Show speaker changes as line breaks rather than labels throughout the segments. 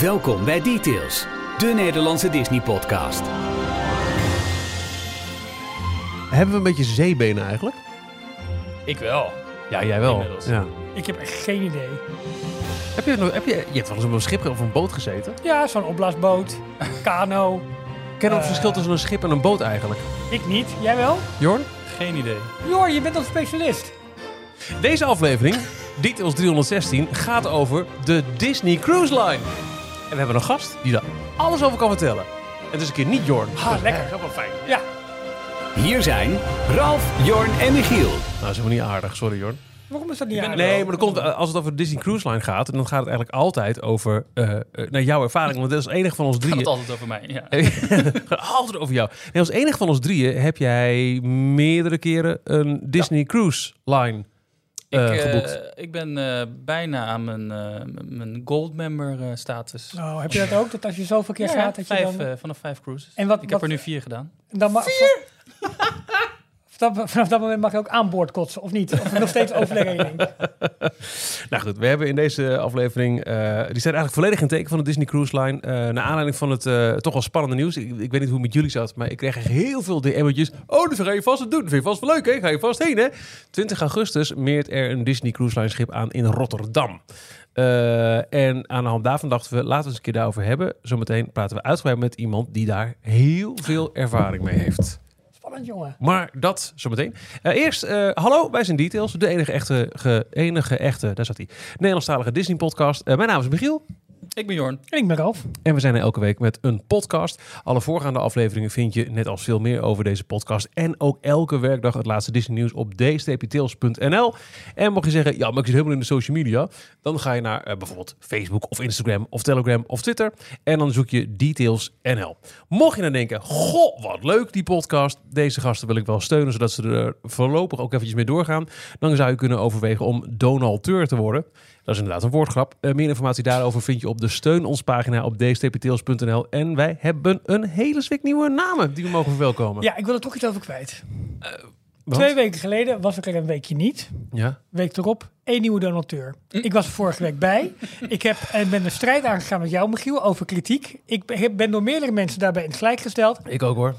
Welkom bij Details, de Nederlandse Disney-podcast.
Hebben we een beetje zeebenen eigenlijk?
Ik wel.
Ja, jij wel.
Inmiddels.
Ja.
Ik heb echt geen idee.
Heb, je, nog- heb je, je hebt wel eens op een schip of een boot gezeten.
Ja, zo'n opblaasboot, kano.
Ken je het
Eh.
verschil tussen een schip en een boot eigenlijk?
Ik niet, jij wel?
Jorn?
Geen idee.
Jor, je bent toch specialist?
Deze aflevering, Details 316, gaat over de Disney Cruise Line. En we hebben een gast die daar alles over kan vertellen. En het is een keer niet Jorn.
Ah, lekker.
wel fijn.
Ja,
Hier zijn Ralf, Jorn en Michiel.
Oh.
Nou, is helemaal niet aardig. Sorry, Jorn.
waarom is dat niet aan?
Nee, maar dat komt, eh, als het over de Disney Cruise Line gaat, dan gaat het eigenlijk altijd over eh, eh, nou, jouw ervaring. Want dat is het enige van ons
Gaat het
drieën.
altijd over mij. Ja.
Het gaat altijd over jou. Nee, als enige van ons drieën heb jij meerdere keren een Disney Cruise Line eh,
ik, eh,
geboekt.
ik ben eh, bijna aan mijn, eh, m- mijn gold member eh, status.
Nou, heb je dat ook? Dat als je zoveel keer
Ja,
gaat, dat je
vijf,
dan...
eh, vanaf vijf cruises.
En wat-
ik
wat-
heb er nu vier gedaan.
dan ma- Vanaf, vanaf dat moment mag je ook aan boord kotsen, of niet? Of nog steeds overleggen.
Nou goed, we hebben in deze aflevering, eh, die staat eigenlijk volledig in het teken van de Disney Cruise Line. Eh naar aanleiding van het eh, toch wel spannende nieuws. Ik, ik weet niet hoe het met jullie zat, maar ik kreeg echt heel veel DM'tjes. Oh, dat ga je vast het doen. Dat vind je vast wel leuk, hè? Ga je vast heen, hè? 20 augustus meert er een Disney Cruise Line schip aan in Rotterdam. Eh, en aan de hand daarvan dachten we, laten we eens een keer daarover hebben. Zometeen praten we uitgebreid met iemand die daar heel veel ervaring mee heeft.
Spannend, jongen.
Maar dat zometeen. Eh, eerst, eh, hallo, wij zijn Details. De enige echte, ge- enige echte, daar zat hij, Nederlandstalige Disney podcast. Eh, mijn naam is Michiel
Ik ben Jorn.
En ik ben Ralf.
en we zijn er elke week met een podcast. Alle voorgaande afleveringen vind je, net als veel meer over deze podcast, en ook elke werkdag het laatste Disney nieuws op dstptails.nl. En mocht je zeggen, ja, maar ik zit helemaal in de social media, dan ga je naar eh, bijvoorbeeld Facebook of Instagram of Telegram of Twitter en dan zoek je Details NL. Mocht je dan denken, goh, wat leuk die podcast. Deze gasten wil ik wel steunen, zodat ze er voorlopig ook eventjes mee doorgaan. Dan zou je kunnen overwegen om donateur te worden. Dat is inderdaad een woordgrap. Eh, meer informatie daarover vind je op de Steun ons pagina op dstptails.nl. En wij hebben een hele zwik nieuwe namen die we mogen verwelkomen.
Ja, ik wil er toch iets over kwijt.
Want-
Twee weken geleden was ik er een weekje niet.
Ja.
Week erop, één nieuwe donateur. Ik was er vorige week bij. Ik heb, en ben een strijd aangegaan met jou, Michiel, over kritiek. Ik be- heb- ben door meerdere mensen daarbij in het gelijk gesteld.
Ik ook hoor.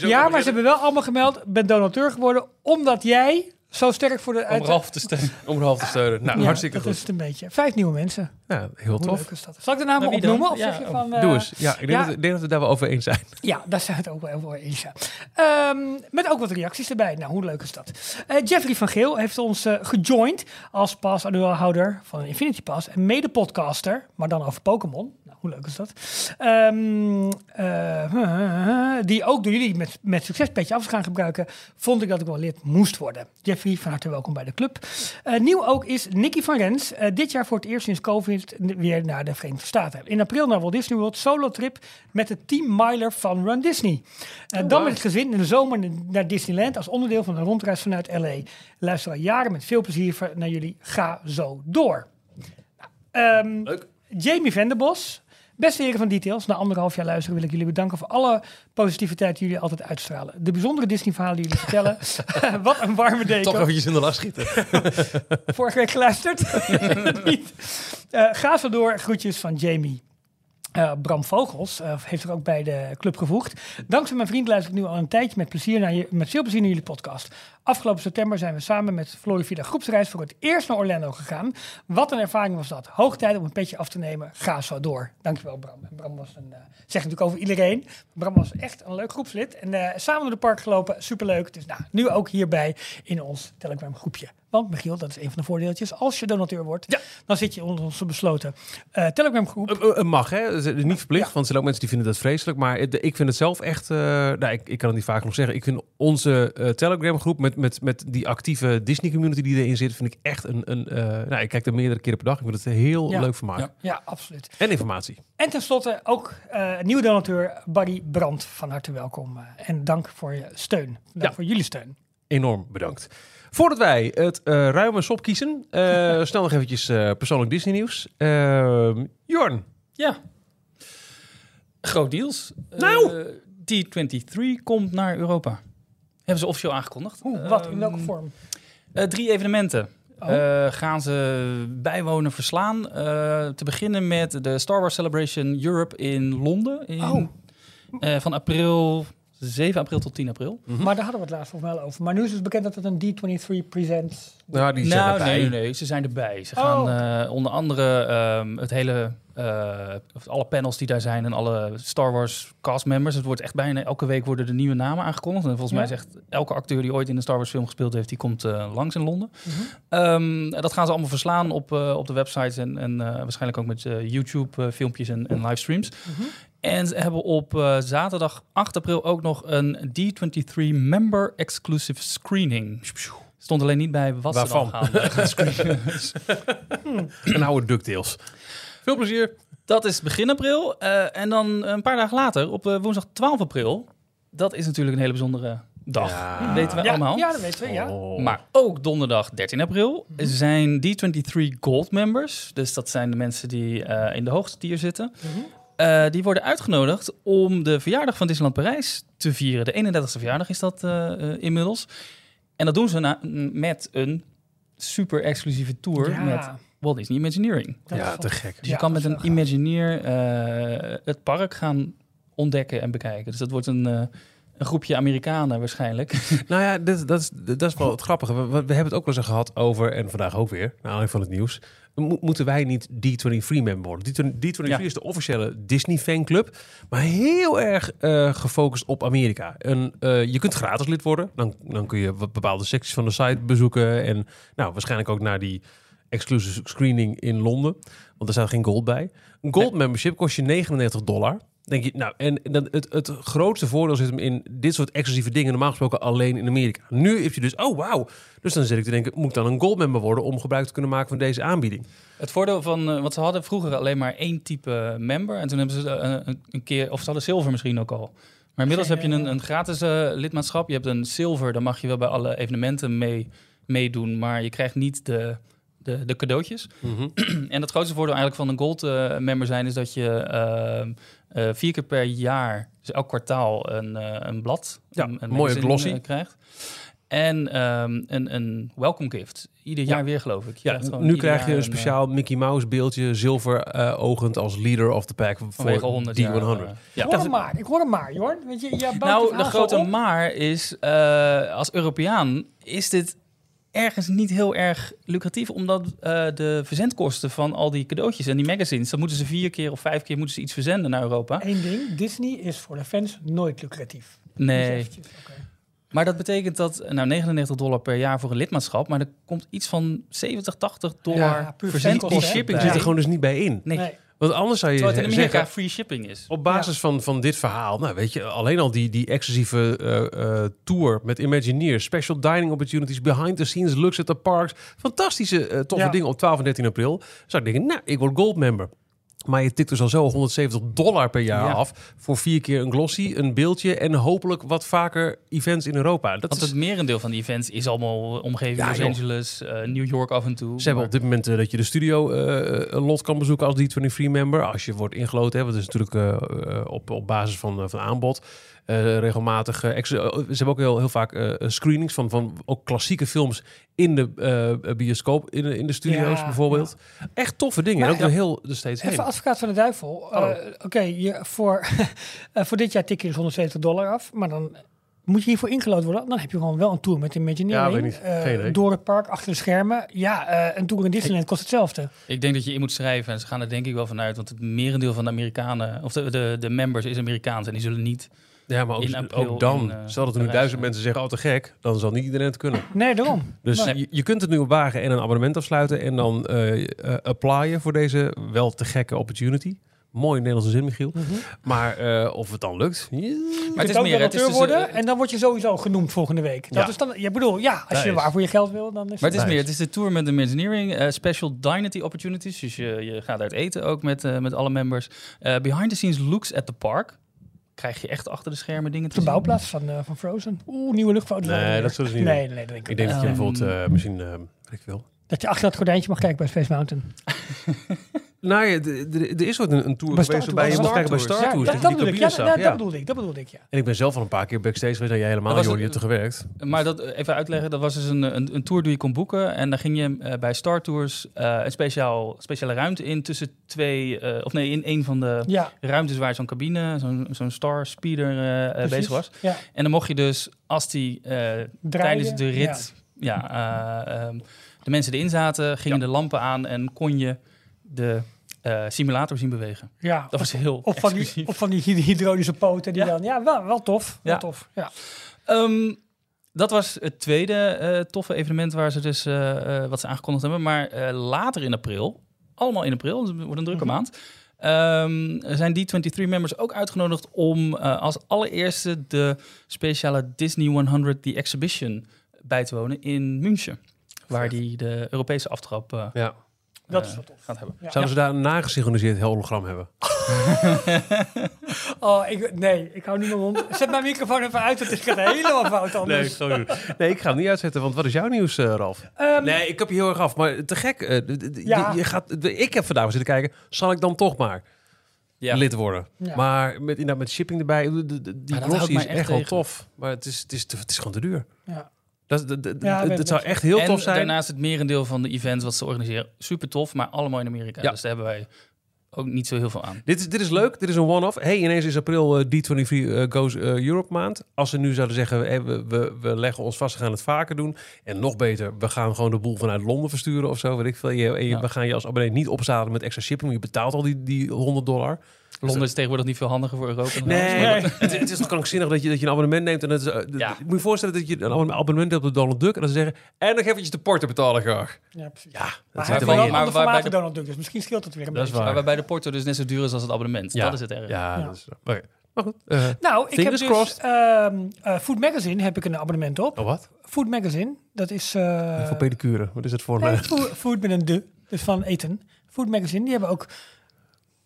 ja, maar ze hebben wel allemaal gemeld, ben donateur geworden, omdat jij zo sterk voor de...
Om Ralf te steunen.
Om half te steunen. Nou,
eh, Ja,
hartstikke
dat
goed.
is het een beetje. Vijf nieuwe mensen.
Ja, heel
Hoe
tof.
leuk is dat? Zal ik de namen
Maar wie dan?
opnoemen? Of
Ja,
zeg je
oh.
van... eh,
Doe eens. Ja, ik denk,
ja.
Dat, ik denk dat we daar wel over eens zijn.
Ja, daar zijn we het ook wel voor eens. ja. Ehm, met ook wat reacties erbij. Nou, hoe leuk is dat? Eh, Jeffrey van Geel heeft ons eh, gejoind als pas aandeelhouder van Infinity Pass en mede-podcaster, maar dan over Pokémon. Nou, hoe leuk is dat? Ehm, eh, die ook door jullie met, met succes petje af is gaan gebruiken, vond ik dat ik wel lid moest worden. Jeffrey, van harte welkom bij de club. Eh, nieuw ook is Nicky van Rens. eh, dit jaar voor het eerst sinds COVID weer naar de Verenigde Staten. In april naar Walt Disney World, solo trip met de Team Miler van Run Disney. Eh, dan met het gezin in de zomer naar Disneyland als onderdeel van een rondreis vanuit LA. Luister al jaren met veel plezier ver- naar jullie. Ga zo door. Ehm, Jamie Venderbos. Beste heren van Details, na anderhalf jaar luisteren wil ik jullie bedanken voor alle positiviteit die jullie altijd uitstralen. De bijzondere Disney-verhalen die jullie vertellen. Wat een warme deken.
Toch eventjes in de lach schieten.
Vorige week geluisterd. Niet. Eh, ga zo door. Groetjes van Jamie. Eh, Bram Vogels eh, heeft er ook bij de club gevoegd. Dankzij mijn vriend luister ik nu al een tijdje met, plezier naar je, met veel plezier naar jullie podcast. Afgelopen september zijn we samen met Flory via de groepsreis voor het eerst naar Orlando gegaan. Wat een ervaring was dat. Hoog tijd om een petje af te nemen. Ga zo door. Dankjewel Bram. En Bram was een, eh zegt natuurlijk over iedereen. Bram was echt een leuk groepslid. En eh, samen door de park gelopen. Superleuk. Dus nou, nu ook hierbij in ons Telegram groepje. Want Michiel, dat is een van de voordeeltjes. Als je donateur wordt, dan zit je onder onze besloten eh, Telegram groep.
Eh, eh, Mag, hè? Het is Niet verplicht, want er zijn ook mensen die vinden dat vreselijk. Maar het- ik vind het zelf echt... eh, nou, ik, ik kan het niet vaak nog zeggen. Ik vind onze eh, Telegram-groep met, met, met die actieve Disney-community die erin zit... vind ik echt een... een eh, nou, ik kijk er meerdere keren per dag. Ik vind het heel
Ja.
leuk van maken.
Ja.
Ja, absoluut.
En informatie.
En tenslotte ook eh nieuwe donateur Barry Brandt. Van harte welkom. eh, en dank voor je steun. Dank
Ja.
voor jullie steun.
Enorm bedankt. Voordat wij het eh, ruime sop kiezen... eh, snel nog eventjes eh, persoonlijk Disney-nieuws. Ehm, Jorn,
Ja. Groot deals.
Nou!
Eh, D23 komt naar Europa. Hebben ze officieel aangekondigd.
Oeh, wat? In welke
Ehm,
vorm?
eh, drie evenementen.
Oh.
Eh, gaan ze bijwonen verslaan. Eh, te beginnen met de Star Wars Celebration Europe in Londen. In,
Oh.
eh, van april, 7 april tot 10 april.
Maar daar hadden we het laatst volgens mij al over. Maar nu is het bekend dat het een D23 presents...
Nou, die zijn
nou,
erbij.
nee, nee, nee, ze zijn erbij. Ze
Oh.
gaan eh, onder andere ehm, het hele, eh, of alle panels die daar zijn en alle Star Wars castmembers. Het wordt echt bijna elke week worden de nieuwe namen aangekondigd. En volgens
Ja.
mij is echt elke acteur die ooit in een Star Wars film gespeeld heeft, die komt eh, langs in Londen.
Mhm.
Ehm, dat gaan ze allemaal verslaan op, eh, op de websites en, en eh, waarschijnlijk ook met eh, YouTube eh, filmpjes en, en livestreams.
Mhm.
En ze hebben op eh, zaterdag 8 april ook nog een D23 member exclusive screening. Stond alleen niet bij wat ze dan
Waarvan?
gaan, eh, gaan screenen. Dus
En oude DuckTales. Veel plezier.
dat is begin april. Eh, en dan een paar dagen later, op eh, woensdag 12 april. Dat is natuurlijk een hele bijzondere dag.
Ja.
Dat weten we
Ja,
allemaal.
ja, Mhm. dat weten we, ja.
Oh.
Maar ook donderdag 13 april zijn D23 Gold members. Dus dat zijn de mensen die eh, in de hoogste tier zitten.
Mhm.
Eh, die worden uitgenodigd om de verjaardag van Disneyland Parijs te vieren. De 31ste verjaardag is dat eh, eh, inmiddels. En dat doen ze na- met een super exclusieve tour
Ja,
met Walt Disney Imagineering.
dat
ja,
vond-
te gek.
Dus
Ja,
je kan met
dat
een
is wel gaaf.
Imagineer eh, het park gaan ontdekken en bekijken. Dus dat wordt een, eh, een groepje Amerikanen waarschijnlijk.
Nou ja, dit, dat, is, dat is wel het grappige. We, we- we hebben het ook wel eens gehad over, en vandaag ook weer, naar aanleiding van het nieuws. mo- moeten wij niet D23-member worden? D20- D23
Ja.
is de officiële Disney-fanclub, maar heel erg eh, gefocust op Amerika. En, eh, je kunt gratis lid worden. Dan, dan kun je wat bepaalde secties van de site bezoeken. En nou, waarschijnlijk ook naar die exclusive screening in Londen. Want er staat geen gold bij. Een gold membership kost je 99 dollar. Denk je, nou, en en dan het, het grootste voordeel zit hem in dit soort exclusieve dingen. Normaal gesproken alleen in Amerika. Nu heb je dus, oh wauw. Dus dan zit ik te denken, moet ik dan een gold member worden om gebruik te kunnen maken van deze aanbieding?
Het voordeel van, eh, want ze hadden vroeger alleen maar één type member. En toen hebben ze eh, een, een keer, of ze hadden zilver misschien ook al. Maar inmiddels heb je een, een gratis eh, lidmaatschap. Je hebt een zilver, dan mag je wel bij alle evenementen mee, meedoen. Maar je krijgt niet de, de, de cadeautjes. En het grootste voordeel eigenlijk van een gold eh, member zijn is dat je ehm, eh, vier keer per jaar, dus elk kwartaal, een, eh, een blad,
Ja,
een,
een mooie
magazine,
glossy.
eh, krijgt. En ehm, een, een welcome gift. Ieder jaar weer, geloof ik. Je
Ja,
krijgt gewoon
nu
ieder
krijg je
jaar eh,
een speciaal Mickey Mouse beeldje, zilver eh, ogend als leader of the pack
eh, vanwege
voor
100
D100.
jaar, eh, ja.
Ik hoor hem maar, ik hoor hem maar, Jorn. Weet je, je bouwt het
Nou, de
verhaal zo
grote
op.
maar is, eh, als Europeaan is dit ergens niet heel erg lucratief, omdat eh, de verzendkosten van al die cadeautjes en die magazines, dan moeten ze vier keer of vijf keer moeten ze iets verzenden naar Europa.
Eén ding, Disney is voor de fans nooit lucratief.
Nee,
Dus eventjes, oké.
Maar dat betekent dat, nou 99 dollar per jaar voor een lidmaatschap, maar er komt iets van 70, 80 dollar
Ja,
verzendkosten.
puur verzendkosten,
Die
bij.
hè?
zit er gewoon dus niet bij in.
Nee,
Nee.
Want anders zou je
terwijl het in
zeggen...
Amerika free shipping is.
Op basis van, van dit verhaal, nou weet je, alleen al die, die exclusieve eh, eh, tour met Imagineers, special dining opportunities, behind the scenes, looks at the parks. Fantastische, eh, toffe
Ja.
dingen op 12 en 13 april. Zou ik denken, nou, ik word gold member. Maar je tikt dus al zo 170 dollar per jaar
Ja.
af voor vier keer een glossy, een beeldje en hopelijk wat vaker events in Europa. Dat
Want
is,
het merendeel van die events is allemaal omgeving
Ja,
Los
joh.
Angeles, eh, New York af en toe.
Ze hebben op
Maar-
dit moment eh, dat je de studio eh, een lot kan bezoeken als D23-member. Als je wordt ingeloten, hè, want dat is natuurlijk eh, eh, op, op basis van, eh, van aanbod. eh, regelmatig. eh, ex- eh, ze hebben ook heel, heel vaak eh, screenings van, van ook klassieke films in de eh, bioscoop, in, de- in de studio's
Ja,
bijvoorbeeld. Echt toffe dingen.
Maar
en ook door heel er steeds heen.
Even advocaat van de duivel. Eh,
Hallo.
Oké, je- voor, eh, voor dit jaar tik je dus 170 dollar af, maar dan moet je hiervoor ingelood worden. Dan heb je gewoon wel een tour met Imagineering.
Ja, weet niet.
eh,
Geen idee.
door het park, achter de schermen. Ja, eh, een tour in Disneyland kost hetzelfde.
Ik denk dat je in moet schrijven en ze gaan er denk ik wel vanuit, want het merendeel van de Amerikanen, of de, de, de members is Amerikaans en die zullen niet.
ja, maar
in
ook, dus
april
ook dan.
in, eh,
stel dat er nu
Parijs,
duizend
ja.
mensen zeggen, oh te gek. Dan zal niet iedereen het kunnen.
Nee, daarom.
Dus
Nee.
je, je kunt het nu op wagen en een abonnement afsluiten en dan eh eh, applyen voor deze wel te gekke opportunity. Mooi Nederlandse zin, Michiel. Mm-hmm. Maar eh, of het dan lukt.
Maar
het
je
is
kunt
meer,
ook
het
donateur
is dus,
worden
eh,
en dan word je sowieso genoemd volgende week. Dat
Ja.
is dan, je bedoel, ja, als
Ja,
je
is.
waar voor je geld wil, dan is
Maar het is
Nice.
meer, het is de tour met de Imagineering, eh, special dining opportunities, dus je, je gaat uit eten ook met, eh, met alle members. Eh, behind the scenes looks at the park, krijg je echt achter de schermen dingen te
de
zien.
bouwplaats van, eh, van Frozen. Oeh, nieuwe luchtfoto's.
Nee, dat zullen ze niet
Nee, nee, dat denk ik,
Ik denk dat je
Ehm.
bijvoorbeeld eh, misschien, eh, weet ik wil.
Dat je achter dat gordijntje mag kijken bij Space Mountain.
Nou ja, d- d- er is ooit een, een tour
Bij Star
geweest waarbij je
Tours.
mocht kijken bij
Star
Star Tours. dat
dat,
je
dat
die
bedoel ik, ja,
cabines
dat,
zag,
dat
ja.
bedoel ik, dat bedoel ik, ja.
En ik ben zelf al een paar keer backstage geweest. Nou, jij helemaal,
Dat
niet,
was
Jordi, je hebt er
het-
gewerkt.
Maar dat, eh, even uitleggen, dat was dus een, een, een tour die je kon boeken. En daar ging je eh, bij Star Tours eh, een speciaal, speciale ruimte in tussen twee, eh, of nee, in een van de
Ja,
ruimtes waar zo'n cabine, zo'n zo'n Star Speeder eh, eh,
precies.
bezig was.
Ja,
En dan mocht je dus, als die eh,
draaien,
tijdens de
ja.
rit, ja. eh, ehm, de mensen erin zaten, gingen de lampen aan en kon je de eh, simulator zien bewegen.
Ja,
Dat was heel
op, van die,
exclusief.
op van die hyd- hydraulische poten die
Ja.
dan... Ja, wel, wel tof, wel
Ja.
tof, ja.
Ehm, dat was het tweede eh, toffe evenement waar ze dus, eh, eh, wat ze aangekondigd hebben. Maar eh, later in april, allemaal in april, dus het wordt een drukke
Mhm.
maand. ehm, zijn die 23 members ook uitgenodigd om eh, als allereerste de speciale Disney 100 The Exhibition bij te wonen in München. Waar die de Europese aftrap eh,
Ja.
Dat
eh,
is wel tof.
gaat hebben.
Ja.
Zouden ze daar een nagesynchroniseerd hologram hebben?
Oh, ik, nee, ik hou niet meer rond. Zet mijn microfoon even uit, want het gaat helemaal fout anders.
sorry. nee, ik ga hem niet uitzetten, want wat is jouw nieuws, eh, Ralf?
Ehm,
Nee, ik heb je heel erg af, maar te gek. eh, d- d- d-
Ja.
je, je gaat, d- ik heb vandaag zitten kijken, zal ik dan toch maar
Ja.
lid worden?
Ja.
Maar met, inderdaad met shipping erbij, d- d- d- die
houdt
glossy
mij
is
echt
echt wel
tegen.
tof. Maar het is, het is, te- het is gewoon te duur.
ja.
Dat, dat, dat-
Ja, ik
dat-
weet
dat
het
zou
wel.
echt heel
en
tof zijn.
daarnaast het merendeel van de events wat ze organiseren, super tof, maar allemaal in Amerika.
Ja.
Dus daar hebben wij ook niet zo heel veel aan.
Dit is, dit is leuk, dit is een one-off. Hey, ineens is april eh, D23 eh, Goes eh, Europe maand. Als ze nu zouden zeggen, hey, we, we, we leggen ons vast, we gaan het vaker doen. En nog beter, we gaan gewoon de boel vanuit Londen versturen of zo, weet ik veel. Je, en je-
Ja.
We gaan je als abonnee niet opzadelen met extra shipping. Je betaalt al die, die 100 dollar.
Londen is tegenwoordig niet veel handiger voor Europa. dan
Nee,
Amsterdam.
Nee.
maar Het, het is toch krankzinnig dat je, dat je een abonnement neemt. En dat is, eh, d-
Ja.
d- Moet je voorstellen dat je een abonne- abonnement hebt op Donald Duck. En dan ze zeggen, en nog eventjes de porto betalen graag.
ja, precies.
Ja,
maar
dat
hij
zit
heeft
er wel
wel een
in.
maar
ander
waar-
formaat
bij
dan Donald Duck, dus misschien scheelt het weer een
Dat is
beetje.
waar.
Maar waarbij de porto dus net zo duur is als het abonnement.
Ja.
Dat is het erg.
Ja,
Ja.
dat is... oké. Maar goed. eh,
Nou, ik
Fingers
heb dus
crossed.
ehm, eh, Food Magazine heb ik een abonnement op.
oh, wat?
Food Magazine, dat is... eh,
voor pedicure. Wat is het voor eh, een...
nee, food, food met een de, dus van eten. Food Magazine, die hebben ook...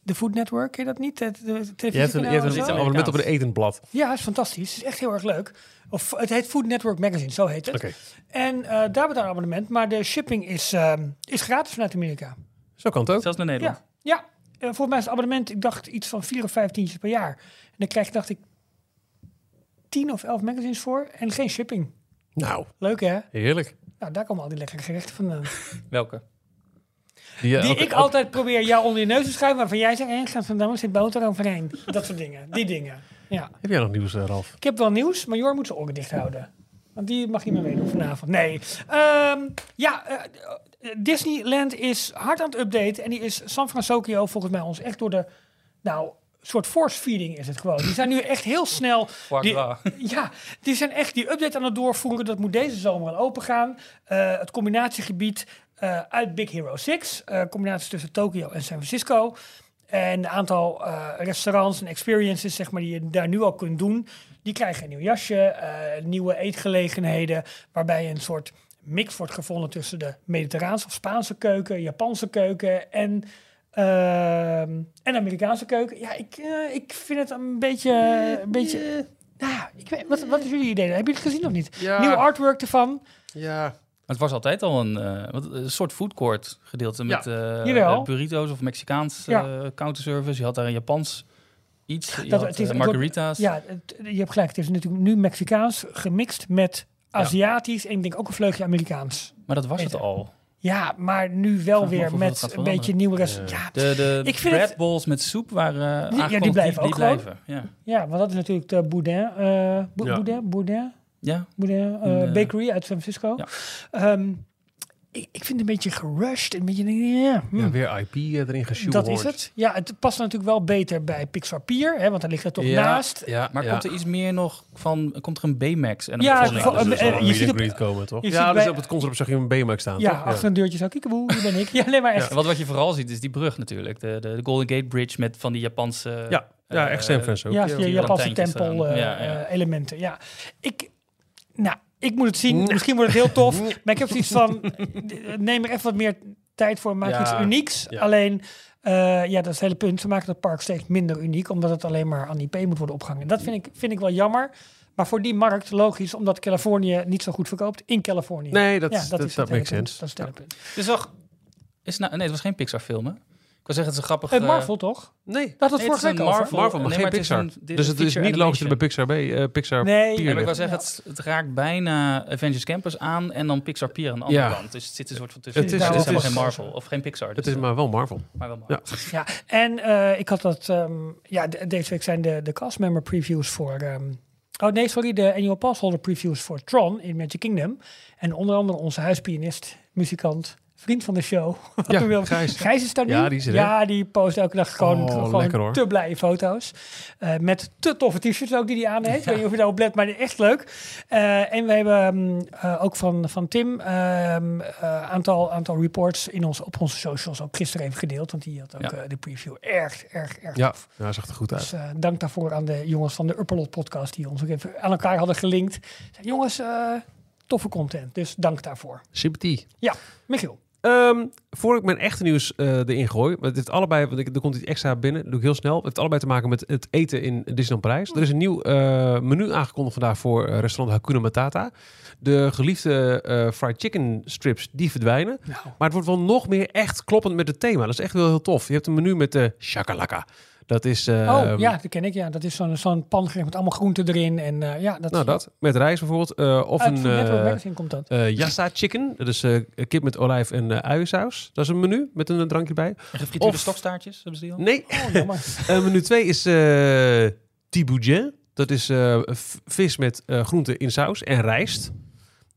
De Food Network, ken je dat niet? Het, het
Je hebt een, je
televisiekanaal
hebt
en
een,
zo?
Iets
abonnement op een etenblad.
Ja, is fantastisch. Het is echt heel erg leuk. Of, het heet Food Network Magazine, zo heet het.
Oké.
En eh, daar betaal je een abonnement. Maar de shipping is, ehm, is gratis vanuit Amerika.
Zo kan het ook.
Zelfs naar Nederland.
Ja, ja. Eh, volgens mij is het abonnement, ik dacht iets van 4 of 15 per jaar. En dan krijg je, dacht ik, 10 of 11 magazines voor en geen shipping.
Nou,
Leuk hè?
heerlijk.
Nou, daar komen al die lekkere gerechten vandaan.
Welke?
Die, eh,
Die
ook-
ik
ook-
altijd probeer jou onder je neus te schuiven, waarvan jij zegt, "Eh, hé, gaat vandaag zit boter overheen. Dat soort dingen. Die dingen. Ja.
Heb jij nog nieuws, eh, Ralf?
Ik heb wel nieuws, maar Jor moet zijn oren dicht houden. Want die mag niet meer meedoen vanavond. Nee. Ehm, ja, eh, eh, Disneyland is hard aan het updaten. En die is San Francisco volgens mij ons echt door de... Nou, soort force feeding is het gewoon. Die zijn nu echt heel snel... Die- ja, die zijn echt die update aan het doorvoeren. Dat moet deze zomer al open gaan. Eh, het combinatiegebied eh, uit Big Hero 6. eh combinaties tussen Tokio en San Francisco. En een aantal eh, restaurants en experiences zeg maar, die je daar nu al kunt doen. Die krijgen een nieuw jasje, eh, nieuwe eetgelegenheden. Waarbij een soort mix wordt gevonden tussen de Mediterraanse of Spaanse keuken, Japanse keuken en, ehm, en Amerikaanse keuken. Ja, ik, eh, ik vind het een beetje. Een beetje nou, ja, ik weet, wat, wat is jullie idee? Hebben jullie het gezien of niet?
Ja.
Nieuw artwork ervan.
Ja.
Het was altijd al een, eh, wat- een soort food court gedeelte met eh,
Jawel.
eh, burrito's of Mexicaans eh
Ja.
counterservice. Je had daar een Japans iets. Je
Dat-
had,
het is-
eh,
het wordt-
margarita's.
Ja, het- je hebt gelijk. Het is natuurlijk nu Mexicaans gemixt met Aziatisch en ik denk ook een vleugje Amerikaans.
Maar dat was het
Eten.
al.
Ja, maar nu wel
Vraag me af
weer
of dat gaat
met een
veranderen.
beetje nieuwe restaurants. Ja,
De, de
Ik vind
bread
het-
balls met soep waren eh, aangekondigd.
die blijven ook gewoon.
blijven. Ja.
ja, want dat is natuurlijk de Boudin. eh Bo-
Ja.
Boudin? Boudin?
ja.
Boudin, eh,
In, eh,
Bakery uit San Francisco.
ja.
Ehm, ik, ik vind het een beetje gerushed. Een beetje, ja, hmm.
ja, weer IP eh, erin gesjoerd.
dat is het. Ja, het past natuurlijk wel beter bij Pixar Pier, hè, want daar ligt dat toch
Ja,
naast.
Ja,
Maar
ja.
komt er iets meer nog van... Komt er een B-Max? En een
Ja,
Volkswagen?
voor-
Ja, dus
eh,
er zal
je
een
ziet
meet and
op-
greet komen, toch?
je
Ja,
ziet
dus
bij-
op het concept zag je een BMX staan,
Ja,
toch?
achter een deurtje zo, kiekeboe, hier ben ik. Ja, nee, maar echt.
En wat, wat je vooral ziet is die brug natuurlijk. De, de, de Golden Gate Bridge met van die Japanse...
Ja. ja, echt San
eh,
Francisco.
Ja,
ook
je
die
Japanse
lantijntjes
tempel
eraan.
eh,
Ja, ja.
eh, elementen. Ja, ik, nou, ik moet het zien. Misschien wordt het heel tof. Maar ik heb zoiets van, eh, neem er even wat meer tijd voor. Maak
Ja,
iets unieks.
ja.
Alleen, eh, ja, dat is het hele punt. Ze maken het park steeds minder uniek, omdat het alleen maar aan IP moet worden opgehangen. Dat vind ik, vind ik wel jammer. Maar voor die markt, logisch, omdat Californië niet zo goed verkoopt in Californië.
Nee, dat,
Ja,
dat, dat,
het hele
makes
punt.
sense.
Dat is het hele punt.
Dus zag... Is nou, nee, het was geen Pixar film, hè? kan zeggen, het is een grappig...
Eh,
eh,
Marvel toch?
Nee.
Dat had
nee,
vorige
het is
week
een
over.
Marvel.
Marvel, maar
Oh,
geen
Nee, maar het is
Pixar.
een- dit
dus het is
feature
niet logisch dat het
animation.
bij Pixar, bij, eh, Pixar
Nee.
peer
Ja, maar ik
ligt.
wil zeggen, het, het raakt bijna Avengers Campus aan en dan Pixar Pier aan de andere
Ja.
kant. Dus het zit een soort van tussen.
Het
Het
is-
is,
het
helemaal
is-
geen Marvel of geen Pixar.
Het
Dus
is maar wel Marvel.
maar wel Marvel.
Ja.
Ja, en eh, ik had dat. ehm, ja, de- deze week zijn de, de cast member previews voor. ehm, oh nee, sorry, de annual passholder previews voor Tron in Magic Kingdom. En onder andere onze huispianist, muzikant, vriend van de show.
Ja,
Wat wil-
Gijs.
Gijs is daar nu.
Ja, die is er, hè?
Ja, die post elke dag gewoon,
Oh,
gewoon
lekker, hoor.
te blije foto's. Eh, met te toffe t-shirts ook die hij aan heeft. Ik weet niet of je daarop let, maar echt leuk. Eh, en we hebben ehm, eh, ook van, van Tim ehm, eh, aantal, aantal reports in ons, op onze socials ook gisteren even gedeeld. Want die had ook
Ja.
eh, de preview erg, erg, erg
Ja,
tof.
ja, zag er goed uit.
Dus eh, dank daarvoor aan de jongens van de Upperlot podcast die ons ook even aan elkaar hadden gelinkt. Zeiden, jongens, eh, toffe content. Dus dank daarvoor.
Sympathie.
Michiel.
Ehm, voor ik mijn echte nieuws eh, erin gooi, want het heeft allebei, want ik, er komt iets extra binnen, dat doe ik heel snel. Het heeft allebei te maken met het eten in Disneyland Parijs. Er is een nieuw eh, menu aangekondigd vandaag voor eh, restaurant Hakuna Matata. De geliefde eh, fried chicken strips, die verdwijnen. Maar het wordt wel nog meer echt kloppend met het thema. Dat is echt wel heel tof. Je hebt een menu met de shakalaka. Dat is... eh,
oh ja, dat ken ik. Ja, dat is zo'n zo'n pangericht met allemaal groenten erin. En eh, ja, dat
Nou, dat. Met rijst bijvoorbeeld. eh, of
Uit
een...
Food Network
eh,
Magazine komt dat.
eh, yassa chicken, dat is eh, kip met olijf en eh, uiensaus. Dat is een menu met een, eh, drankje bij.
En gefrituurde
Of-
stokstaartjes, hebben ze die al?
Nee,
Oh, jammer.
Eh, menu 2 is eh tiboudjen. Dat is eh, v- vis met eh groenten in saus en rijst.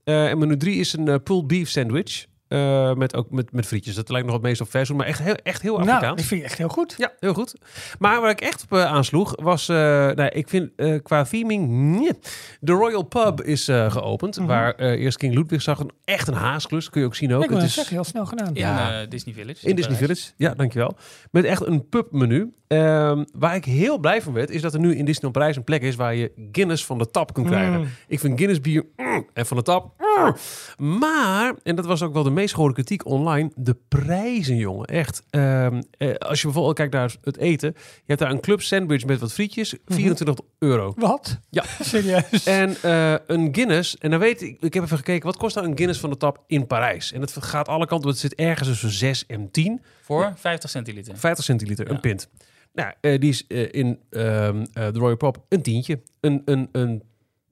Eh, en menu 3 is een eh, pulled beef sandwich. eh, met, ook met, met frietjes. Dat lijkt nog het meest op verzoen, maar echt heel, echt heel Afrikaans.
nou, dat vind je echt heel goed.
Ja, heel goed. Maar waar ik echt op eh, aansloeg was... eh, nou, ik vind eh, qua theming... nee. De Royal Pub is eh, geopend.
Mhm.
Waar eh, eerst King Ludwig zag. Een, echt een haasklus. Kun je ook zien ook.
ik wil
Het is-
het zeggen, heel snel gedaan. Mm.
In
Ja.
eh, Disney Village.
in Disney Village, ja, dankjewel. Met echt een pubmenu. Ehm waar ik heel blij van werd, is dat er nu in Disneyland Parijs een plek is waar je Guinness van de tap kunt krijgen.
Mm.
Ik vind Guinness bier mm, en van de tap. mm. Maar, en dat was ook wel de meest gehoorde kritiek online, de prijzen, jongen. Echt. Ehm, eh, als je bijvoorbeeld kijkt naar het eten. Je hebt daar een club sandwich met wat frietjes, 24 euro.
Wat?
Ja.
Serieus?
En eh, een Guinness, en dan weet ik, ik heb even gekeken, wat kost nou een Guinness van de tap in Parijs? En dat gaat alle kanten, want het zit ergens tussen 6 en 10.
Voor 50 centiliter.
50 centiliter, een
Ja.
pint. Nou, eh, die is eh, in ehm, eh, de Royal Pop een tientje. Een, een, een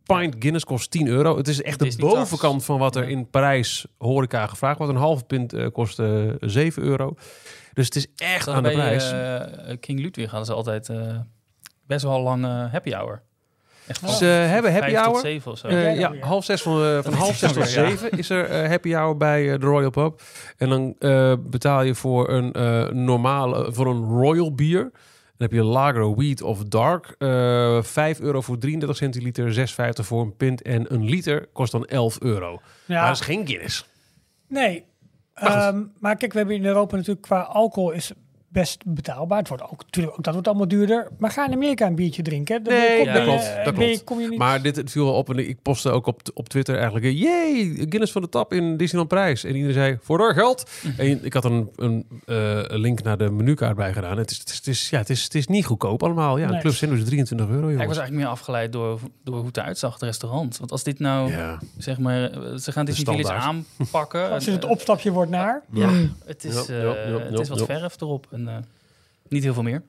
pint Guinness kost 10 euro. Het is echt de
Disney-tax.
bovenkant van wat er
Ja.
in Parijs horeca gevraagd wordt. Een halve pint eh, kost eh 7 euro. Dus het is echt aan de
Bij
prijs.
eh, King Ludwig hadden ze altijd eh, best wel lang eh, happy hour. Echt van
Ze Dus, eh, hebben happy
vijf tot
hour.
zeven of zo.
Eh,
jij nou
ja,
weer?
half zes van, eh, van
weet
half
ik
zes
ook
tot
weer, ja.
zeven is er eh, happy hour bij eh, de Royal Pub. En dan eh, betaal je voor een eh, normale, voor een Royal bier. Dan heb je lager, wheat of dark. eh 5 euro voor 33 centiliter, 6,50 voor een pint. En een liter kost dan 11 euro. Maar
ja.
dat is Nou, geen Guinness.
Nee.
Maar goed.
Ehm, maar kijk, we hebben in Europa natuurlijk qua alcohol is best betaalbaar. Het wordt ook, natuurlijk, ook dat wordt allemaal duurder. Maar ga in Amerika een biertje drinken. Dan ben je-
Nee,
kom
dat
je-
klopt,
eh,
dat
ben
klopt.
je- Kom je niet...
Maar dit het viel wel op en ik postte ook op, op Twitter eigenlijk... eh, Jee, Guinness van de tap in Disneyland Prijs. En iedereen zei, voor door geld.
Mhm.
en ik had een, een eh, link naar de menukaart bij gedaan. Het is, het is, het is- ja, het is, het is niet goedkoop allemaal. Ja, een
Nee.
club sandwich 23 euro,
Ja, ik was
jongens.
eigenlijk meer afgeleid door, door hoe het eruit zag, het restaurant. Want als dit nou,
Ja,
zeg maar, eh, ze gaan Disney Village
standaard.
aanpakken.
Als je
en,
het
eh,
opstapje wordt naar...
Ja, het is,
Ja,
eh,
ja, ja,
het is wat
ja.
verf erop en eh, niet heel veel meer.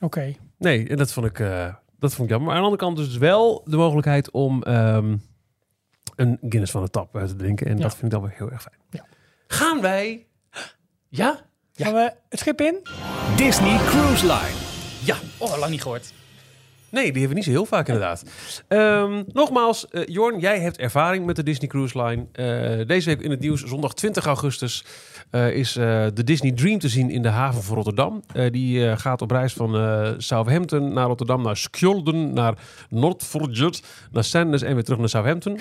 Oké.
nee, en dat vond ik, eh, dat vond ik jammer. Maar aan de andere kant dus wel de mogelijkheid om ehm, een Guinness van de tap eh, te drinken. En
Ja.
dat vind ik dan weer heel erg fijn.
Ja.
Gaan wij...
Ja?
Gaan we het schip in?
Disney Cruise Line.
Ja,
Oh, lang niet gehoord.
Nee, die hebben we niet zo heel vaak inderdaad. Ehm, nogmaals, eh, Jorn, jij hebt ervaring met de Disney Cruise Line. Eh, deze week in het nieuws, zondag 20 augustus, eh, is eh, de Disney Dream te zien in de haven van Rotterdam. Eh, die eh, gaat op reis van eh, Southampton naar Rotterdam, naar Skjolden, naar Noordvoort, naar Sandnes en weer terug naar Southampton.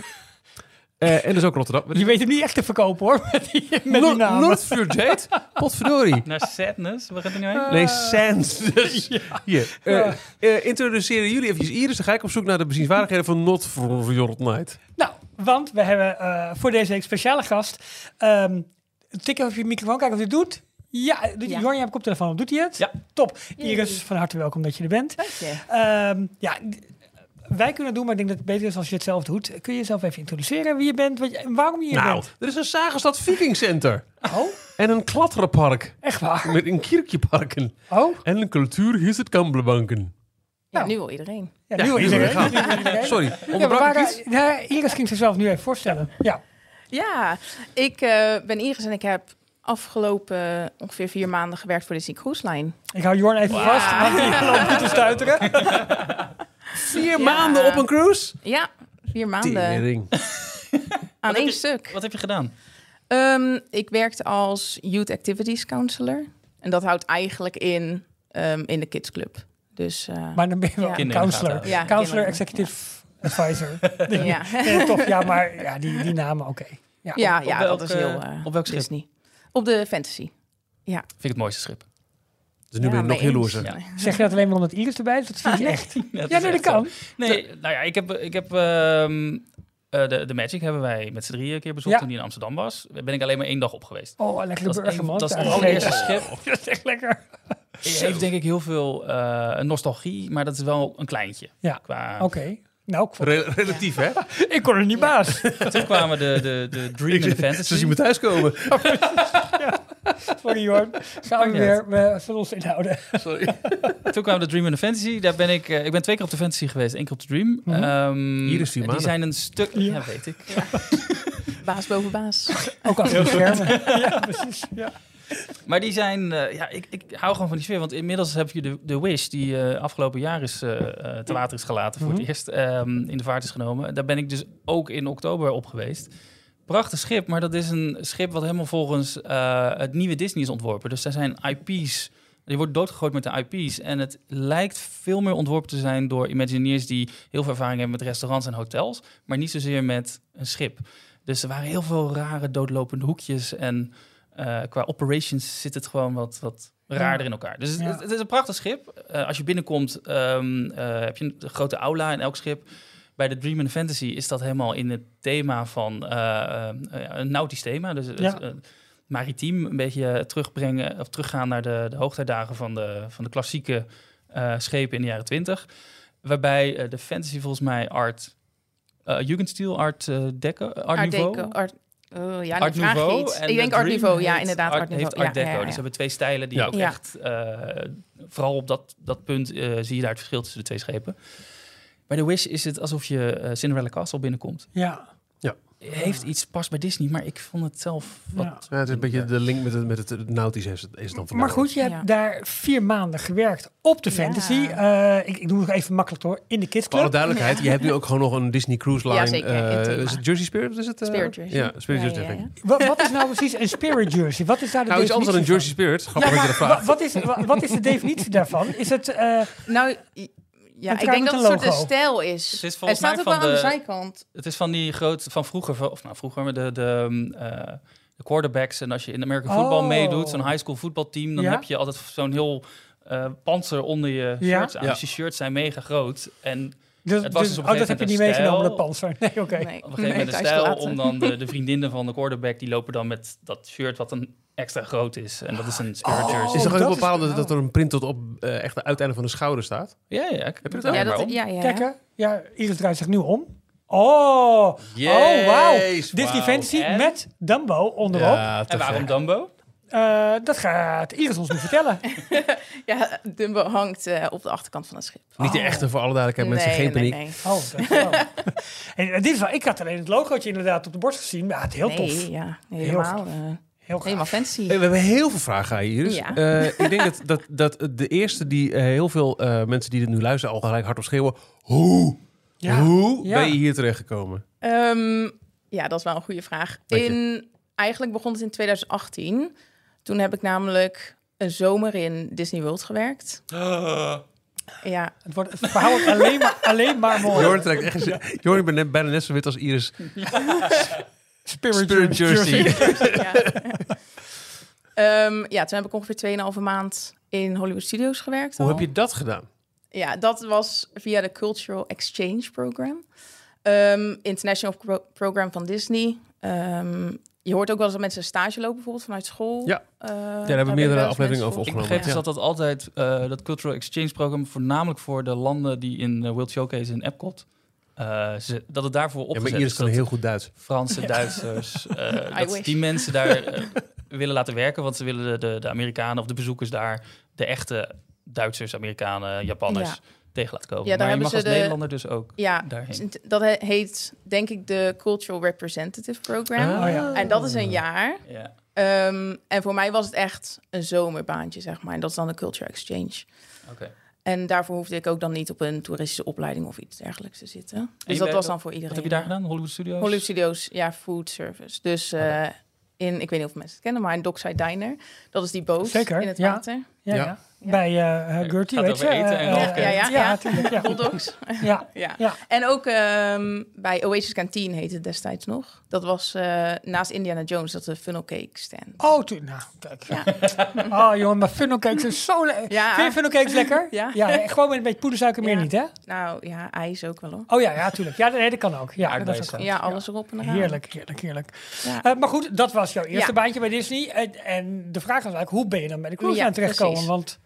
Eh, en dus ook Rotterdam.
Je weet hem niet echt te verkopen hoor, met die, met die naam.
Noordvoort, potverdorie.
Naar Sadness, waar gaat het nu heen?
Nee, Sands. Hier. eh, eh, introduceren jullie eventjes Iris. Dan ga ik op zoek naar de bezienswaardigheden van Not for Your Night.
Nou, want we hebben eh, voor deze week speciale gast. Ehm tik even op je microfoon, kijken of hij het doet. Ja, eh, doet
Ja.
Jorn, je hebt koptelefoon. Doet hij het?
Ja.
Top.
Yay.
Iris, van harte welkom dat je er bent.
Dank je.
Ehm, ja, d- wij kunnen het doen, maar ik denk dat het beter is als je het zelf doet. Kun je jezelf even introduceren, wie je bent, wat je, en waarom je hier
Nou, er is een Zagenstad Viking Center.
bent? Oh,
En een klatterenpark.
echt waar?
Met een kierkjeparken.
Oh,
En een cultuurhuis het Kamblebanken.
Nou.
nu wil iedereen.
ja,
Ja,
nu
nu
is er
gaan. Sorry,
Ja, maar
onderbrak ik
waar,
iets?
ja, Iris ging zichzelf nu even voorstellen. Ja.
Ja, ik eh, ben Iris en ik heb afgelopen eh, ongeveer vier maanden gewerkt voor Disney Cruise Line.
Ik hou Jorn even vast, want die loopt niet te stuiteren.
Vier
Ja.
maanden op een cruise?
Ja, vier maanden
Tering.
aan
heb
één
je-
stuk.
Wat heb je gedaan?
Ehm, ik werkte als Youth Activities Counselor. En dat houdt eigenlijk in, ehm, in de kidsclub. Dus eh,
Maar dan ben je wel
Ja.
een
Kinderen gaat
counselor.
dat.
Ja,
counselor,
kinderen.
executive advisor.
ja.
Ja, toch, ja, maar ja, die, die namen, oké.
Ja,
op
ja
welk,
dat is heel
eh,
eh,
op welk schip?
Disney. Op de fantasy.
Vind ik het mooiste schip.
Dus nu ben ik nog jaloerser.
Ja.
Zeg je dat alleen maar omdat Iris erbij is? Dat vind je echt. Ja, nee, dat kan.
Nee, nou ja, ik heb, ik heb ehm, eh, de, de Magic hebben wij met z'n drieën een keer bezocht
Ja.
toen die in Amsterdam was. Daar ben ik alleen maar één dag op geweest.
Oh, een lekkere
Dat is,
burger,
een,
man.
dat is
Daar
het
gezeten.
allereerste schip.
Oh.
Dat is echt lekker.
Het heeft denk ik heel veel eh, nostalgie, maar dat is wel een kleintje.
Ja.
Qua,
Oké. Nou, ik, vond-
Re- relatief, hè?
ik kon er niet baas.
Toen kwamen de, de, de Dream en
Ze
de Fantasy.
zien me thuiskomen.
Sorry, Jorn. Gaan we
niet
weer we zullen ons inhouden.
Sorry.
Toen kwamen de Dream en de Fantasy. Daar ben ik, eh, ik ben twee keer op de Fantasy geweest, één keer op de Dream.
Mhm.
Ehm,
Hier is die
die
maandag.
zijn een stuk... Ja,
Ja.
weet ik.
Baas boven baas.
Ook achter de schermen. Ja, precies. Ja.
Maar die zijn, eh, ja, ik, ik hou gewoon van die sfeer. Want inmiddels heb je de, de Wish, die eh, afgelopen jaar is, eh, eh, te water is gelaten voor
Mhm.
het eerst, ehm, in de vaart is genomen. Daar ben ik dus ook in oktober op geweest. Prachtig schip, maar dat is een schip wat helemaal volgens eh, het nieuwe Disney is ontworpen. Dus daar zijn IP's, die wordt doodgegooid met de IP's. En het lijkt veel meer ontworpen te zijn door Imagineers die heel veel ervaring hebben met restaurants en hotels. Maar niet zozeer met een schip. Dus er waren heel veel rare doodlopende hoekjes. En eh, qua operations zit het gewoon wat, wat raarder in elkaar. Dus het-
Ja.
het, het is een prachtig schip. Eh, als je binnenkomt, ehm, eh, heb je een grote aula in elk schip. Bij de Dream and Fantasy is dat helemaal in het thema van eh, eh, een nautisch thema. Dus het-
Ja.
eh, maritiem een beetje terugbrengen of teruggaan naar de, de hoogtijdagen van de, van de klassieke eh, schepen in de jaren 20. Waarbij eh, de fantasy volgens mij art eh Jugendstil, art eh Deco, art,
Art
Nouveau.
Deco. Art, oh, ja,
Art
nu vraag je
Nouveau
iets.
en de
Ik denk Art
Dream
Nouveau, ja,
heeft
inderdaad. Art,
heeft
Nouveau.
Art
ja,
Deco.
ja,
Dus
ja,
ze
ja.
hebben twee stijlen die
Ja.
ook
Ja.
echt... eh, vooral op dat, dat punt eh, zie je daar het verschil tussen de twee schepen. Bij The Wish is het alsof je eh, Cinderella Castle binnenkomt.
Ja.
Heeft iets pas bij Disney, maar ik vond het zelf wat...
Ja.
Ja, het is een beetje de link met het, met het, nou, het nautisch is, het- is dan van
Maar goed, je hebt
Ja.
daar vier maanden gewerkt op de
Ja.
fantasy. Eh, ik, ik doe het even makkelijk hoor. In de
Voor alle
kidsclub.
duidelijkheid, je hebt nu ook gewoon nog een Disney Cruise Line.
Ja, zeker,
eh,
in thema.
is het Jersey Spirit? Is het, eh?
Spirit Jersey.
Ja, Spirit
Ja,
Jersey.
ja,
denk ik.
ja.
Wa- Wat is nou precies een spirit jersey? Wat is daar de
Nou, iets anders dan een
definitie
Jersey
van?
Spirit. Grappig dat je dat
Wa-
vraagt.
wat, is, wa- wat is de definitie daarvan? Is het... eh,
Nou, i- ja,
Het
ik denk
met
dat
een
het soort de
logo.
stijl is.
Het is
Hij
volgens
staat
mij
ook
van
wel aan de
de-
zijkant.
Het is van die groot van vroeger, of nou vroeger, maar de, de, ehm, eh, de quarterbacks. En als je in de American voetbal
Oh.
meedoet, zo'n high school voetbalteam, dan
Ja.
heb je altijd zo'n heel eh panzer onder je
Ja.
shirts aan.
Ja.
Dus je shirts zijn mega groot. En
dus,
Het was
dus-
dus op een
oh,
gegeven
dat heb je niet
moment
meegenomen,
een
dat panzer. Nee, oké.
Nee,
op een gegeven
nee,
moment de
thuis
stijl
gelaten.
om dan de, de vriendinnen van de quarterback, die lopen dan met dat shirt wat een extra groot is. En dat is een
Oh.
spirit
Het
jersey.
is toch ook
dat is-
bepalend dat,
oh.
dat er een print tot op eh, echt de uiteinde van de schouder staat?
Ja, ja. Heb je
dat
Ja, dat, ja, ja.
Kijk, hè. ja, Iris draait zich nu om. Oh, oh wauw.
Jeez,
Disney
wauw.
Fantasy
En?
met Dumbo onderop.
Ja, te
En waarom
gek.
Dumbo?
Eh, dat gaat Iris ons nu vertellen.
Ja, Dumbo hangt eh, op de achterkant van het schip.
Niet de echte, voor alle duidelijkheid, mensen.
Nee,
Geen
nee,
paniek.
nee.
Oh, dat wel. en, eh, dit is wel, ik had alleen het logootje inderdaad op de borst gezien. Maar het heel
Nee,
tof.
ja,
Heel
nee, helemaal, eh,
Heel gaaf.
helemaal fancy.
Hey, we hebben heel veel vragen aan je, Iris.
Ja.
Eh, ik denk dat, dat, dat de eerste die eh, heel veel eh, mensen die dit nu luisteren al gelijk hardop schreeuwen. Hoe?
Ja.
Hoe
Ja.
ben je hier terechtgekomen?
Ehm, ja, dat is wel een goede vraag.
Dank je.
In, eigenlijk begon het in 2018. Toen heb ik namelijk een zomer in Disney World gewerkt. Ja,
Het, wordt, het verhaal wordt alleen maar, alleen maar mooi.
Jorn trekt echt... Jorn, ik ben net- bijna net zo wit als Iris.
Spirit,
Spirit Jersey.
ja. Ehm, ja, toen heb ik ongeveer 2,5 maand in Hollywood Studios gewerkt.
Hoe
al.
heb je dat gedaan?
Ja, dat was via de Cultural Exchange Program. Ehm, international pro- program van Disney. Ehm, je hoort ook wel eens dat mensen stage lopen, bijvoorbeeld vanuit school.
Ja.
Eh, daar
hebben we meerdere
wel eens
afleveringen
mensen
over
voor.
Ik
opgenomen.
begreep dus
Ja.
dat dat altijd, eh, dat Cultural Exchange programma, voornamelijk voor de landen die in eh, World Showcase in Epcot, eh, ze- dat het daarvoor
Ja,
opgezet
maar Iris
is.
kan
dat
heel goed Duits.
Fransen, Duitsers, eh,
I
dat
wish.
die mensen daar eh, willen laten werken, want ze willen de, de, de Amerikanen of de bezoekers daar, de echte Duitsers, Amerikanen, Japanners,
Ja.
tegen laten komen.
Ja, daar
maar je
hebben
mag
ze
als
de-
Nederlander dus ook
Ja,
daarheen.
Dus dat he- heet denk ik de Cultural Representative Program.
Oh.
Ah. ja.
Oh, En dat is een jaar.
Ja.
Ehm, en voor mij was het echt een zomerbaantje, zeg maar. En dat is dan de Culture Exchange.
Oké.
En daarvoor hoefde ik ook dan niet op een toeristische opleiding of iets dergelijks te zitten. Dus dat
werkt
was
ook-
dan voor iedereen.
Wat heb je daar gedaan? Hollywood Studios?
Hollywood Studios, ja, food service. Dus eh, in, ik weet niet of mensen het kennen, maar in Dockside Diner. Dat is die boot
Zeker,
in het
ja.
water.
Ja.
Ja, ja. Bij eh eh, Gertie,
Gaat
weet
over
je.
eten en
eh,
roken.
eh,
Ja, ja,
ja.
ja.
tuurlijk, ja.
Bulldogs.
Ja.
ja.
Ja.
En ook ehm, bij Oasis Canteen heette het destijds nog. Dat was eh, naast Indiana Jones, dat de funnel cake stand.
Oh, tu- nou, kijk.
Ja.
Oh, jongen, maar funnelcakes zijn zo lekker.
Ja.
Vind je funnelcakes lekker?
Ja.
gewoon met een beetje poedersuiker, meer
Ja.
niet, hè?
Nou ja, ijs ook wel hoor.
Oh ja, ja, tuurlijk. Ja, nee, dat kan ook. Ja, dat
Aardbeien
is ook
staan.
Ja, alles erop en eraan.
Heerlijk, heerlijk, heerlijk.
Ja.
Eh, maar goed, dat was jouw eerste
Ja.
baantje bij Disney. En, en de vraag was eigenlijk, hoe ben je dan bij de cruise
Ja,
aan terechtkomen?
precies.
Want,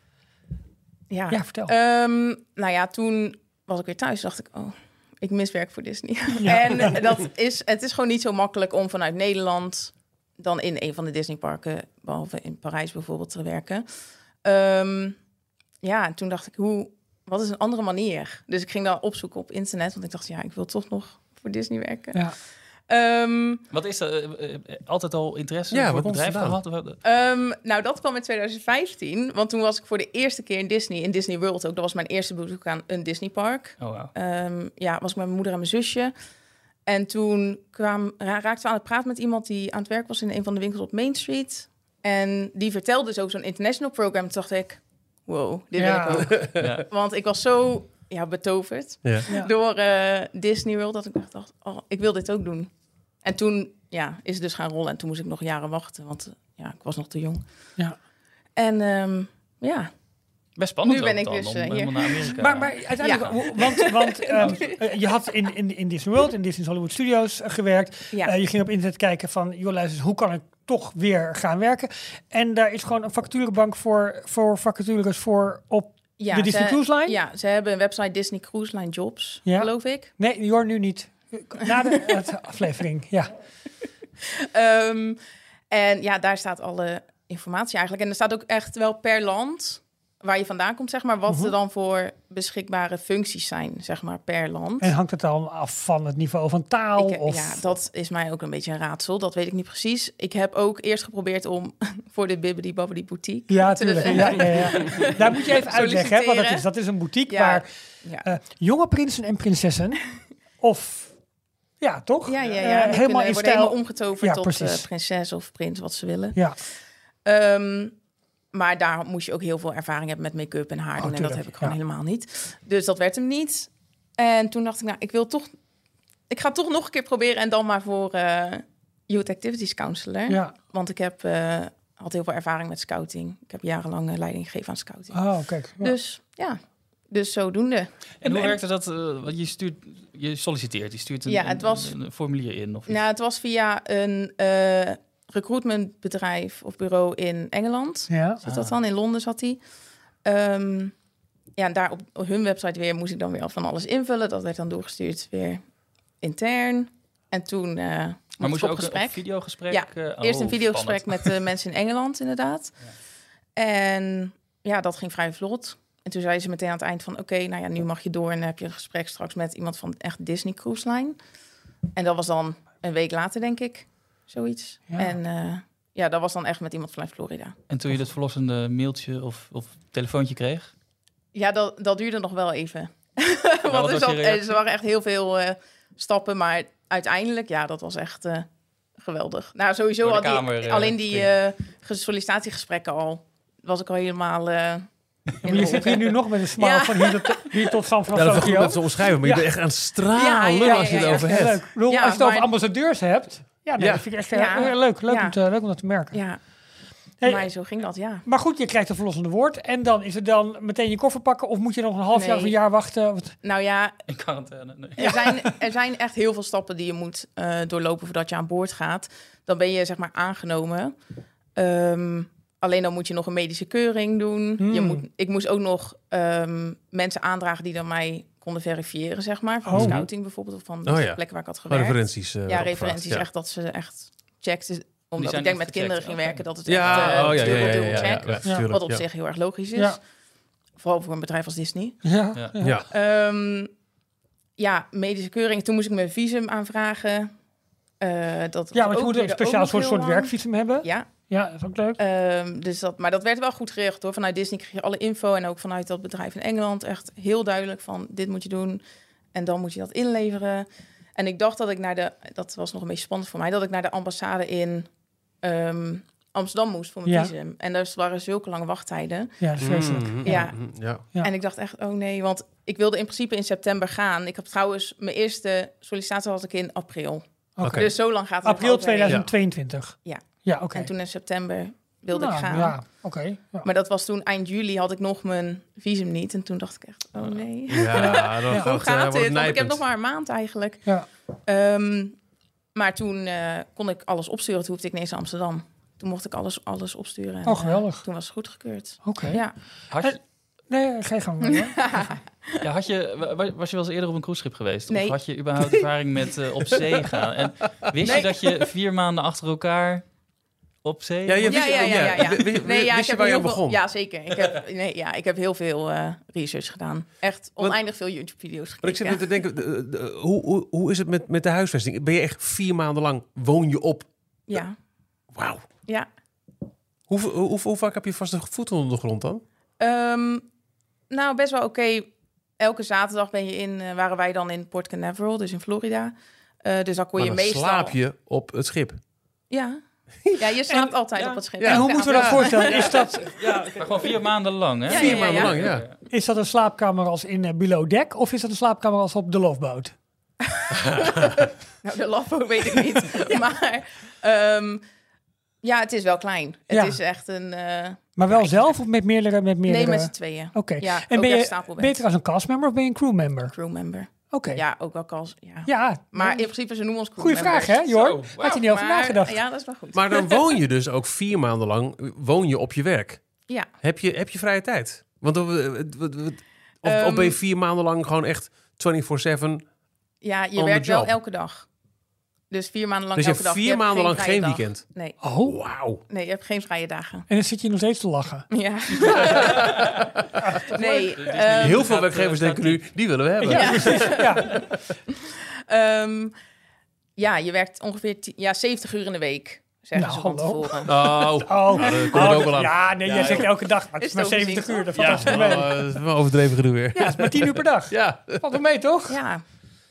Ja.
ja, vertel.
Ehm, nou ja, toen was ik weer thuis. dacht ik, oh, ik mis werk voor Disney. en eh, dat is, het is gewoon niet zo makkelijk om vanuit Nederland dan in een van de Disneyparken, behalve in Parijs bijvoorbeeld, te werken. Ehm, ja, en toen dacht ik, hoe, wat is een andere manier? Dus ik ging dan opzoeken op internet, want ik dacht, ja, ik wil toch nog voor Disney werken.
ja.
Ehm,
Wat is dat? Eh, eh, eh, Altijd al interesse
Ja,
voor
waar
het
komt het
bedrijf
vandaan?
gehad? Wat-
Ehm, nou, dat kwam in 2015, want toen was ik voor de eerste keer in Disney, in Disney World ook. Dat was mijn eerste bezoek aan een Disneypark.
Oh, wauw.
Ehm, ja, was ik met mijn moeder en mijn zusje. En toen kwam, ra- raakten we aan het praten met iemand die aan het werk was in een van de winkels op Main Street. En die vertelde dus ook zo'n international program. Toen dacht ik, wow, dit
Ja.
wil ik ook.
Ja.
Want ik was zo ja, betoverd
Ja.
Ja.
door eh, Disney World dat ik echt dacht, oh, ik wil dit ook doen. En toen ja, is het dus gaan rollen. En toen moest ik nog jaren wachten, want eh, ja, ik was nog te jong.
Ja.
En ehm, ja,
Best spannend
Nu ben
ook
ik
dan,
dus,
om
eh, hier.
helemaal naar Amerika.
Maar, maar uiteindelijk, wa- want, want ehm, eh, je had in, in, in Disney World, in Disney's Hollywood Studios eh, gewerkt.
Ja.
Eh, je ging op internet kijken van, joh luister, eens, hoe kan ik toch weer gaan werken? En daar is gewoon een vacaturebank voor, voor vacatures voor op...
ja
de Disney
ze-
Cruise Line?
Ja, ze hebben een website Disney Cruise Line Jobs,
Ja.
geloof ik.
Nee, Jor, nu niet. Na de het aflevering, ja.
Ehm, en ja, daar staat alle informatie eigenlijk. En er staat ook echt wel per land waar je vandaan komt, zeg maar, wat
Mhm.
er dan voor beschikbare functies zijn, zeg maar, per land.
En hangt het dan af van het niveau van taal?
Ik-
of...
Ja, dat is mij ook een beetje een raadsel. Dat weet ik niet precies. Ik heb ook eerst geprobeerd om voor de Bibbidi Bobbidi Boutique
Ja,
te
tuurlijk. Ja,
beginnen.
ja, ja. Daar moet je even uitleggen hè, wat dat
Solliciteren.
is. Dat is een boutique
Ja.
waar
Ja.
eh, jonge prinsen en prinsessen of... Ja, toch?
Ja, ja, ja.
Eh,
Die kunnen-
helemaal in
worden
stijl.
helemaal omgetoverd
Ja,
tot
precies.
eh, prinses of prins, wat ze willen.
Ja,
Ehm, maar daar moest je ook heel veel ervaring hebben met make-up en haar
Oh,
doen. en dat
tuurlijk,
heb ik gewoon
ja.
helemaal niet. Dus dat werd hem niet. En toen dacht ik, nou, ik wil toch... Ik ga het toch nog een keer proberen en dan maar voor eh, Youth Activities Counselor.
ja.
Want ik heb, eh, had heel veel ervaring met scouting. Ik heb jarenlang eh, leiding gegeven aan scouting.
Oh, kijk. Ja.
Dus ja, dus zodoende.
En hoe
En-
werkte dat? eh, want je, stuurt, je solliciteert, je stuurt een,
Ja, het was-
een- een formulier in. Of iets.
Nou, het was via een eh, recruitmentbedrijf of bureau in Engeland.
Ja.
Zat
Ah.
dat dan? In Londen zat hij. Ehm, ja, en daar op hun website weer moest ik dan weer al van alles invullen. Dat werd dan doorgestuurd weer intern. En toen eh
maar moest
moest
je
ik
ook een-
op
een
gesprek.
videogesprek?
Ja,
eh, oh,
Eerst een videogesprek
spannend.
met de mensen in Engeland, inderdaad. En ja, dat ging vrij vlot. En toen zei ze meteen aan het eind van... oké, nou ja, nu mag je door en dan heb je een gesprek straks met iemand van echt Disney Cruise Line. En dat was dan een week later, denk ik, zoiets.
Ja.
En eh, ja, dat was dan echt met iemand vanuit Florida.
En toen je dat verlossende mailtje of, of telefoontje kreeg?
Ja, dat, dat duurde nog wel even.
wat
Want er,
was je
zat-
reactie?
er waren echt heel veel eh, stappen, maar uiteindelijk, ja, dat was echt eh, geweldig. Nou, sowieso
Door de
al die-
kamer, eh,
alleen die
springen.
eh, ge- sollicitatiegesprekken al, was ik al helemaal... eh,
Maar
in
je
de
zit hier nu nog met een smile
Ja.
van hier tot, hier tot San
Ja, dat is goed
Francisco.
om te omschrijven, maar je
Ja.
bent echt aan het stralen
Ja, ja, ja,
als je
ja,
het
ja.
over
Ja,
hebt.
leuk. Ik bedoel,
Ja,
als je het over
maar-
ambassadeurs hebt, ja, nee,
Ja.
dat vind ik echt
Ja.
eh, leuk. Leuk,
Ja.
om te, leuk om dat te merken.
Ja,
Hey,
maar zo ging dat, ja.
Maar goed, je krijgt een verlossende woord. En dan is het dan meteen je koffer pakken? Of moet je nog een half jaar of een
Nee.
jaar wachten? Want-
Nou ja,
In quarantaine. Nee.
Er, zijn, er zijn echt heel veel stappen die je moet eh, doorlopen voordat je aan boord gaat. Dan ben je zeg maar aangenomen. Ehm, alleen dan moet je nog een medische keuring doen. Je
Hmm.
moet, ik moest ook nog ehm, mensen aandragen die dan mij konden verifiëren, zeg maar. Van
Oh.
de scouting bijvoorbeeld, of van de
Oh ja.
plekken waar ik had
Maar
gewerkt.
referenties. eh,
ja,
werden opgevraagd,
referenties.
ja.
Echt dat ze echt checkt. Omdat
zijn
ik denk
echt
met
gecheckt,
kinderen ging
oké.
werken dat het echt
Ja,
eh,
oh ja, ja,
dubbel,
ja,
dubbel
ja, ja,
check.
ja,
Ja.
tuurlijk,
Wat op
ja.
zich heel erg logisch is.
Ja.
Vooral voor een bedrijf als Disney.
Ja.
Ja.
ja.
Ja.
Ehm, ja, medische keuring. Toen moest ik mijn visum aanvragen. Eh, dat was
Ja, want
ook
je moet
weer
een
ook
speciaal
nog
soort,
heel
soort
lang.
werkvisum hebben.
Ja,
Ja, dat is ook leuk.
ehm, dus dat, maar dat werd wel goed geregeld hoor. Vanuit Disney kreeg je alle info en ook vanuit dat bedrijf in Engeland echt heel duidelijk van dit moet je doen en dan moet je dat inleveren. En ik dacht dat ik naar de, dat was nog een beetje spannend voor mij, dat ik naar de ambassade in ehm, Amsterdam moest voor mijn
Ja.
visum. En daar waren zulke lange wachttijden.
Ja, dat is vreselijk.
Mhm,
Ja.
mhm, ja.
Ja.
En ik dacht echt, oh nee, want ik wilde in principe in september gaan. Ik heb trouwens mijn eerste sollicitatie had ik in april.
Oké.
Oké.
Dus zo lang gaat het
April
nog overheen.
2022.
Ja.
Ja, oké.
En toen in september wilde
Nou,
ik gaan.
Ja, oké. Ja.
Maar dat was toen eind juli had ik nog mijn visum niet. En toen dacht ik echt, oh nee.
Nou,
Ja, dan
Hoe
Hoe
gaat, eh,
gaat
wordt
dit? Want ik heb
nijpend.
nog maar een maand eigenlijk.
Ja.
Ehm, maar toen eh, kon ik alles opsturen. Toen hoefde ik niet eens naar Amsterdam. Toen mocht ik alles, alles opsturen. En,
Oh, geweldig.
eh, toen was het goedgekeurd.
Oké.
Ja.
Had je,
Nee, geen gang. meer, hoor.
ja, had je, wa- wa- was je wel eens eerder op een cruiseschip geweest?
Nee.
Of had je überhaupt ervaring met eh, op zee gaan? En wist je dat je vier maanden achter elkaar op zee...
Ja, je
Ja,
wist-
ja, ja, ja, ja.
wist- wist-
Nee, ja,
wist
ik
je
heb
waar je aan
heel
begon?
veel, ja, zeker. Ik heb, nee, ja, ik heb heel veel eh, research gedaan. Echt
Want-
oneindig veel YouTube-video's
Maar ik zit
gekeken.
net te denken, de- de- hoe, hoe, hoe is het met, met de huisvesting? Ben je echt vier maanden lang, woon je op?
Ja,
Wauw.
ja.
Hoe, hoe, hoe, hoe vaak heb je vaste voeten onder de grond dan?
Ehm, nou, best wel oké. Elke zaterdag ben je in, eh, waren wij dan in Port Canaveral, dus in Florida. Eh, dus dan kon
Maar
je
dan
meestal...
slaap je op het schip.
Ja. ja, je slaapt altijd
ja.
op het schip.
En
Elke
hoe moeten we dat
avond.
voorstellen? Is dat,
Maar gewoon vier maanden lang, hè?
Ja,
vier
ja, ja,
maanden
ja.
lang, ja.
is dat een slaapkamer als in eh, Below Deck? Of is dat een slaapkamer als op de loofboot?
Nou, de lafo weet ik niet. Maar ehm, ja, het is wel klein. Het
Ja.
is echt een... eh
Maar wel zelf of met meerdere? Met meerdere...
nee, met z'n tweeën.
Oké.
Ja,
en
ook
ben
echt
je
stapelbed.
beter als een castmember of ben je een crewmember?
Crewmember.
Oké.
Ja, ook wel kans. Ja.
Ja.
Maar in principe, ze noemen ons
Goeie
crewmember.
vraag, hè, Jor?
Zo, wauw.
Had je niet over
Maar-
nagedacht?
Ja, dat is wel goed.
Maar dan woon je dus ook vier maanden lang, woon je op je werk.
Ja.
Heb je, heb je vrije tijd? Want dan- wat- wat- wat- of, of
Ehm.
ben je vier maanden lang gewoon echt 24-7?
Ja,
On
je
the
werkt wel
job.
elke dag. Dus vier maanden lang
Dus je
elke
hebt
dag.
vier maanden lang
vrije
geen
dag.
weekend.
Nee,
Oh.
Wauw.
nee, je hebt geen vrije dagen.
En dan zit je nog steeds te lachen.
Ja. nee. ehm,
Heel veel
gaat,
werkgevers
eh, gaat
denken nu, die willen we hebben. Oh,
Ja, precies. Ja.
ehm, ja, je werkt ongeveer ti- ja, 70 uur in de week, zeggen
Nou,
ze van
hallo.
tevoren.
Oh, nou,
Oh.
dat komt er ook wel aan.
Ja, nee, jij zegt elke dag, maar het is
Is
maar
het overzien,
70 uur. Dat valt
Ja,
best wel mee. Ja,
oh, dat is wel overdreven gedoe weer.
het is maar 10 uur per dag.
Ja.
Valt wel mee, toch?
Ja,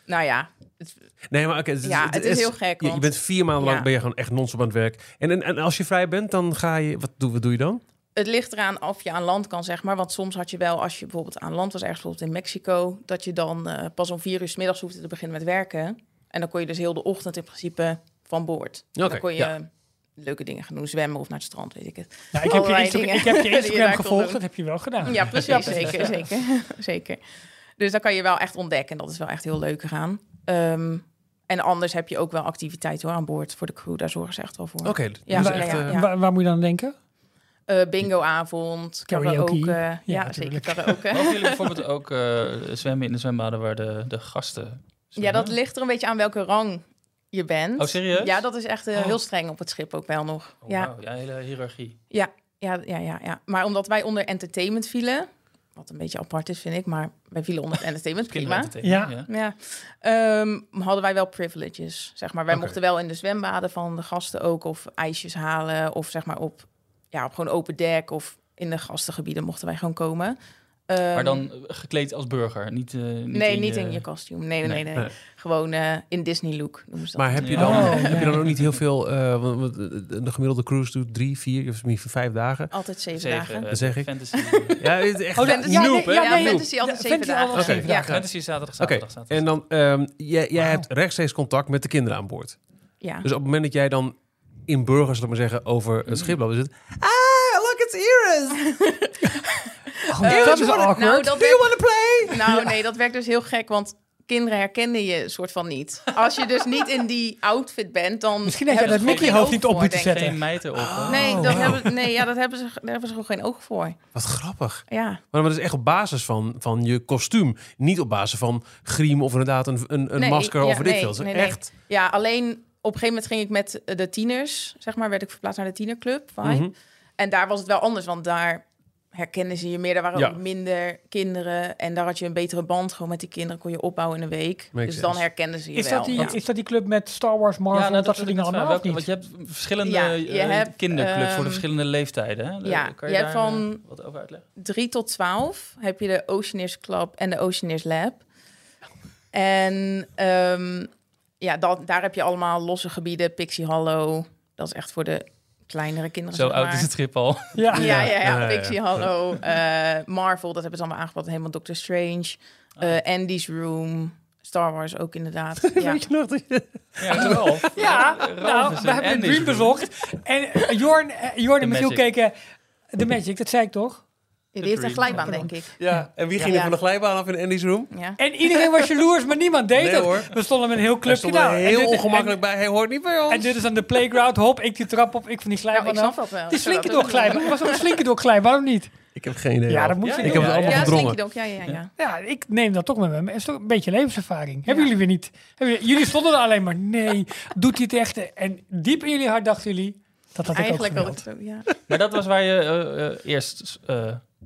nou ja. het-
Nee, maar oké.
Ja, het is heel gek,
Je, je
want-
bent vier maanden lang
Ja.
ben je gewoon echt non-stop aan het werk. En, en, en als je vrij bent, dan ga je... Wat doe, wat doe je dan?
Het ligt eraan of je aan land kan, zeg maar. Want soms had je wel, als je bijvoorbeeld aan land was, ergens bijvoorbeeld in Mexico, dat je dan eh, pas om vier uur 's middags hoefde te beginnen met werken. En dan kon je dus heel de ochtend in principe van boord. En
Oké,
dan kon je
ja.
leuke dingen gaan doen, zwemmen of naar het strand, weet ik het.
Nou, ik, heb je
Allerlei
Insta-
dingen
ik heb je
die je
Instagram
daar kon
gevolgd,
doen.
dat heb je wel gedaan. Dus
Ja, precies. zeker, zeker, zeker. Dus dan kan je wel echt ontdekken. Dat is wel echt heel leuk eraan. Ehm, en anders heb je ook wel activiteit hoor, aan boord voor de crew. Daar zorgen ze echt wel voor.
Oké, dat
Ja,
is
ja,
echt...
ja,
eh,
ja.
Waar, waar moet je dan aan denken?
Eh, Bingoavond,
Karaoke.
karaoke.
Ja,
ja, zeker
natuurlijk.
karaoke.
Mogen jullie bijvoorbeeld ook eh, zwemmen in de zwembaden waar de, de gasten
ja,
zwemmen?
dat ligt er een beetje aan welke rang je bent.
Oh, serieus?
Ja, dat is echt eh,
Oh.
heel streng op het schip ook wel nog.
Oh,
ja.
wauw. ja, hele hiërarchie.
Ja, ja, ja, ja. Maar omdat wij onder entertainment vielen, wat een beetje apart is vind ik, maar wij vielen onder entertainment, prima.
Kinderentertainment,
Ja.
Ja, Ehm, hadden wij wel privileges, zeg maar. Wij
Oké.
mochten wel in de zwembaden van de gasten ook of ijsjes halen of zeg maar op, ja, op gewoon open dek of in de gastengebieden mochten wij gewoon komen. Ehm,
Maar dan eh, gekleed als burger, niet, eh, niet
nee, niet in je kostuum. Nee, nee, nee. nee.
Nee.
Gewoon eh, in Disney look noemen ze dat.
Maar heb je
Ja.
dan,
Oh,
heb
ja.
je dan ook niet heel veel... eh, want- want, eh, de gemiddelde cruise doet drie, vier, of misschien vijf dagen.
Altijd zeven, dagen.
Dat zeg ik.
eh, Fantasy,
Ja, het is echt
Oh,
Fantasy-
noob,
ja, nee,
Eh, hè?
ja, nee,
Noob.
fantasy altijd
Ja,
zeven
fantasy
dagen.
altijd zeven
Oké.
dagen.
fantasy is zaterdag,
Oké,
zaterdag, zaterdag.
en dan... ehm, jij jij
Wauw.
hebt rechtstreeks contact met de kinderen aan boord.
Ja. Mm.
Dus op het moment dat jij dan in burgers, laat maar zeggen, over het schip loopt... is het...
it's Iris.
Oh, dat is awkward.
Nou, dat
Do you
werkt,
want to play?
nou nee, dat werkt dus heel gek, want kinderen herkennen je soort van niet. Als je dus niet in die outfit bent, dan...
Misschien had jij
hebben
dat
ze
Mickey
gewoon
hoofd
geen
niet op
oog voor,
moeten
denk ik.
zetten. Oh,
Geen meid erop. hè?
Nee, dat hebben, nee ja, dat hebben ze, daar hebben ze gewoon geen oog voor.
Wat grappig.
Ja.
Maar dat is echt op basis van, van je kostuum. Niet op basis van griem of inderdaad een, een, een
Nee,
masker
ja,
of weet ik
nee,
veel. Het is
nee, nee.
echt.
Ja, alleen op een gegeven moment ging ik met eh, de tieners, zeg maar, werd ik verplaatst naar de tienerclub. Vibe.
Mhm.
En daar was het wel anders, want daar herkennen ze je meer. Daar waren
Ja.
ook minder kinderen en daar had je een betere band. Gewoon met die kinderen kon je opbouwen in een week.
Makes
dus
sense.
dan herkennen ze je
Is
wel.
dat, die,
Want-
is dat die club met Star Wars, Marvel,
nou,
dat, soort dingen
wil ik net
allemaal? Of
vragen.
niet?
Want je hebt verschillende
Ja, je
eh,
hebt,
kinderclubs voor de
ehm,
verschillende leeftijden. Hè?
ja,
kan
je hebt
daar, eh,
van-
wat over uitleggen?
3 tot 12 heb je de Oceaneers Club en de Oceaneers Lab. En ehm, ja, dat, daar heb je allemaal losse gebieden. Pixie Hollow, dat is echt voor de kleinere kinderen.
Zo
zeg
oud
maar.
is het schip al.
Ja.
Ja, ja,
Ja,
ja.
ja, ja.
Pixie Hollow, eh, Marvel, dat hebben ze allemaal aangepakt. Helemaal Doctor Strange,
Oh,
eh, Andy's Room, Star Wars ook inderdaad. Ja.
Weet je nog dat je-
Ja, Ralf.
Ja,
Ralf
nou,
is
we
een
hebben een
Andy's
dream bezocht. En eh, Jorn, eh, Jorn en
The
Michiel
Magic.
keken... De Magic, dat zei ik toch?
Die heeft een
Dream.
glijbaan, denk ik.
Ja, en wie ging
Ja.
er van de glijbaan af in Andy's room?
Ja.
En iedereen was jaloers, maar niemand deed
Nee,
het.
hoor.
We stonden met een heel
Hij
clubje
stond er
daar.
heel
en dit,
ongemakkelijk bij. Hij hoort niet bij
En,
ons.
en dit is aan de playground. Hop, ik die trap op, ik van die
Nou,
glijbaan
ik
af.
snap dat wel.
Het is
Ik zou dat
slinkerdok
ook
glijbaan. Was dat een slinkerdok glijbaan of niet?
Ik heb geen idee.
Ja,
hoor.
dat moet je
Ik
doen.
heb het
doen.
allemaal
Ja,
verdrongen.
Slinkerdok, ja, ja, ja.
Ja, ik neem dat toch met me. mee. Het is toch een beetje levenservaring. Hebben jullie weer niet? Hebben jullie, jullie stonden er alleen maar. Nee, doet hij het echt? En diep in jullie hart dachten jullie dat dat
Eigenlijk
ik ook
wel.
gewild.
Ja,
Maar dat was waar je eh, eh, eerst eh,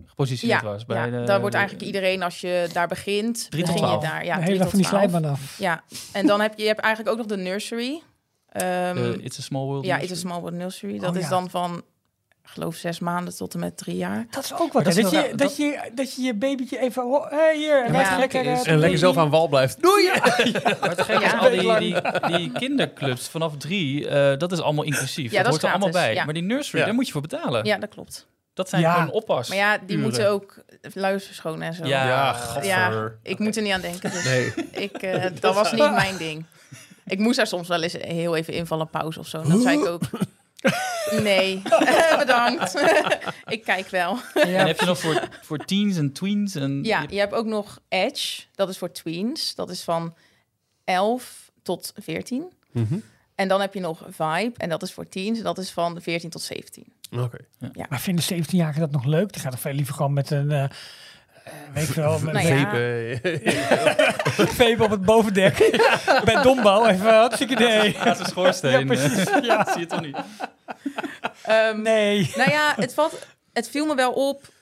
gepositioneerd
ja,
was. Bij
ja.
de-
daar wordt eigenlijk iedereen, als je daar begint,
Drie tot
begin je
twaalf.
daar. Ja,
de
drie
hele dag van
tot
die
12.
slijbaan af.
Ja, en dan heb je, je hebt eigenlijk ook nog de nursery. Ehm,
de It's a Small World.
ja,
News.
It's a Small World Nursery. Dat
Oh,
is
ja.
dan van, ik geloof, zes maanden tot en met drie jaar.
Dat is ook
Maar
wat.
dat
hè?
is
Dat,
wel
je,
raar.
dat, je, dat je je babytje even... ho- Hé, hier.
Ja,
wij
maar
gaan
het
lekker...
gekke is-
eh,
En lekker zelf aan wal blijft. Doei!
Maar het gekke is,
Ja.
al die, die, die kinderclubs vanaf drie, eh, dat is allemaal inclusief. dat,
Ja, dat
hoort
is
er allemaal
gratis,
bij.
ja.
Maar die nursery,
Ja.
daar moet je voor betalen.
Ja, dat klopt.
Dat zijn
Ja.
gewoon oppas.
Maar ja, die
uren.
moeten ook luiers verschonen en zo.
Ja.
Ja,
Ja,
gadver.
ik moet er niet aan denken. Dus
Nee.
ik, eh, dat was niet mijn ding. Ik moest daar soms wel eens heel even invallen, pauze of zo. En dat zei ik ook. Nee, bedankt. ik kijk wel.
En heb je nog voor, voor teens en tweens en
Ja, je hebt ook nog Edge. Dat is voor tweens. Dat is van 11 tot 14.
Mhm.
En dan heb je nog Vibe. En dat is voor teens. Dat is van 14 tot 17.
Oké.
Maar vinden 17-jarigen dat nog leuk? Die gaan er veel liever gewoon met een... eh, eh, weet ik wel, met
Nou
een
ja.
Pepe.
vape op het bovendek. Bij Dombouw. Even eh, hartstikke nee.
Naast een schoorsteen.
Ja, precies.
Ja. Zie je toch niet?
Ehm,
Nee.
Nou ja, het, valt, het viel me wel op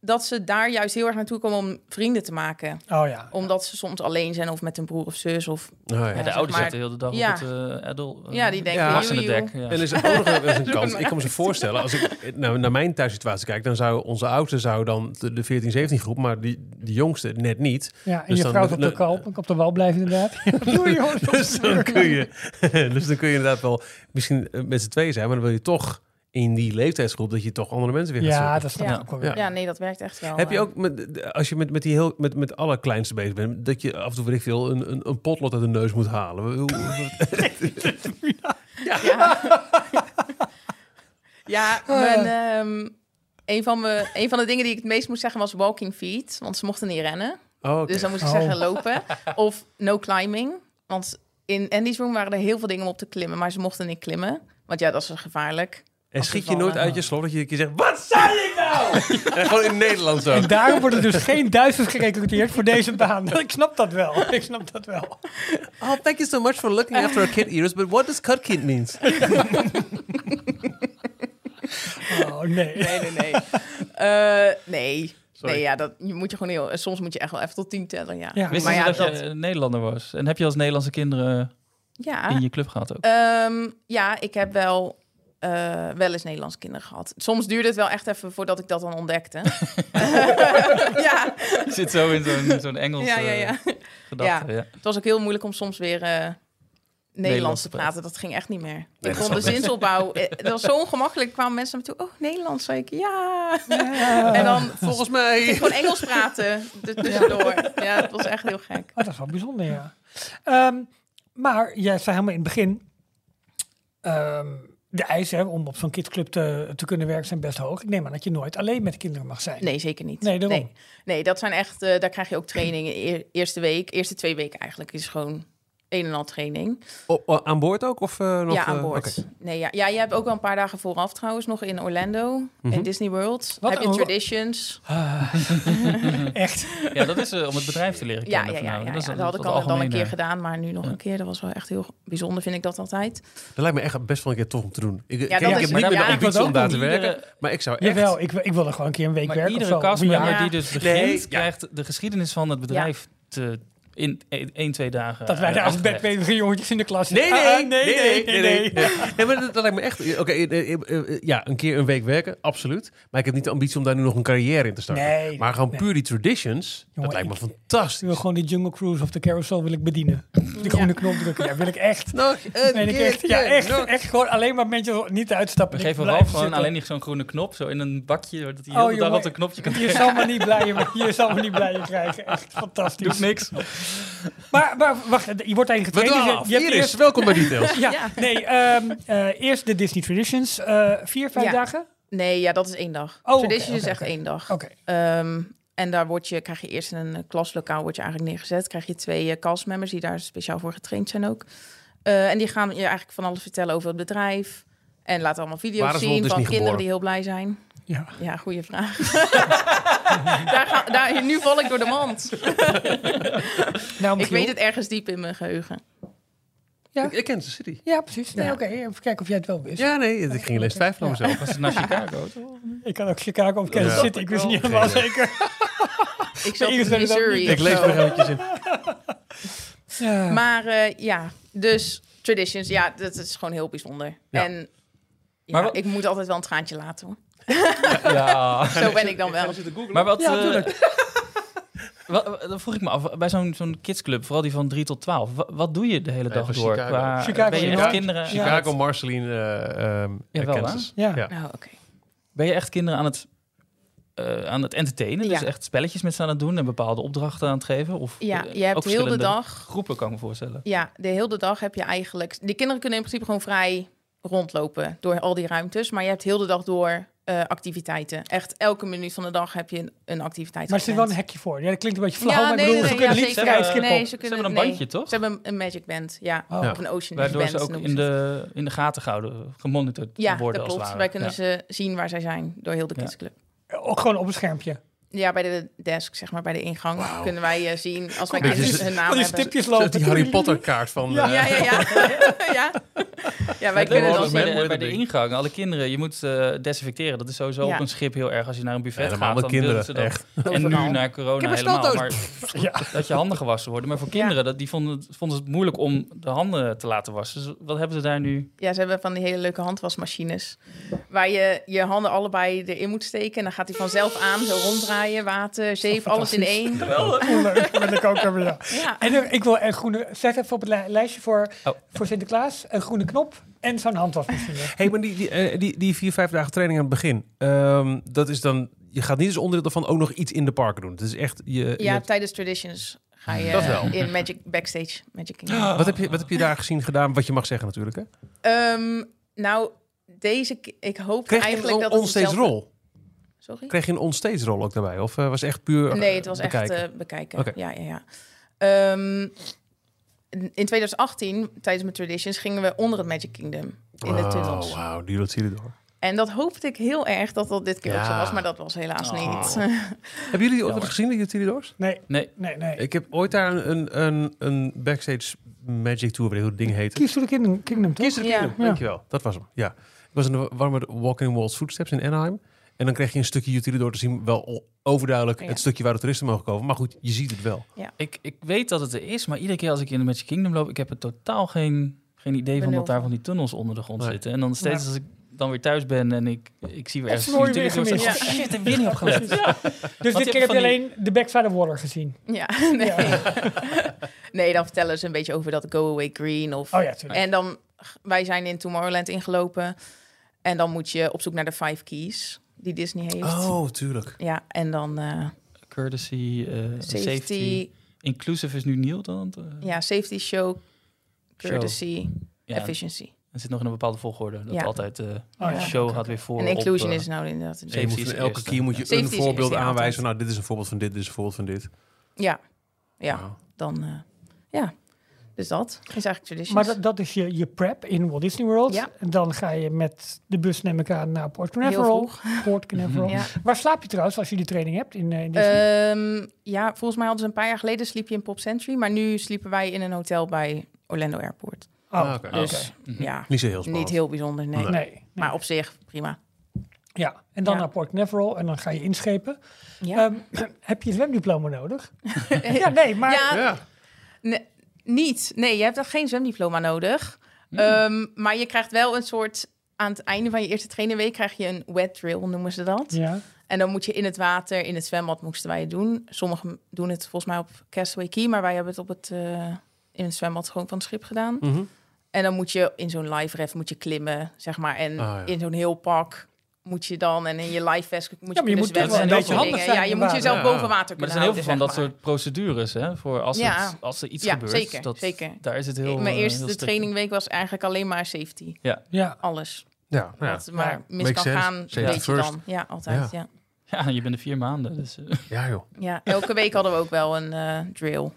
dat ze daar juist heel erg naartoe komen om vrienden te maken.
Oh ja.
Omdat ze soms alleen zijn of met een broer of zus. Of,
Nou ja.
Ja, de
zeg
ouders
maar-
zitten de hele dag
Ja.
op het eh, adult... eh,
ja, die denken,
Ja.
joe, joe.
volwassenendek, ja.
En er is ook nog wel eens een kans. Ik kan me zo voorstellen, als ik nou, naar mijn thuissituatie kijk, dan zou onze oudste zou dan de, de 14, 17 groep, maar die, de jongste net niet.
Ja, en
Dus
je
dan-
vrouw is op de,
dan-
kalp, op de wal blijven inderdaad. Ja, doei, jongens.
Dus dan kun je, dus dan kun je inderdaad wel misschien eh, met z'n tweeën zijn, maar dan wil je toch in die leeftijdsgroep dat je toch andere mensen weer gaat zoeken.
Ja, dat snap
Ja.
ik ook wel.
Ja.
weer.
Ja, nee, dat werkt echt wel.
Heb je
eh.
ook, met, de- als je met, met die heel, met, met alle kleinste bezig bent, dat je af en toe, weet ik veel, een, een, een potlood uit de neus moet halen? Hoe-
Dus
hoe-
Ja, ja mijn, ehm, een, van me, een van de dingen die ik het meest moest zeggen was walking feet. Want ze mochten niet rennen.
Oh, oké.
Dus dan moest ik
Oh.
zeggen lopen. Of no climbing. Want in Andy's room waren er heel veel dingen om op te klimmen. Maar ze mochten niet klimmen. Want ja, dat is gevaarlijk.
En schiet je nooit
afgevallen.
uit je slot dat je, dat je zegt, wat zei ik nou? en gewoon in Nederland zo.
En daarom worden dus geen Duitsers gerecruiteerd voor deze baan. Ik snap dat wel. Ik snap dat wel.
Oh, thank you so much for looking after our kid, Iris. But what does cut kid means?
Oh nee.
Nee, nee, nee. Eh, nee. Nee, ja, dat je moet je gewoon heel... Soms moet je echt wel even tot tien tellen, ja.
Ja.
Wisten
Maar
ze
ja,
dat,
dat-
je een Nederlander was? En heb je als Nederlandse kinderen
Ja,
in je club gehad ook?
Ehm, ja ik heb wel, eh, wel eens Nederlandse kinderen gehad. Soms duurde het wel echt even voordat ik dat dan ontdekte. ja,
Je zit zo in zo'n zo'n Engels eh,
ja, ja, ja.
gedachte. Ja.
Het was ook heel moeilijk om soms weer... eh, Nederlands te
te praten.
praten, dat ging echt niet meer.
dat
ik kon
snap
de
ik.
zinsopbouw... eh, Dat was zo ongemakkelijk. Kwamen mensen naar me toe. Oh, Nederlands, zei ik. Ja. En dan
Volgens mij.
gewoon Engels praten. er Tussendoor. Ja, dat was echt heel gek.
Oh, dat is wel bijzonder, ja. Ehm, maar jij zei helemaal in het begin... ehm, de eisen hè, om op zo'n kidsclub te, te kunnen werken zijn best hoog. Ik neem aan dat je nooit alleen met kinderen mag zijn.
Nee, zeker niet.
Nee, daarom.
nee. Nee, dat zijn echt, eh, daar krijg je ook trainingen. Eer- eerste week, eerste twee weken eigenlijk is gewoon een en al training.
O- o- aan boord ook? Of, eh, nog,
ja, aan
eh,
boord.
oké.
Nee, ja. ja, je hebt ook wel een paar dagen vooraf trouwens nog in Orlando, in Disney World.
Wat
heb je
een-
traditions.
Echt.
Ja, dat is eh, om het bedrijf te leren
Ja,
kennen.
ja, ja, ja,
voornamelijk.
ja.
is-
dat had ik
is eh.
al dan een keer
algemener.
gedaan, maar nu nog een keer. Dat was wel echt heel bijzonder, vind ik dat altijd.
Dat lijkt me echt best wel een keer tof om te doen. Ik, ik,
dat
ik
is-
heb
maar
niet
dat-
meer de
ja, ik
ambitie
wil
om
ook
daar te
niet
werken.
iedere-
Maar ik zou echt...
Jawel, ik, wil- ik wil er gewoon een keer een week
Maar
werken of
iedere
zo. Of een jaar.
castmember
Ja.
die dus begint,
Nee, ja.
krijgt de geschiedenis van het bedrijf te, in 1, 2 dagen.
Dat wij
eh,
daar als
uitgelegd.
bedweterige jongetjes in de klas
Nee,
zitten.
nee,
Ah, ah,
nee, nee, nee, nee. Nee, maar dat, dat lijkt me echt... Oké, eh, eh, eh, eh, ja, een keer een week werken, absoluut. Maar ik heb niet de ambitie om daar nu nog een carrière in te starten.
Nee,
maar gewoon
nee.
puur die traditions,
Jongen,
dat lijkt me
ik-
fantastisch.
Ik wil gewoon die Jungle Cruise of de Carousel wil ik bedienen. Die groene knop drukken. Ja, wil ik echt.
Nog een
Nee, ik echt. Ja, echt. Echt gewoon alleen maar mensen niet uitstappen.
We
Ik
geven
blijf
Ralf gewoon
zitten.
alleen niet zo'n groene knop, zo in een bakje, zodat hij
Oh,
heel de dag
jongen.
op een knopje kan
Je zal me niet blijer, je zal me niet blijer krijgen. Echt fantastisch.
Doet niks.
Maar, maar wacht, je wordt
We
eigenlijk getraind. Dus je-
dwalen af.
je hebt
Iris,
eerst-
welkom bij Details.
Ja,
Ja.
nee, ehm, eh, eerst de Disney Traditions. eh, vier, vijf
Ja.
dagen?
Nee, ja, dat is één dag.
Oh, oké,
traditions is
oké,
echt
oké.
één dag.
Oké.
Ehm, en daar word je, krijg je eerst in een eh, klaslokaal word je eigenlijk neergezet. Krijg je twee eh, castmembers die daar speciaal voor getraind zijn ook. Eh, en die gaan je eigenlijk van alles vertellen over het bedrijf. En laten allemaal video's
Waar is Walt
zien van
Disney geboren?
kinderen die heel blij zijn.
Ja.
Ja, goede vraag. daar ga, daar, nu val ik door de mand.
Nou,
Ik
Michiel.
weet het ergens diep in mijn geheugen.
Ik, ik ken de city.
Ja, precies. Nee,
Ja.
oké. Even kijken of jij het wel wist.
Ja, nee, ik ging alleen twijfelen aan mezelf.
Was het naar Chicago?
Ik kan ook Chicago of Kansas
Ja.
City. Ik wist niet
Geen
helemaal
idee.
zeker.
Ik zat
Iris
in
weet het ook
Missouri.
niet.
of
Ik lees
zo.
nog eventjes in.
Ja.
Maar eh, ja, dus traditions, ja, dat is gewoon heel bijzonder.
Ja.
En ja,
Maar wat-
ik moet altijd wel een traantje laten hoor.
Ja.
Zo ben ik dan wel.
Maar wat,
Ja,
eh,
tuurlijk.
wat- wat- dan vroeg ik me af, bij zo'n zo'n kidsclub, vooral die van 3 tot 12, wa- wat doe je de hele
Nee,
dag
van
door?
Chicago.
Qua-
Chicago,
ben je
ja.
echt kinderen,
Chicago, Marceline, eh, ehm,
Jawel, hè?
Kansas.
Ja.
Ja.
Nou, oké.
ben je echt kinderen aan het, eh, aan het entertainen? Dus
Ja.
echt spelletjes met ze aan het doen en bepaalde opdrachten aan het geven? Of,
Ja,
eh,
je hebt
ook
heel de
verschillende
dag.
Groepen kan ik me voorstellen.
Ja, de hele dag heb je eigenlijk. Die kinderen kunnen in principe gewoon vrij rondlopen door al die ruimtes, maar je hebt heel de dag door eh, activiteiten. Echt elke minuut van de dag heb je een, een activiteit.
Maar er zit wel
gepland.
een hekje voor. Ja, dat klinkt een beetje flauw, maar ik
nee,
bedoel,
nee,
ze
nee,
kunnen
ja,
niet
zeker.
vrij
Ze
skippen.
Nee,
Ze
ze kunnen
hebben een
nee.
bandje, toch?
Ze hebben een, een magic band, ja.
Oh.
Ja.
Of een ocean
Waardoor
band.
ze ook
noemen
in
ze het.
de, in de gaten gehouden, gemonitord
ja,
worden
dat
als het ware.
klopt. Wij kunnen
Ja.
ze zien waar zij zijn door heel de
Ja.
kidsclub.
Oh, Ook gewoon op een schermpje.
Ja, bij de desk, zeg maar, bij de ingang kunnen wij eh, zien als wij
Dit
kinderen
is-
hun
Al
naam
die
hebben.
stipjes
Zoals
lopen.
die Harry Potter kaart van...
Ja.
eh,
Ja, ja, ja. ja. ja, wij
Het leuke
kunnen
is
Walrus
dan
als
zien.
bij
Man
de-
wordt
bij
het
de
ding.
ingang, alle kinderen, je moet eh, desinfecteren. Dat is sowieso
Ja.
op een schip heel erg. Als je naar een buffet
Ja, normaal
gaat,
met
dan
kinderen,
willen ze dat.
echt.
En nu
Overal.
na
Ik heb
corona
een
helemaal. Maar
steldoos.
Ja.
dat je handen gewassen worden. Maar voor kinderen, dat, die vonden, het, vonden het moeilijk om de handen te laten wassen. Dus wat hebben ze daar nu?
Ja, ze hebben van die hele leuke handwasmachines. Waar je je handen allebei erin moet steken. En dan gaat hij vanzelf aan, zo ronddraaien. Water, zeep, alles in één.
Hoe Oh, leuk ben ik ook weer. ja.
Ja.
En er- ik wil een groene... Zet even op het li- lijstje voor,
Oh.
voor Sinterklaas. Een groene knop en zo'n handwasmachine.
hey, maar die, die, eh, die, die vier, vijf dagen training aan het begin. ehm, dat is dan... Je gaat niet als onderdeel van ook nog iets in de parken doen. Het is echt... Je, je
ja,
hebt-
tijdens Traditions ga je
Dat wel.
in Magic Backstage. Magic Kingdom.
wat, heb je, wat heb je daar gezien gedaan? Wat je mag zeggen natuurlijk, hè?
Ehm, nou, deze... ki- Ik hoop
Kreeg je
eigenlijk
een
dat
on-
het
onstage
hetzelfde-
rol?
Sorry?
Kreeg je een onstage rol ook daarbij? Of eh, was het echt puur eh,
Nee, het was
bekijken?
echt eh, bekijken.
Oké.
Ja, ja, ja. Ehm, in 2018, tijdens mijn traditions, gingen we onder het Magic Kingdom in de tunnels.
Oh, wauw, die loopt hier door.
En dat hoopte ik heel erg dat dat dit keer ook zo
Ja.
was, maar dat was
Oh,
helaas niet.
Hebben jullie die ooit wat gezien, die Utilidors?
Nee,
Nee,
nee, nee.
Ik heb ooit daar een, een, een, een backstage magic tour, weet je hoe dat ding heette.
Kies voor de Kingdom, Kingdom toch?
Kies the
Ja.
Kingdom,
Ja.
dankjewel. Dat was hem, ja. Ik was in de warme Walking Walls Footsteps in Anaheim. En dan kreeg je een stukje Utilidor te zien, wel o- overduidelijk
Ja.
het stukje waar de toeristen mogen komen. Maar goed, je ziet het wel.
ik, ik weet dat het er is, maar iedere keer als ik in de Magic Kingdom loop, ik heb er totaal geen, geen idee van
Benul
dat daar
van.
van die tunnels onder de grond
Nee.
zitten. En dan steeds
Ja.
als ik dan weer thuis ben en ik, ik zie weer
Dat is
ergens...
mooi
die
weer
tunnels, dan
gemist.
denk ik, oh,
Ja.
shit, heb ik weer niet op gelet.
Dus
je
dit
hebt
keer heb
van
je
die-
alleen de Backside of Water gezien.
ja, nee.
Ja.
nee, dan vertellen ze een beetje over dat Go Away Green. Of...
Oh ja, tuurlijk.
En dan, wij zijn in Tomorrowland ingelopen. En dan moet je op zoek naar de Five Keys die Disney heeft.
Oh, tuurlijk.
Ja, en dan eh,
Courtesy, eh, safety.
safety,
Inclusive is nu nieuw dan? eh,
Ja, safety show, courtesy,
ja,
efficiency.
en Het zit nog in een bepaalde volgorde. Dat
Ja.
altijd eh, de
Oh ja.
show gaat weer voor.
En
op,
inclusion
eh,
is nou inderdaad... een-
En je moet
Safety is
van elke
eerste.
keer moet je
Safety
een
is
voorbeeld
eerste, ja,
aanwijzen.
altijd.
Nou, dit is een voorbeeld van dit, dit is een voorbeeld van dit.
Ja, ja.
Nou,
Dan, eh, ja. Dus dat is eigenlijk traditions.
Maar dat, dat is je, je prep in Walt Disney World.
Ja.
En dan ga je met de bus, neem ik aan, naar Port Canaveral.
Heel
Port Canaveral.
Ja.
Waar slaap je trouwens als je die training hebt in, eh, in Disney?
Ehm, ja, volgens mij hadden ze een paar jaar geleden sliep je in Pop Century. Maar nu sliepen wij in een hotel bij Orlando Airport.
oh,
ah, oké.
Dus
Mhm.
ja,
Niet zo heel spannend.
niet heel bijzonder, nee.
nee. nee.
Maar op zich prima.
ja. En dan
Ja.
naar Port Canaveral en dan ga je inschepen.
Ja.
Ehm, heb je een zwemdiploma nodig? Eh, ja, nee, maar...
Ja,
Ja.
ne- niet. Nee, je hebt echt geen zwemdiploma nodig.
Hmm.
Ehm, maar je krijgt wel een soort... Aan het einde van je eerste trainingweek krijg je een wet drill, noemen ze dat.
Ja.
En dan moet je in het water, in het zwembad moesten wij het doen. Sommigen doen het volgens mij op Castaway Key, maar wij hebben het op het, eh, in het zwembad gewoon van het schip gedaan.
Mhm.
En dan moet je in zo'n live ref moet je klimmen, zeg maar. En
Ah, ja.
in zo'n heel pak moet je dan en in je live vest moet je
je
kunnen
moet toch
zwemmen.
wel een
en dat
beetje
soort
handig
dingen.
zijn
Ja, je
in
moet
het
jezelf
water. Ja.
boven water
Maar er zijn
kunnen
heel veel van
houden,
dat
zeg maar.
soort procedures, hè? Voor als,
Ja.
het, als er iets
Ja,
gebeurt.
zeker,
dat,
zeker.
Daar is het heel...
Mijn
eh,
eerste
heel strikt.
trainingweek was eigenlijk alleen maar safety.
ja.
Alles.
Ja, nou ja.
Wat maar mis
Makes
kan
sense.
gaan,
Safety
weet je
first.
dan. Ja, altijd. Ja.
Ja, je bent er vier maanden. Dus, eh,
ja, joh.
Ja. elke week hadden we ook wel een eh, drill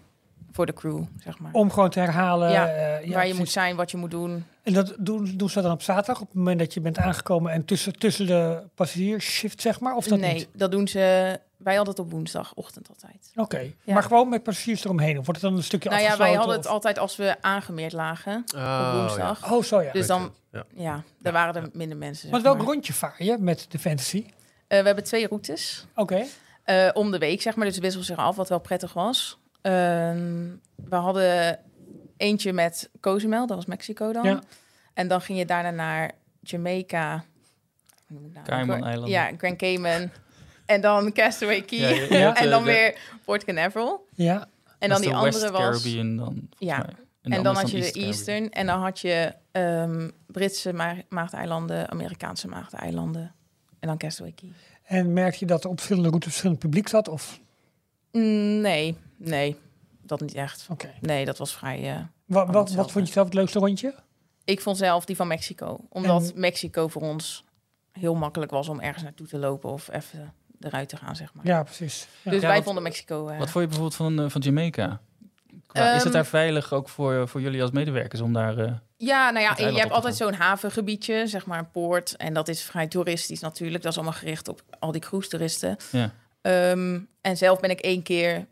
voor de crew, zeg maar.
Om gewoon te herhalen.
Ja,
eh, ja,
Waar je
precies.
moet zijn, wat je moet doen.
En dat doen, doen ze dan op zaterdag, op het moment dat je bent aangekomen en tussen, tussen de passagiershift, zeg maar? Of dat
nee,
niet?
dat doen ze. Wij hadden het op woensdagochtend altijd.
Oké,
Ja.
maar gewoon met passagiers eromheen. Of wordt het dan een stukje
Nou ja,
afgesloten?
wij hadden het
of-
altijd als we aangemeerd lagen op woensdag.
Oh, zo ja.
Dus dan,
Ja.
ja, daar waren er minder mensen. zeg
maar welk
maar.
rondje vaar je met de fantasy?
Eh, we hebben twee routes
Oké.
eh, om de week, zeg maar. Dus het wisselt zich af, wat wel prettig was. Ehm, we hadden eentje met Cozumel, dat was Mexico dan.
Ja.
En dan ging je daarna naar Jamaica. Hoe noem ik nou?
Cayman-eilanden.
Ja, Grand Cayman. En dan Castaway Key.
Ja, je- je hebt,
en dan
eh, de-
weer Port Canaveral.
Ja.
dat
En dan
is
die
de
andere
West
was...
Caribbean dan. volgens
Ja.
mij.
En, dan, had je de
Eastern.
Eastern en dan had je ehm, Britse ma- maagdeilanden, Amerikaanse maagdeilanden en dan Castaway Key.
En merk je dat er op verschillende routes verschillend publiek zat? Of...
Mm, Nee, nee, dat niet echt.
Oké.
Nee, dat was vrij... eh,
Wat,
Oh,
wat, wat
hetzelfde.
vond je zelf het leukste rondje?
ik vond zelf die van Mexico, omdat
En-
Mexico voor ons heel makkelijk was om ergens naartoe te lopen of even eruit te gaan, zeg maar.
Ja, precies. Ja.
Dus
Ja,
wij
wat-
vonden Mexico... eh,
Wat vond je bijvoorbeeld van, eh, van Jamaica? Qua- is het
Ehm,
daar veilig ook voor, voor jullie als medewerkers om daar... eh,
Ja, nou ja,
Het
en je
eiland
hebt
op te
altijd zo'n havengebiedje, zeg maar een poort. En dat is vrij toeristisch natuurlijk. Dat is allemaal gericht op al die cruise toeristen.
ja.
Ehm, en zelf ben ik één keer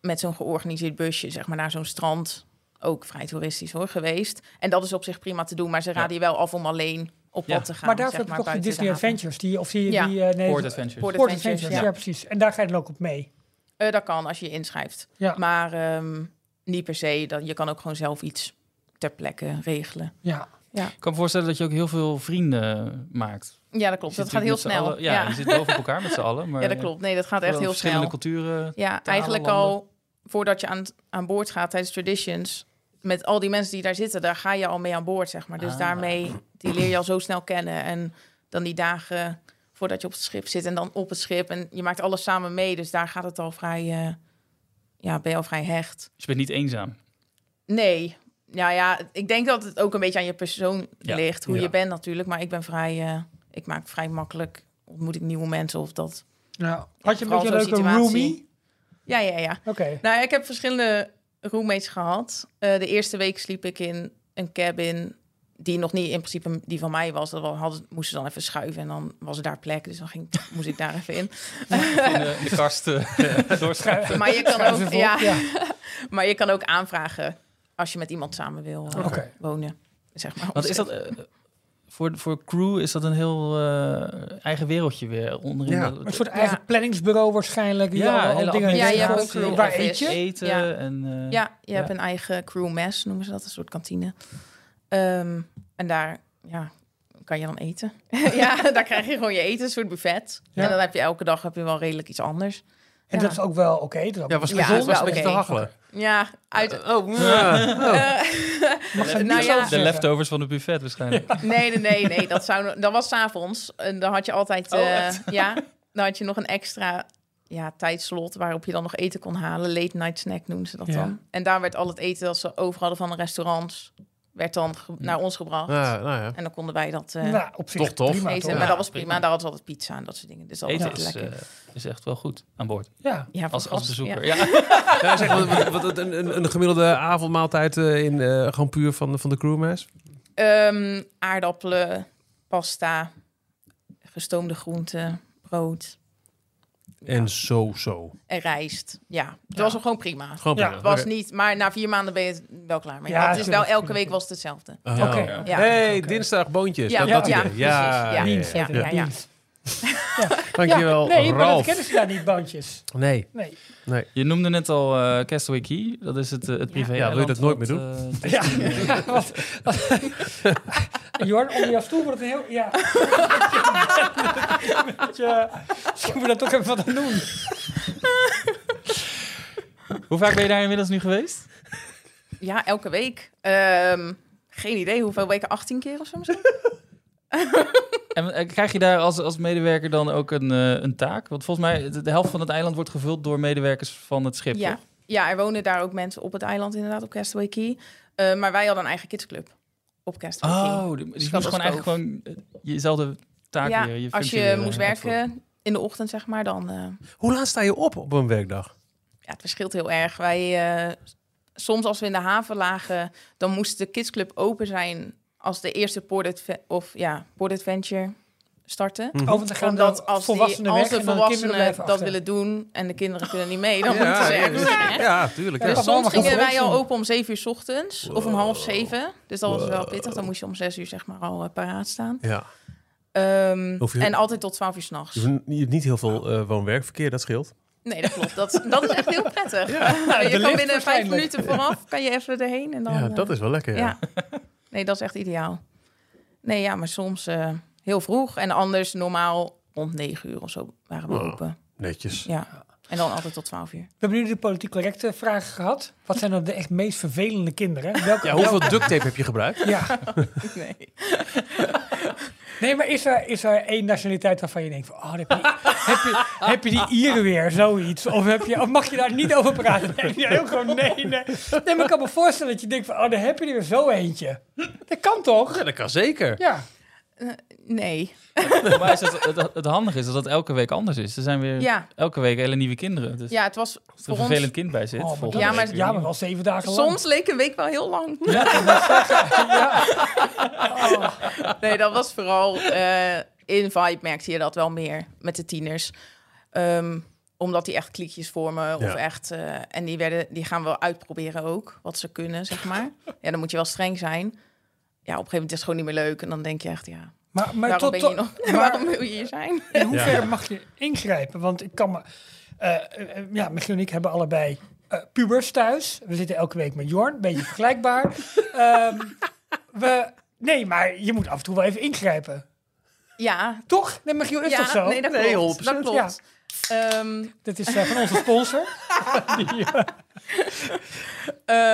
met zo'n georganiseerd busje, zeg maar, naar zo'n strand. Ook vrij toeristisch hoor, geweest. En dat is op zich prima te doen, maar ze raden je wel af om alleen op
Ja.
pad te gaan.
maar daarvoor
zeg
heb je toch die
buiten
Disney
de haven.
Adventures. Die, of die,
Ja.
die, eh, nee,
Port
Port
Adventures.
Port
Adventures.
Adventures,
ja.
ja.
precies. En daar ga je dan ook op mee.
Eh, dat kan als je je inschrijft.
Ja.
Maar ehm, niet per se. Dan, je kan ook gewoon zelf iets ter plekke regelen.
ja.
Ik kan me voorstellen dat je ook heel veel vrienden maakt.
Ja, dat klopt.
Je
dat
zit natuurlijk
gaat heel
met z'n
snel.
allen- ja,
ja.
je zit boven op elkaar met z'n allen. Maar
Ja, dat klopt. Nee, dat gaat echt heel
verschillende
snel.
culturen.
Ja,
talen,
eigenlijk al voordat je aan, aan boord gaat tijdens Traditions, met al die mensen die daar zitten, daar ga je al mee aan boord, zeg maar. Dus
Ah.
daarmee, die leer je al zo snel kennen. En dan die dagen voordat je op het schip zit en dan op het schip. En je maakt alles samen mee, dus daar gaat het al vrij, eh, ja, ben je al vrij hecht.
Dus je bent niet eenzaam.
Nee, nou ja, ik denk dat het ook een beetje aan je persoon
Ja.
ligt, hoe
Ja.
je bent natuurlijk. Maar ik ben vrij, eh, ik maak vrij makkelijk, ontmoet ik nieuwe mensen of dat.
Nou, had je een
vooral
beetje een leuke
zo'n situatie.
roomie?
Ja, ja, ja.
Oké.
Nou, ik heb verschillende roommates gehad. Eh, de eerste week sliep ik in een cabin die nog niet in principe die van mij was. Dat we hadden, moesten dan even schuiven en dan was er daar plek. Dus dan ging, moest ik daar even in.
In de, in de kast eh, doorschuiven.
Maar je kan
Schuiven
ook,
vol,
ja,
ja.
maar je kan ook aanvragen als je met iemand samen wil eh,
Oké.
wonen. Zeg maar.
Wat is dat... eh, voor, voor crew is dat een heel eh, eigen wereldje weer. Onderin
Ja.
de-
Een soort eigen planningsbureau waarschijnlijk. die
Ja,
al- al
hele
dingen
Ja, je hebt
regelt.
ook crew
Waar eet
office.
je?
eten
Ja.
en... eh,
Ja, je
Ja.
hebt een eigen crew mess, noemen ze dat, een soort kantine. Ehm, en daar ja, kan je dan eten. ja, daar krijg je gewoon je eten, een soort buffet.
Ja.
En dan heb je elke dag heb je wel redelijk iets anders.
En
Ja.
dat is ook wel oké. dat is ook-
Ja, was
Ja,
ja,
is
was
wel
een beetje te
oké.
hachelen.
Ja, uit,
Eh,
Mm. Eh,
Oh,
mag ze niks
Nou ja.
over
De
zeggen.
leftovers van het buffet waarschijnlijk.
nee, nee, nee, nee. Dat, zou, dat was s'avonds. En dan had je altijd...
Oh,
eh,
echt?
ja, dan had je nog een extra ja, tijdslot waarop je dan nog eten kon halen. Late night snack noemen ze dat
Ja.
dan. En daar werd al het eten dat ze over hadden van de restaurants... werd dan
Mm.
ge- naar ons gebracht.
Ja, nou ja.
En dan konden wij dat eh,
nou, op zich
toch tof.
prima,
eten.
toch?
Maar
Ja,
dat was prima.
prima.
Daar hadden ze altijd pizza en dat soort dingen. Dus dat was
Eten
altijd
is,
lekker.
eh, is echt wel goed aan boord.
Ja.
ja, voor
Als, als
gast,
bezoeker.
ja.
Ja.
Ja, zeg, wat, wat, wat- een, een- een gemiddelde avondmaaltijd eh, in eh gewoon puur van, de- van de crewma's?
Ehm, aardappelen, pasta, gestoomde groenten, brood
En zo, zo.
en rijst. Ja, het was gewoon prima.
Gewoon
Ja,
prima.
Het was
Oké.
niet, maar na vier maanden ben je het wel klaar mee.
Ja,
Ja, het is wel
tuurlijk,
elke
tuurlijk.
week was het hetzelfde.
Oh.
Oké.
Ja.
oké.
Ja.
Hey, dinsdag boontjes.
Ja,
dat, dat
ja,
idee.
precies,
Ja,
ja.
ja, ja.
Dienst, even,
ja, ja.
dienst.
Dankjewel,
Ja, nee, maar dat
Ralf.
kennen ze daar niet, bandjes.
Nee.
Nee.
Je noemde net al eh, Castaway Key. Dat is het, eh, het
Ja.
privé eh,
Ja, wil je dat nooit meer doen?
Ja. wat, wat- Jorn, onder jouw stoel wordt het een heel... Ja. Tja, Misschien moet je dat toch even wat aan doen.
Hoe vaak ben je daar inmiddels nu geweest?
Ja, elke week. Ehm, geen idee hoeveel weken, 18 keer of zo misschien?
En eh, krijg je daar als, als medewerker dan ook een, eh, een taak? Want volgens mij, de, de helft van het eiland wordt gevuld door medewerkers van het schip,
Ja.
toch?
ja, er wonen daar ook mensen op het eiland inderdaad, op Castaway Key. Eh, maar wij hadden een eigen kidsclub op Castaway Key.
Oh, dus je moest
als
gewoon eigenlijk gewoon eh, jezelfde taak
ja,
leren.
als
functie
je
leren
moest
uitvoeren.
werken in de ochtend, zeg maar, dan... eh,
Hoe laat sta je op op een werkdag?
ja, het verschilt heel erg. Wij, eh, soms als we in de haven lagen, dan moest de kidsclub open zijn als de eerste Port, Adve- of, ja, port Adventure startte.
Oh, want dan gaan
Omdat
dat
als, die,
volwassenen
als
weg
de
en dan kinderen
volwassenen
blijven
dat
achter.
willen doen en de kinderen kunnen niet mee, dan moeten
ja,
ze
ja,
ergens zijn,
ja,
hè?
ja, tuurlijk.
Ja,
Ja.
Dus
dat
soms
allemaal
gingen wij
gevolg
al
zijn.
open om 7 uur 's ochtends of om half zeven. Dus dat was wel pittig. Dan moest je om 6 uur zeg maar al eh, paraat staan.
Ja.
Ehm,
Hoef je-
En altijd tot 12 uur s'nachts.
Je hebt niet- niet heel veel eh, woon-werkverkeer, dat scheelt.
Nee, dat klopt. Dat, dat is echt heel prettig. je
lift
kan binnen vijf
waarschijnlijk.
minuten vooraf, kan je even erheen. En dan,
ja,
eh,
dat is wel lekker.
ja.
Ja.
Nee, dat is echt ideaal. Nee, ja, maar soms eh, heel vroeg. En anders normaal rond negen uur of zo waren we
Oh.
open.
Netjes.
Ja. En dan altijd tot 12 uur.
We hebben nu de politiek correcte vragen gehad. Wat zijn dan de echt meest vervelende kinderen? Welke,
Ja, hoeveel duct tape heb je gebruikt?
ja.
Nee.
Nee, maar is er, is er één nationaliteit waarvan je denkt van... Oh, heb, je, heb, je, heb je die Ieren weer, zoiets? Of, heb je, of mag je daar niet over praten? Nee, ja, heel gewoon nee, nee. Nee, maar ik kan me voorstellen dat je denkt van... Oh, dan heb je er weer zo eentje. Dat kan toch?
Ja, dat kan zeker.
Ja.
Nee.
Maar is het, het, het handige is dat dat elke week anders is. Er zijn weer
Ja.
elke week hele nieuwe kinderen. Dus
ja, het was
als er een
voor
vervelend
ons...
kind bij zit,
Oh, maar
volgende
dat is-
Ja,
week
maar-
weer
ja,
niet.
maar wel zeven dagen lang.
Soms leek een week wel heel lang.
Oh,
Nee, dat was vooral eh, in Vibe merkte je dat wel meer met de tieners. Ehm, omdat die echt kliekjes vormen of
Ja.
echt... eh, en die, werden, die gaan wel uitproberen ook, wat ze kunnen, zeg maar. ja, dan moet je wel streng zijn. Ja, op een gegeven moment is het gewoon niet meer leuk. En dan denk je echt, ja,
maar maar
waarom,
tot,
ben je
tot-
hier nog,
maar
waarom wil je hier zijn?
in hoeverre mag je ingrijpen? Want ik kan me... eh, eh, eh, ja, Michiel en ik hebben allebei eh, pubers thuis. We zitten elke week met Jorn. Beetje vergelijkbaar. Ehm, we... Nee, maar je moet af en toe wel even ingrijpen.
Ja,
Toch? Nee, Michiel, is
ja
toch zo?
nee, dat
Nee,
klopt.
100%,
Dat klopt. Ehm,
Dat is eh, van onze sponsor. Die, eh,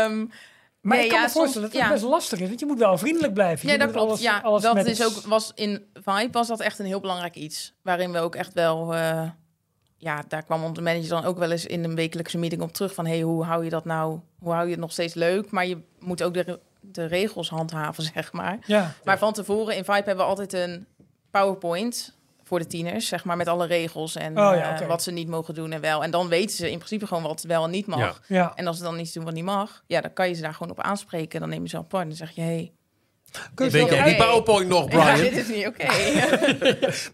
ehm,
maar
Nee,
ik kan
ja,
me voorstellen
soms-
dat het
ja.
best lastig is. Want je moet wel vriendelijk blijven.
Ja,
Je
dat
moet
klopt.
alles-
ja,
alles
dat
met-
is ook, was in Vibe was dat echt een heel belangrijk iets. Waarin we ook echt wel... eh, ja, daar kwam onze manager dan ook wel eens in een wekelijkse meeting op terug. Van, hey, hoe hou je dat nou? Hoe hou je het nog steeds leuk? Maar je moet ook de, re- de regels handhaven, zeg maar.
Ja.
Maar van tevoren in Vibe hebben we altijd een PowerPoint voor de tieners, zeg maar, met alle regels en
Oh ja,
eh,
oké.
wat ze niet mogen doen en wel. En dan weten ze in principe gewoon wat wel en niet mag.
Ja.
Ja.
En als ze dan iets doen wat niet mag, ja, dan kan je ze daar gewoon op aanspreken. Dan neem je ze apart en dan zeg je, hey,
Kun je ze
Denk
ook-
jij die PowerPoint nog,
ja,
Brian?
dit is niet oké.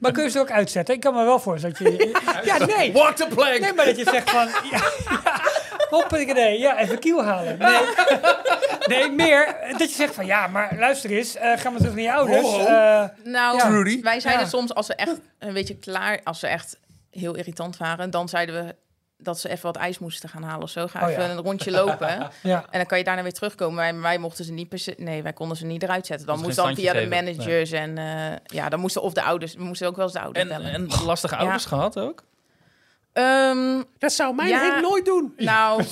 Maar kun je ze ook uitzetten? Ik kan me wel voorstellen dat je... Ja, nee.
Walk the plank!
Nee, maar dat je zegt van... Ja, hoppakee, ja, even kiel halen. Nee. nee, meer eh, dat je zegt van... Ja, maar luister eens, eh, gaan we terug naar
Oh,
je ouders.
Ho, ho.
Eh,
Nou,
Ja.
Trudy.
wij zeiden
Ja.
soms als ze echt een beetje klaar, als ze echt heel irritant waren, dan zeiden we dat ze even wat ijs moesten gaan halen of zo. Ga
Oh
even
ja.
een rondje lopen en
ja.
dan kan je daarna weer terugkomen. Wij, wij mochten ze niet per se, nee, wij konden ze niet eruit zetten. Dan
Dus
moest
geen
dan via de
standje geven.
managers en eh, ja, dan moesten of de ouders, we moesten ook wel eens de ouders
En,
bellen.
en lastige ouders gehad ook?
Ehm,
Dat zou mijn
Ja.
Henk nooit doen.
nou,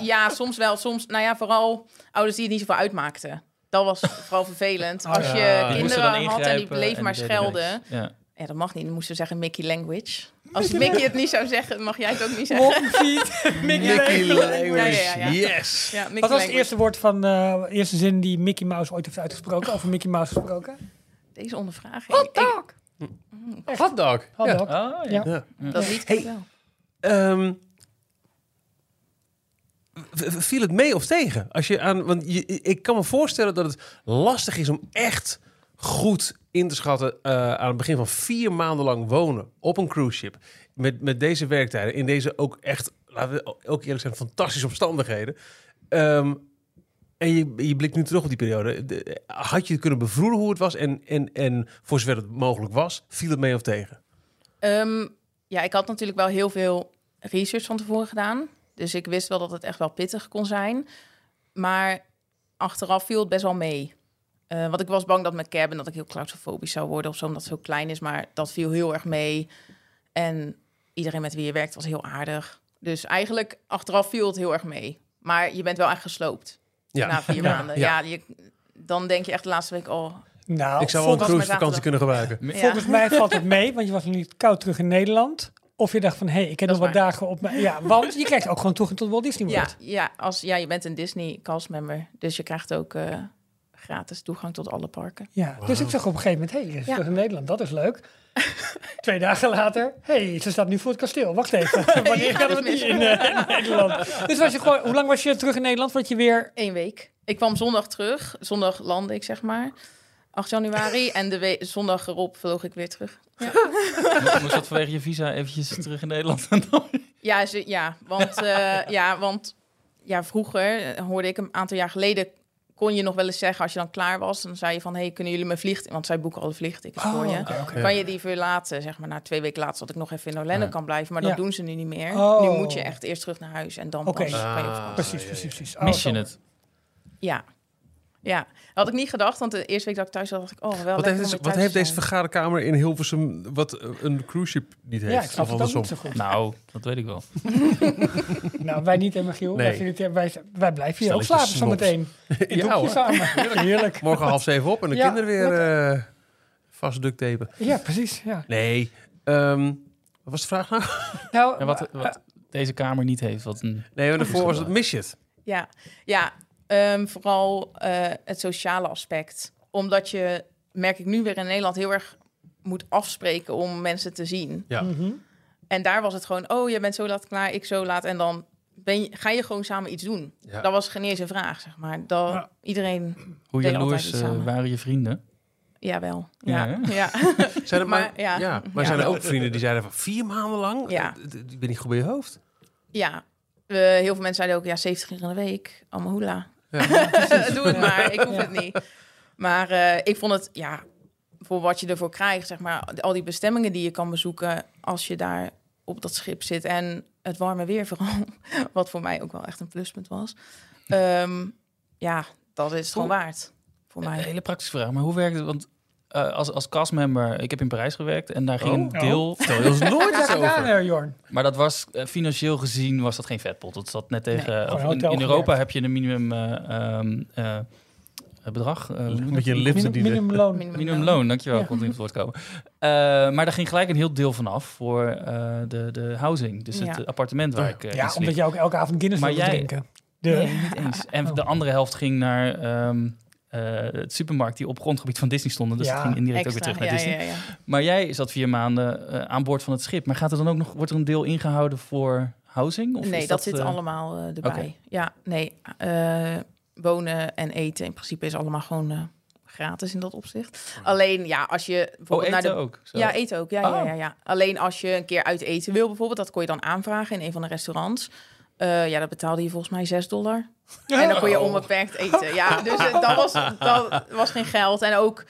ja. soms wel, soms, nou ja, vooral ouders die het niet zoveel uitmaakten. Dat was vooral vervelend. Als je
Die moesten
kinderen
dan
had en die
ingrijpen
bleef maar
deden niks.
schelden.
Ja.
Ja, dat mag niet. Dan moesten we zeggen Mickey Language. Als Mickey het niet zou zeggen, mag jij het ook niet zeggen.
Wolkenfiet, Mickey
Mickey
Mouse.
Language. Ja, ja, ja.
Yes!
Ja, Mickey
Wat was het
Language.
eerste woord van, eh, eerste zin die Mickey Mouse ooit heeft uitgesproken? Over Mickey Mouse gesproken?
Deze ondervraging.
Hot
Ik-
dog!
Hotdog.
Hot
Ja.
dog.
Ah,
Ja.
ja.
dat lied
Hey.
ik wel.
Ehm, v- v- viel het mee of tegen? Als je aan, want je, ik kan me voorstellen dat het lastig is om echt goed in te schatten eh, aan het begin van vier maanden lang wonen op een cruise ship. Met, met deze werktijden, in deze ook echt, laten we ook eerlijk zijn, fantastische omstandigheden. Ehm, en je, je blikt nu terug op die periode. De- Had je kunnen bevroeden hoe het was en, en, en voor zover het mogelijk was, viel het mee of tegen?
Ehm, ja, ik had natuurlijk wel heel veel research van tevoren gedaan. Dus ik wist wel dat het echt wel pittig kon zijn. Maar achteraf viel het best wel mee. Eh, want ik was bang dat mijn cabin, dat ik heel claustrofobisch zou worden of zo, omdat het zo klein is. Maar dat viel heel erg mee. En iedereen met wie je werkt was heel aardig. Dus eigenlijk, achteraf viel het heel erg mee. Maar je bent wel echt gesloopt
Ja.
na vier maanden.
ja.
Ja, je, dan denk je echt de laatste week, oh,
Nou,
Ik zou wel een
volgens
cruisevakantie
mij zaterdag.
kunnen gebruiken.
ja.
Volgens mij valt het mee, want je was nog niet koud terug in Nederland. Of je dacht van, hé, hey, ik heb
Dat
nog
is
wat dagen op mijn... Ja, want je krijgt ook gewoon toegang tot Walt Disney
Ja,
World.
ja, als, ja, je bent een Disney castmember. Dus je krijgt ook eh, gratis toegang tot alle parken.
Ja. Dus ik zag op een gegeven moment, hé, hey, je is
Ja.
terug in Nederland, dat is leuk. Twee dagen later, hé, hey, ze staat nu voor het kasteel. Wacht even, wanneer gaat het niet in, eh, in Nederland? Dus was je gewoon, hoe lang was je terug in Nederland voordat je weer...
Eén week. Ik kwam zondag terug. Zondag landde ik, zeg maar. 8 januari. en de we- zondag erop vloog ik weer terug.
Moest dat vanwege je visa eventjes terug in Nederland?
Ja, ze, ja want, eh, ja, want ja, vroeger eh, hoorde ik een aantal jaar geleden... kon je nog wel eens zeggen, als je dan klaar was... dan zei je van, hey, kunnen jullie mijn vliegticket... want zij boeken alle vliegtickets voor je.
Oh, oké, oké.
Kan je die verlaten, zeg maar, na twee weken laatst... dat ik nog even in Orlando
Ja.
kan blijven. Maar dat
Ja.
doen ze nu niet meer.
Oh.
Nu moet je echt eerst terug naar huis en dan
Oké.
pas kan Dus je op
Ah.
vakantie.
Precies, precies, precies. Oh,
Mis je
zo.
het?
Ja. Ja, had ik niet gedacht, want de eerste week dat ik thuis was, dacht ik, oh, wel
Wat
lekker
heeft,
om
deze,
weer
wat
thuis
heeft
te
deze
zijn.
vergaderkamer in Hilversum wat eh, een cruise ship niet heeft?
Ja, ik snap
Of
het ook
andersom.
niet zo goed.
Nou, dat weet ik wel.
Nou, wij niet, hè, Michiel.
Nee.
Wij, vinden het- wij, wij blijven hier ook
Stelletje
slapen zometeen. In
Ja,
ja,
hoor.
samen. Heerlijk.
Morgen half zeven op en de
Ja,
kinderen weer eh vast ducttapen.
Ja, precies. Ja.
Nee. ehm, wat was de vraag nou?
Nou,
En wat, wat deze kamer niet heeft, wat een...
Nee, maar daarvoor was het mis je het.
Ja, ja ehm, vooral eh, het sociale aspect. Omdat je, merk ik nu weer in Nederland, heel erg moet afspreken om mensen te zien.
Ja.
mhm.
En daar was het gewoon, oh, je bent zo laat klaar, ik zo laat. En dan ben je, ga je gewoon samen iets doen.
Ja.
Dat was geen eens een vraag, zeg maar. Dat,
Ja.
Iedereen,
Hoe
Deed
jaloers
altijd iets
eh,
samen.
waren je vrienden?
jawel.
Ja,
Ja,
hè?
ja.
Zijn er maar,
Maar,
ja.
ja.
maar
Ja.
zijn er ook vrienden die zeiden van vier maanden lang?
Ja.
Eh, d- d- Ik ben niet goed bij je hoofd.
ja. Eh, heel veel mensen zeiden ook, ja, 70 uur in de week, allemaal hoela.
Ja.
Doe het maar, ik hoef het niet. Maar eh, ik vond het, ja, voor wat je ervoor krijgt, zeg maar, al die bestemmingen die je kan bezoeken als je daar op dat schip zit en het warme weer vooral, wat voor mij ook wel echt een pluspunt was. Ehm, ja, dat is het gewoon waard voor
Een
mij.
hele praktische vraag, maar hoe werkt het? Want eh, als, als castmember, ik heb in Parijs gewerkt en daar ging
Oh.
een deel...
Vertel je ons nooit
Wat
iets
heb je gedaan,
over.
hè, Jorn?
Maar dat was, eh, financieel gezien was dat geen vetpot. Dat zat net tegen... eh,
gewoon
of
een
in,
hotel
in Europa
gewerkt.
heb je een minimum eh, ehm, eh, bedrag. eh, hoe noem je
Een
dat?
beetje een lift die de...
Minimumloon.
Minimumloon.
Minimumloon, dankjewel.
Ja.
Ik kon het niet op het woord komen. Eh, maar daar ging gelijk een heel deel van af voor eh, de, de housing. Dus het
Ja.
eh, appartement waar ik eh, in
Ja,
sliep.
omdat jij ook elke avond Guinness
Maar
wilde
jij-
drinken. De,
Nee, niet eens. En
Oh.
de andere helft ging naar ehm, eh, het supermarkt die op grondgebied van Disney stonden. Dus
Ja.
dat ging indirect ook
Extra,
weer terug naar
ja,
Disney.
ja, ja.
Maar jij zat vier maanden eh, aan boord van het schip. Maar gaat er dan ook nog, wordt er een deel ingehouden voor housing? Of
nee,
is
dat, zit
eh,
allemaal eh, erbij.
oké.
Ja, nee. eh, wonen en eten in principe is allemaal gewoon eh, gratis in dat opzicht. Alleen ja, als je
Oh,
bijvoorbeeld
eten
naar de
ook? Zo.
Ja, eten ook. Ja, ja,
Oh.
ja, ja. Alleen als je een keer uit eten wil bijvoorbeeld, dat kon je dan aanvragen in een van de restaurants. Eh, ja, dat betaalde je volgens mij 6 dollar. En dan kon
Oh.
je onbeperkt eten. Ja, dus eh, dat, was, dat was geen geld. En ook,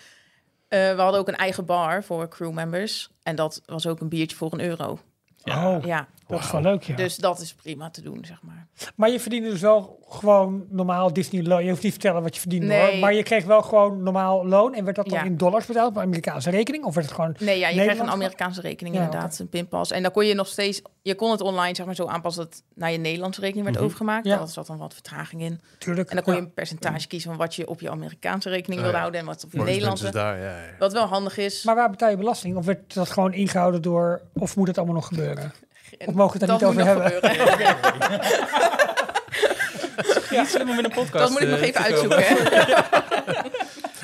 eh, we hadden ook een eigen bar voor crewmembers. En dat was ook een biertje voor een euro.
Ja.
Oh,
Ja,
dat is wel leuk, ja.
dus dat is prima te doen, zeg maar.
Maar je verdiende dus wel gewoon normaal Disney loon. Je hoeft niet te vertellen wat je verdiende,
Nee.
hoor. Maar je kreeg wel gewoon normaal loon. En werd dat dan
Ja.
in dollars betaald op een Amerikaanse rekening? Of werd het gewoon...
Nee, ja, je
Nederland
krijgt een
dan?
Amerikaanse rekening
Ja,
inderdaad, een pinpas. En dan kon je nog steeds, je kon het online zeg maar, zo aanpassen dat het naar je Nederlandse rekening werd overgemaakt.
Mhm. Ja.
Daar zat dan wat vertraging in.
Tuurlijk.
En dan kon je
Ja.
een percentage kiezen van wat je op je Amerikaanse rekening
Oh,
wilde
ja.
houden en wat op je
Voor de
Nederlandse.
mensen daar, ja, ja.
Wat wel handig is.
Maar waar betaal je belasting? Of werd dat gewoon ingehouden door... Of moet het allemaal nog gebeuren?
En
Of mogen we het daar
dat
niet
moet
over
nog
hebben?
gebeuren. Ja,
Ja. Niet slim om in een podcast
Dat moet ik nog
eh,
even
te komen.
uitzoeken. hè.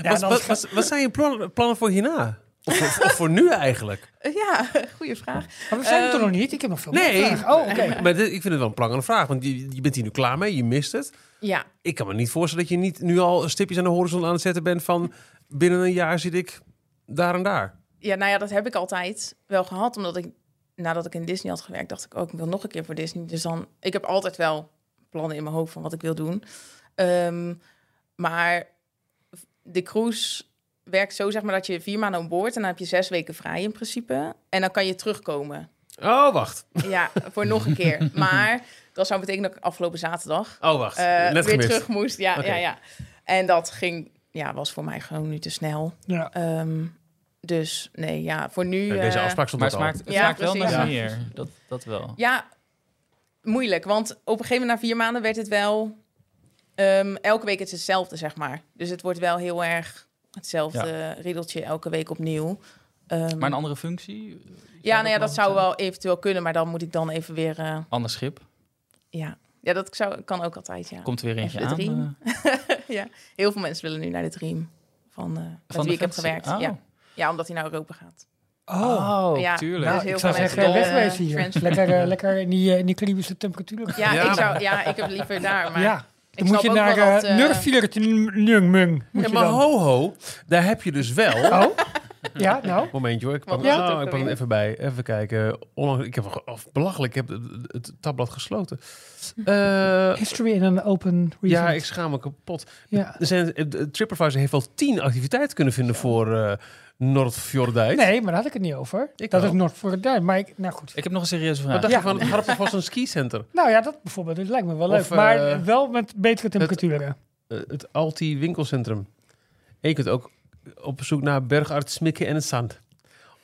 Ja,
wat,
dan-
wat, wat, wat zijn je plan- plannen voor hierna? Of, voor- of voor nu eigenlijk?
Ja, goede vraag.
maar we zijn er
Ehm,
toch nog niet? Ik heb nog veel
nee.
meer vragen. Oh, oké.
Maar dit- ik vind het wel een prangende vraag, want je, je bent hier nu klaar mee, je mist het.
Ja,
Ik kan me niet voorstellen dat je niet nu al stipjes aan de horizon aan het zetten bent van binnen een jaar zit ik daar en daar.
ja, nou ja, dat heb ik altijd wel gehad. Omdat ik, nadat ik in Disney had gewerkt, dacht ik ook, ik wil nog een keer voor Disney. Dus dan, ik heb altijd wel plannen in mijn hoofd van wat ik wil doen. Ehm, maar de cruise werkt zo, zeg maar, dat je vier maanden aan boord en dan heb je zes weken vrij in principe. En dan kan je terugkomen.
Oh, wacht.
Ja, voor nog een keer. Maar dat zou betekenen dat ik afgelopen zaterdag
Oh, wacht.
eh,
Net
weer
gemist.
terug moest. Ja,
Oké.
ja, ja. En dat ging, ja, was voor mij gewoon nu te snel.
Ja.
Ehm, dus nee, ja, voor nu.
Ja, deze
eh,
afspraak stond
Maar het
dat
smaakt, het
Ja,
smaakt wel
precies.
naar
Ja.
meer. Dat, dat wel.
Ja, moeilijk. Want op een gegeven moment na vier maanden werd het wel. ehm, elke week is hetzelfde, zeg maar. Dus het wordt wel heel erg hetzelfde riddeltje elke week opnieuw. Ehm,
Maar een andere functie? Zou
ja, nou ja,
nog
dat zou
zijn?
wel eventueel kunnen, maar dan moet ik dan even weer. eh,
Ander schip.
ja. ja, dat zou, kan ook altijd. Ja.
Komt er weer eentje
Even de
aan.
Dream.
eh,
Heel veel mensen willen nu naar de Dream van, eh met
de
wie ik heb
Fantasy.
gewerkt.
Oh.
Ja. ja, omdat hij naar Europa gaat.
Oh.
Oh,
Ja.
tuurlijk.
Nou,
Dus heel
ik zou
veel
zeggen,
mensen dan,
wegwezen
eh,
hier.
Friends-
Lekker, eh, lekker in die, eh, in die Caribische temperaturen.
Ja,
Ja,
ik zou, ja, ik heb liever daar. Maar
ja.
ik
Dan moet
snap
je
ook
naar
wel dat,
eh
eh,
Nurfiert Nungmung. Moet
Ja,
je
maar
dan.
ho ho, daar heb je dus wel...
Oh? Ja, nou.
Momentje hoor, ik pak,
Wat
hem-
was het
oh,
ook
ik pak hem
alweer?
even bij. Even kijken. Onlang, ik heb, ge- of, belachelijk, ik heb het, het tabblad gesloten. Eh,
History in an open reason.
ja, ik schaam me kapot.
Ja.
Er zijn, eh, de- TripAdvisor heeft al tien activiteiten kunnen vinden voor eh Noord-Fjordijk.
Nee, maar daar had ik het niet over.
Ik
dat
wel.
is nog voor het duin. Maar ik, nou goed.
Ik heb nog een serieuze
Wat
vraag.
dacht
Ja.
je van, Harp was een skicenter.
Nou ja, dat bijvoorbeeld. Dat lijkt me wel
Of,
leuk. maar
eh,
wel met betere temperaturen.
Eh, het Alti winkelcentrum. En je kunt ook op zoek naar bergarts Smikken en het Zand.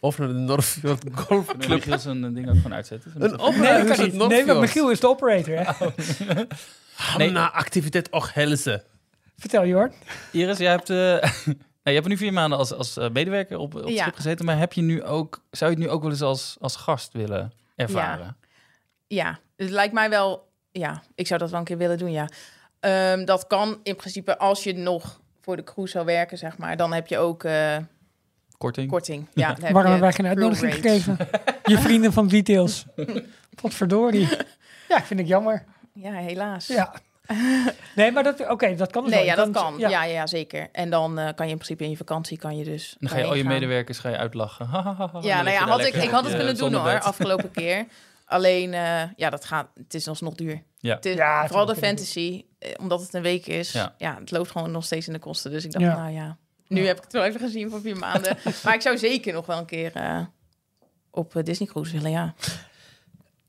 Of naar de Noordfjord Golf
Kunnen we
Club.
Michiel zijn ding ook gewoon uitzetten?
Een opera
nee,
huis
dat
dus het
kan niet. Nee,
Noordfjord.
want Michiel is de operator. Hè?
Nee.
Hamna activiteit och helsen.
Vertel, Jorn.
Iris, jij hebt, eh, nou, je hebt nu vier maanden als, als eh, medewerker op, op het
Ja.
schip gezeten. Maar heb je nu ook, zou je het nu ook wel eens als, als gast willen ervaren?
Ja, het lijkt mij wel. Ja, ik zou dat wel een keer willen doen. Ja, Ehm, dat kan in principe als je nog voor de cruise zou werken, zeg maar. Dan heb je ook eh,
Korting?
korting. Ja, dan heb
Waarom
je
hebben wij geen uitnodiging
crew rates.
gegeven? Je vrienden van Details. Wat verdorie. Ja, vind ik jammer.
Ja, helaas.
Ja. Nee, maar dat, oké, dat kan dus
Nee,
wel.
ja,
Je
dat kan.
Ja.
Ja, ja, zeker. En dan eh, kan je in principe in je vakantie kan je dus.
Dan ga je al je
daarheen gaan.
medewerkers ga je uitlachen.
Ja, nou ja, had ik, ik had
eh,
het kunnen doen hoor,
Af...
afgelopen keer. Alleen, eh, ja, dat gaat, het is alsnog duur.
Ja.
Het is-
Ja, het is
vooral de
natuurlijk
fantasy, eh, omdat het een week is.
Ja.
Ja. het loopt gewoon nog steeds in de kosten. Dus ik dacht,
Ja.
nou ja, nu heb ik het wel even gezien voor vier maanden. maar ik zou zeker nog wel een keer eh, op eh, Disney Cruise willen, ja.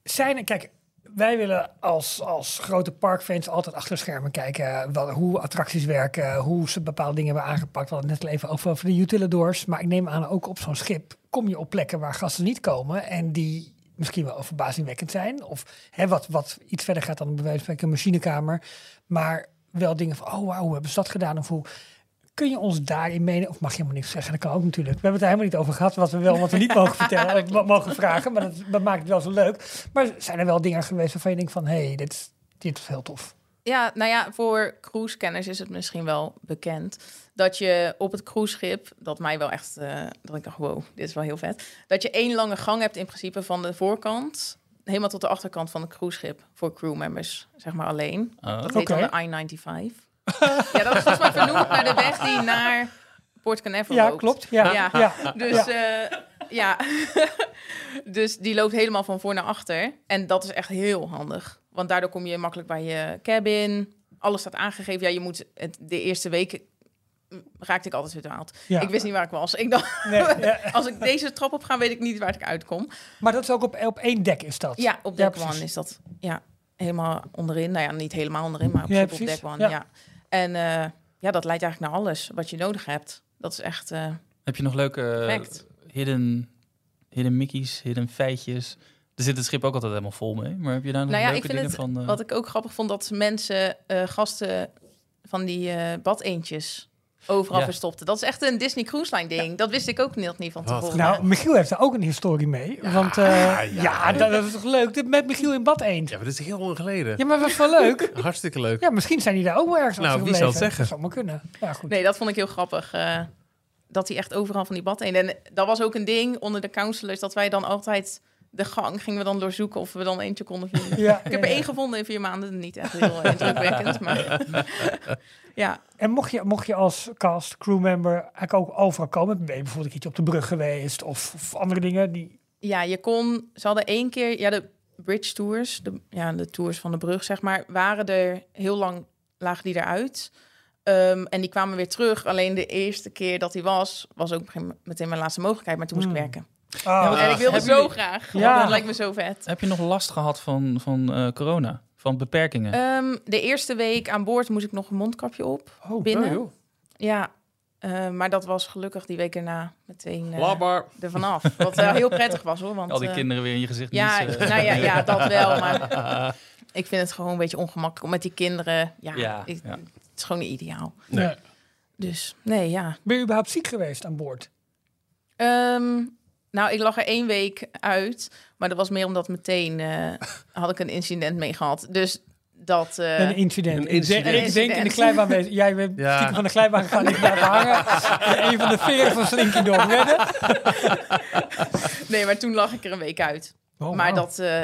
Zijn er, kijk, wij willen als, als grote parkfans altijd achter schermen kijken wel, hoe attracties werken, hoe ze bepaalde dingen hebben aangepakt. We hadden het net al even over, over de Utilidors, maar ik neem aan ook op zo'n schip kom je op plekken waar gasten niet komen en die misschien wel verbazingwekkend zijn of hè, wat, wat iets verder gaat dan bij wijze van spreken een machinekamer, maar wel dingen van, oh wauw, hoe hebben ze dat gedaan of hoe... Kun je ons daarin meenemen? Of mag je helemaal niks zeggen? Dat kan ook natuurlijk. We hebben het er helemaal niet over gehad. Wat we wel en wat we niet mogen vertellen. of mo- mogen vragen. Maar dat, dat maakt het wel zo leuk. Maar zijn er wel dingen geweest waarvan je denkt van... Hé, hey, dit, is- dit is heel tof.
Ja, nou ja, voor cruise-kenners is het misschien wel bekend dat je op het cruiseschip, dat mij wel echt, eh, dat ik dacht, wow, dit is wel heel vet, dat je één lange gang hebt in principe van de voorkant helemaal tot de achterkant van het cruiseschip voor crewmembers, zeg maar alleen.
Oh.
Dat heet
Oké.
dan de I-95. ja, dat is volgens mij vernoemd naar de weg die naar Port Canaveral
Ja,
loopt.
klopt. Ja, ja.
Ja.
ja.
Dus ja. ja. dus die loopt helemaal van voor naar achter. En dat is echt heel handig. Want daardoor kom je makkelijk bij je cabin. Alles staat aangegeven. Ja, je moet het, de eerste week mm, raakte ik altijd verdwaald.
Ja.
Ik wist niet waar ik was. Ik dacht,
Nee, ja.
als ik deze trap op ga, weet ik niet waar ik uitkom.
Maar dat is ook op, op één dek is dat.
Ja, op deck
precies.
one is dat. Ja, helemaal onderin. Nou ja, niet helemaal onderin, maar op,
Ja,
zich op
precies.
deck one.
Ja.
Ja. En eh, ja, dat leidt eigenlijk naar alles wat je nodig hebt. Dat is echt... eh,
Heb je nog leuke eh,
Perfect.
hidden, hidden mickeys, hidden feitjes? Er zit het schip ook altijd helemaal vol mee. Maar heb je daar nog
Nou ja,
leuke
ik vind
dingen van? eh,
Wat ik ook grappig vond, dat ze mensen, eh, gasten van die eh, badeentjes overal
Ja.
verstopten. Dat is echt een Disney Cruise Line ding. Dat wist ik ook nog niet van
Wat
tevoren.
Nou, Michiel heeft daar ook een historie mee. want eh, ja, dat, dat is toch leuk? Dit Met Michiel in bad eend.
Ja, maar dat is heel lang geleden.
Ja, maar wat wel leuk.
Hartstikke leuk.
Ja, misschien zijn die daar ook wel ergens
Nou,
achter
wie zou het
gebleven.
zeggen?
Dat zou maar kunnen. Ja, goed.
Nee, dat vond ik heel grappig. eh, dat hij echt overal van die bad heen. En dat was ook een ding onder de counselors. Dat wij dan altijd de gang gingen we dan doorzoeken of we dan eentje konden vinden.
Ja,
Ik heb
ja,
er
ja.
één gevonden in vier maanden. Niet echt heel eh, indrukwekkend. Maar ja,
En mocht je, mocht je als cast, crewmember eigenlijk ook overal komen? Ben je bijvoorbeeld een keertje op de brug geweest of, of andere dingen? Die,
ja, je kon. Ze hadden één keer. Ja, de bridge tours. De, ja, de tours van de brug, zeg maar. Waren er heel lang. Lagen die eruit. Ehm, en die kwamen weer terug. Alleen de eerste keer dat die was, was ook meteen mijn laatste mogelijkheid. Maar toen moest ik
Hmm.
werken.
Ah,
En ik wilde
Hebben
zo
jullie-
graag.
Ja.
Ja. Dat lijkt me zo vet.
Heb je nog last gehad van, van eh, corona? Van beperkingen?
Ehm, de eerste week aan boord moest ik nog een mondkapje op.
oh,
binnen.
oh, joh.
Ja, eh, maar dat was gelukkig die week erna meteen eh
Labbar.
er vanaf. Wat wel heel prettig was hoor. Want,
Al die
eh,
kinderen weer in je gezicht
ja,
niezen.
nou ja, ja, dat wel. Maar ik vind het gewoon een beetje ongemakkelijk. om Met die kinderen, ja,
Ja,
ik-
ja.
het is gewoon niet ideaal.
Nee.
Ja.
Dus nee, ja.
Ben je überhaupt ziek geweest aan boord?
Ehm, nou, ik lag er één week uit. Maar dat was meer omdat meteen eh, had ik een incident mee gehad. Dus dat... eh,
een incident.
een
Ik denk-
incident.
Ik denk in de glijbaan. wezen. Jij bent
Ja.
stiekem van de glijbaan gegaan en blijven hangen. En een van de veren van Slinky Dog redden.
nee, maar toen lag ik er een week uit.
Oh,
maar
wauw.
dat, eh,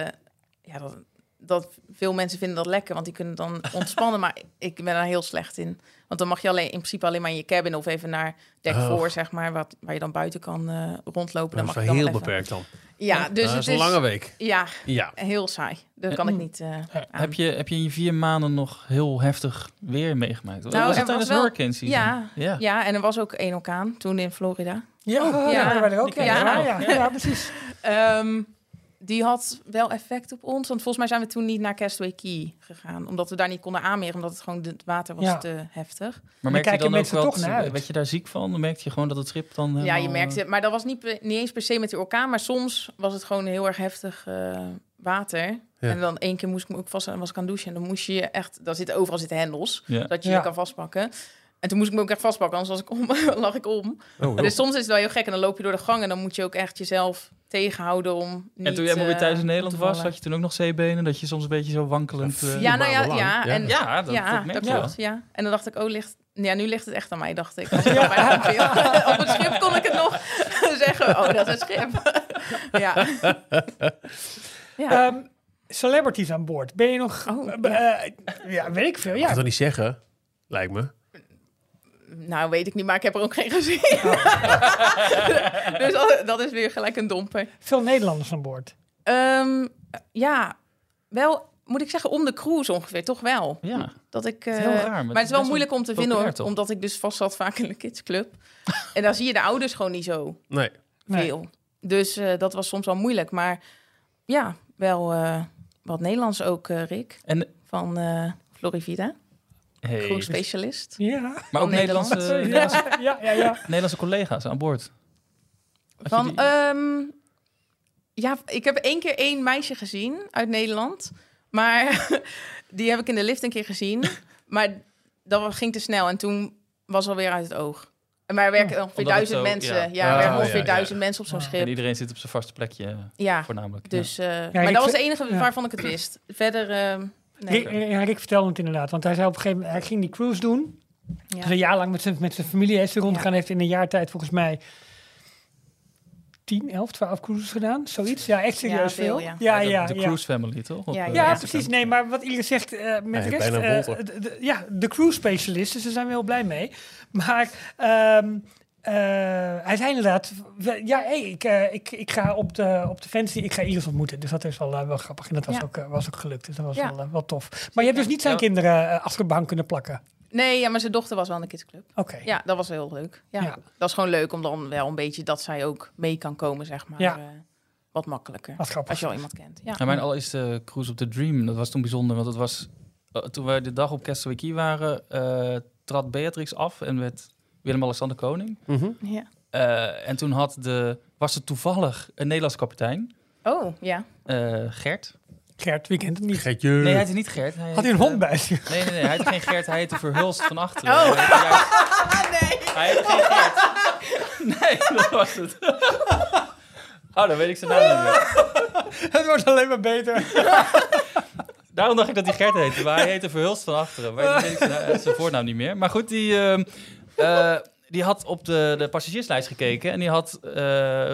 ja, dat, dat veel mensen vinden dat lekker, want die kunnen dan ontspannen. maar ik ben daar heel slecht in. Want dan mag je alleen in principe alleen maar in je cabin of even naar dek
Oh.
voor, zeg maar, wat, waar je dan buiten kan eh, rondlopen. Dan
Dat is
mag
wel
je dan
heel
even-
beperkt dan.
Ja, dus
dat
het Oh,
is een lange week.
ja,
Ja.
heel saai. Dat kan ik niet. eh, aan.
Heb, je, heb je in je vier maanden nog heel heftig weer meegemaakt?
Nou,
was
er
het tijdens
was wel-
hurricane season?
Ja, ja.
Ja.
en er was ook één orkaan toen in Florida.
Ja, ja,
Oh, ja.
daar ben ik ook.
Die
Ja,
ken
ja,
ik
ja,
ook.
ja, precies.
Ehm, die had wel effect op ons, want volgens mij zijn we toen niet naar Castaway Key gegaan, omdat we daar niet konden aanmeren, omdat het gewoon het water was
Ja.
te heftig.
Maar
Dan
merk je
kijken
dan ook
mensen
wel,
toch
dat-
naar uit.
werd je daar ziek van? Dan merk je gewoon dat het schip dan
Ja, je
helemaal,
merkt
eh,
het. Maar dat was niet, pe- niet eens per se met die orkaan. Maar soms was het gewoon heel erg heftig eh, water.
Ja.
En dan één keer moest ik me ook vast was ik aan het douchen. En dan moest je je echt... Daar zitten overal zitten hendels.
Ja.
Dat je
Ja.
je kan vastpakken. En toen moest ik me ook echt vastpakken. Anders was ik om, lag ik om.
Oh, joh.
Dus soms is het wel heel gek. En dan loop je door de gang. En dan moet je ook echt jezelf tegenhouden om niet...
En toen jij maar weer
eh,
thuis in
om
Nederland
te
was,
vallen.
had je toen ook nog zeebenen? Dat je soms een beetje zo wankelend... eh,
Ja, nou ja,
maanden lang.
ja.
Ja.
En, ja,
ja, dat, dat merk
dat
je wel.
klopt. Ja. En dan dacht ik, oh, ligt... Ja, nu ligt het echt aan mij, dacht ik. Als ik al bijna viel. Op het schip kon ik het nog zeggen. Oh, dat is het schip. ja. ja.
Ehm, celebrities aan boord. Ben je nog...
Oh,
eh, eh, ja, weet ik veel.
Ik
Ja,
kan dat niet zeggen, lijkt me.
Nou, weet ik niet, maar ik heb er ook geen gezien. dus dat- dat is weer gelijk een domper.
veel Nederlanders aan boord.
Ehm, ja, wel, moet ik zeggen, om de cruise ongeveer, toch wel.
Ja.
Dat ik, eh,
is heel raar, maar
maar,
het
het
is
is wel
best
moeilijk om te vinden,
populair,
hoor,
toch?
omdat ik dus vast zat vaak in de kidsclub. en daar zie je de ouders gewoon niet zo
Nee.
Nee.
veel. Dus eh, dat was soms wel moeilijk. Maar ja, wel eh, wat Nederlands ook, eh, Rick,
En,
van eh Florivida,
hey,
cruise specialist.
Ja.
maar ook
van Nederland.
Nederlandse,
Ja,
Nederlandse,
ja, ja. ja.
Nederlandse collega's aan boord. Had je
Van,
die-
ehm, ja, ik heb één keer één meisje gezien uit Nederland. Maar die heb ik in de lift een keer gezien. Maar dat ging te snel en toen was alweer uit het oog. Maar er werken ongeveer
Omdat het
duizend
zo-
mensen.
ja. Ah,
Ja, er
Ah,
werken
ja,
ongeveer
ja.
duizend mensen op zo'n
Ja.
En
schip.
iedereen zit op zijn vaste plekje, eh,
Ja,
voornamelijk. ja.
dus... eh,
ik
maar dat was
vind-
de enige
ja.
waarvan ik het wist. Verder... ehm, nee.
Rick, eh, ja, Rick vertelde het inderdaad. Want hij zei op een gegeven moment... Hij ging die cruise doen.
Ja.
Dus een jaar lang met zijn, met zijn familie heeft hij rondgegaan. Heeft in een jaar tijd volgens mij 10, 11, 12 cruises gedaan. Zoiets. Ja, echt
Ja,
serieus
veel,
veel.
ja.
ja,
de,
ja.
de
ja.
cruise family, toch? Op,
Ja,
eh,
ja.
Ja,
Instagram.
precies. Nee, maar wat iedereen zegt eh, met
Hij heeft
de rest...
bijna een
eh,
Volter.
de- de- ja, de cruise specialist. Dus daar zijn we heel blij mee. Maar ehm, eh, hij zei inderdaad... we- Ja, hey, ik, eh, ik, ik ga op de, op de fancy... Ik ga Iris ontmoeten. Dus dat is wel, eh, wel grappig. En dat was,
Ja.
ook, eh, was ook gelukt. Dus dat was
Ja.
wel, eh, wel tof. Maar je hebt dus niet zijn
Ja.
kinderen eh, achter de bank kunnen plakken.
nee, ja, maar zijn dochter was wel in de kidsclub.
Oké.
Ja, dat was heel leuk. Ja.
Ja.
Dat is gewoon leuk om dan wel een beetje dat zij ook mee kan komen, zeg maar.
Ja.
eh, wat makkelijker.
Wat grappig.
Als je al iemand kent. Ja.
Ja, mijn allereerste cruise op de Dream, dat was toen bijzonder. Want dat was, eh, toen wij de dag op Castaway Key waren, eh, trad Beatrix af en werd Willem-Alexander koning.
Ja.
Eh, en toen had de, was er toevallig een Nederlands kapitein.
Oh, ja.
Eh, Gert.
Gert, wie kent het niet?
Geetje.
Nee, hij heette niet Gert. Hij
Had hij een
heette-
hond bij zich?
Nee, nee, nee. Hij heette geen Gert. Hij heette Verhulst van Achteren.
Oh.
Hij heette juist-
Ah, nee.
Hij heeft geen geld. Nee, dat was het. Oh, dan weet ik zijn naam niet meer.
Het wordt alleen maar beter.
Daarom dacht ik dat hij Gert heette, maar hij heette Verhulst van Achteren. Maar dan weet ik zijn, eh, zijn voornaam niet meer. Maar goed, die, ehm, eh, die had op de, de passagierslijst gekeken... en die had eh,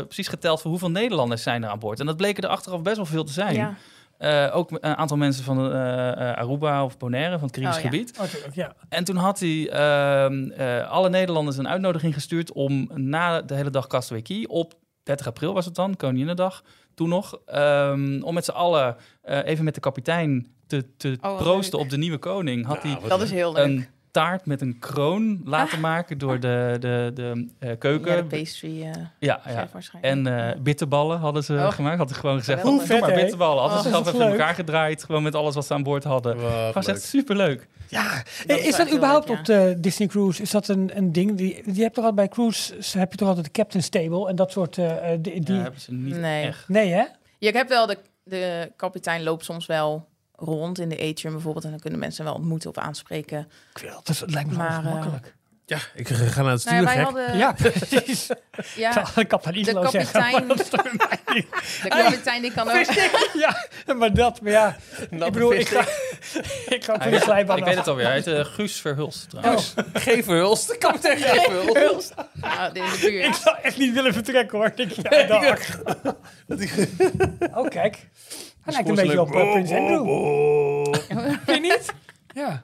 precies geteld voor hoeveel Nederlanders zijn er aan boord. En dat bleken er achteraf best wel veel te zijn.
Ja.
Eh, ook een aantal mensen van eh, eh, Aruba of Bonaire, van het Caribisch
Oh, ja.
gebied.
Oh, tuurlijk, ja.
En toen had hij ehm, eh, alle Nederlanders een uitnodiging gestuurd om na de hele dag Castaway Key, op 30 april was het dan, Koninginnedag, toen nog, ehm, om met z'n allen eh, even met de kapitein te, te
Oh, wat
proosten
leuk.
op de nieuwe koning. Had hij
Dat is heel leuk.
een taart met een kroon laten maken door de, de, de eh,
Ah. ja, de
keuken.
pastry eh
Ja, Ah, ja.
chef waarschijnlijk.
En eh, bitterballen hadden ze
Oh.
gemaakt. Had hij gewoon gezegd,
Hoe
doe
vet,
maar
hè?
bitterballen. Hadden
Oh,
ze
is
zelf
dat
even in
leuk.
elkaar gedraaid. Gewoon met alles wat ze aan boord hadden. Het was echt superleuk.
Dat
is
is
dat
wel
überhaupt
leuk,
op de Disney Cruise? Is dat een, een ding? Die, die hebt toch altijd bij cruise heb je toch altijd de Captain's Table en dat soort. eh, eh, die, die-
Ja, hebben ze niet
Nee.
echt.
Nee, hè?
Je hebt wel de, de kapitein loopt soms wel rond in de atrium bijvoorbeeld en dan kunnen mensen wel ontmoeten of aanspreken.
Ik wil, dat is- het lijkt me
Maar,
maar,
eh,
makkelijk.
Ja, ik ga naar het stuur,
Nou ja,
gek.
wij hadden
ja, precies. Ik
ja,
zou ik kapitein
de
Islo zeggen.
kapitein, de kapitein die kan ook.
Ja, maar dat, maar ja.
Nou,
ik bedoel, ik ga, ik ga voor de glijbaan.
Ik
af. Oh,
weet het alweer. Hij heet eh, Guus Verhulst trouwens.
Geen verhulst. Ik kan tegen geen verhulst.
Nou, in de
Ik
buurt.
zou echt niet willen vertrekken hoor. Ik denk, ja, dag. Oh, kijk. Hij lijkt een beetje op eh, Prins Andrew. Vind je niet? Ja.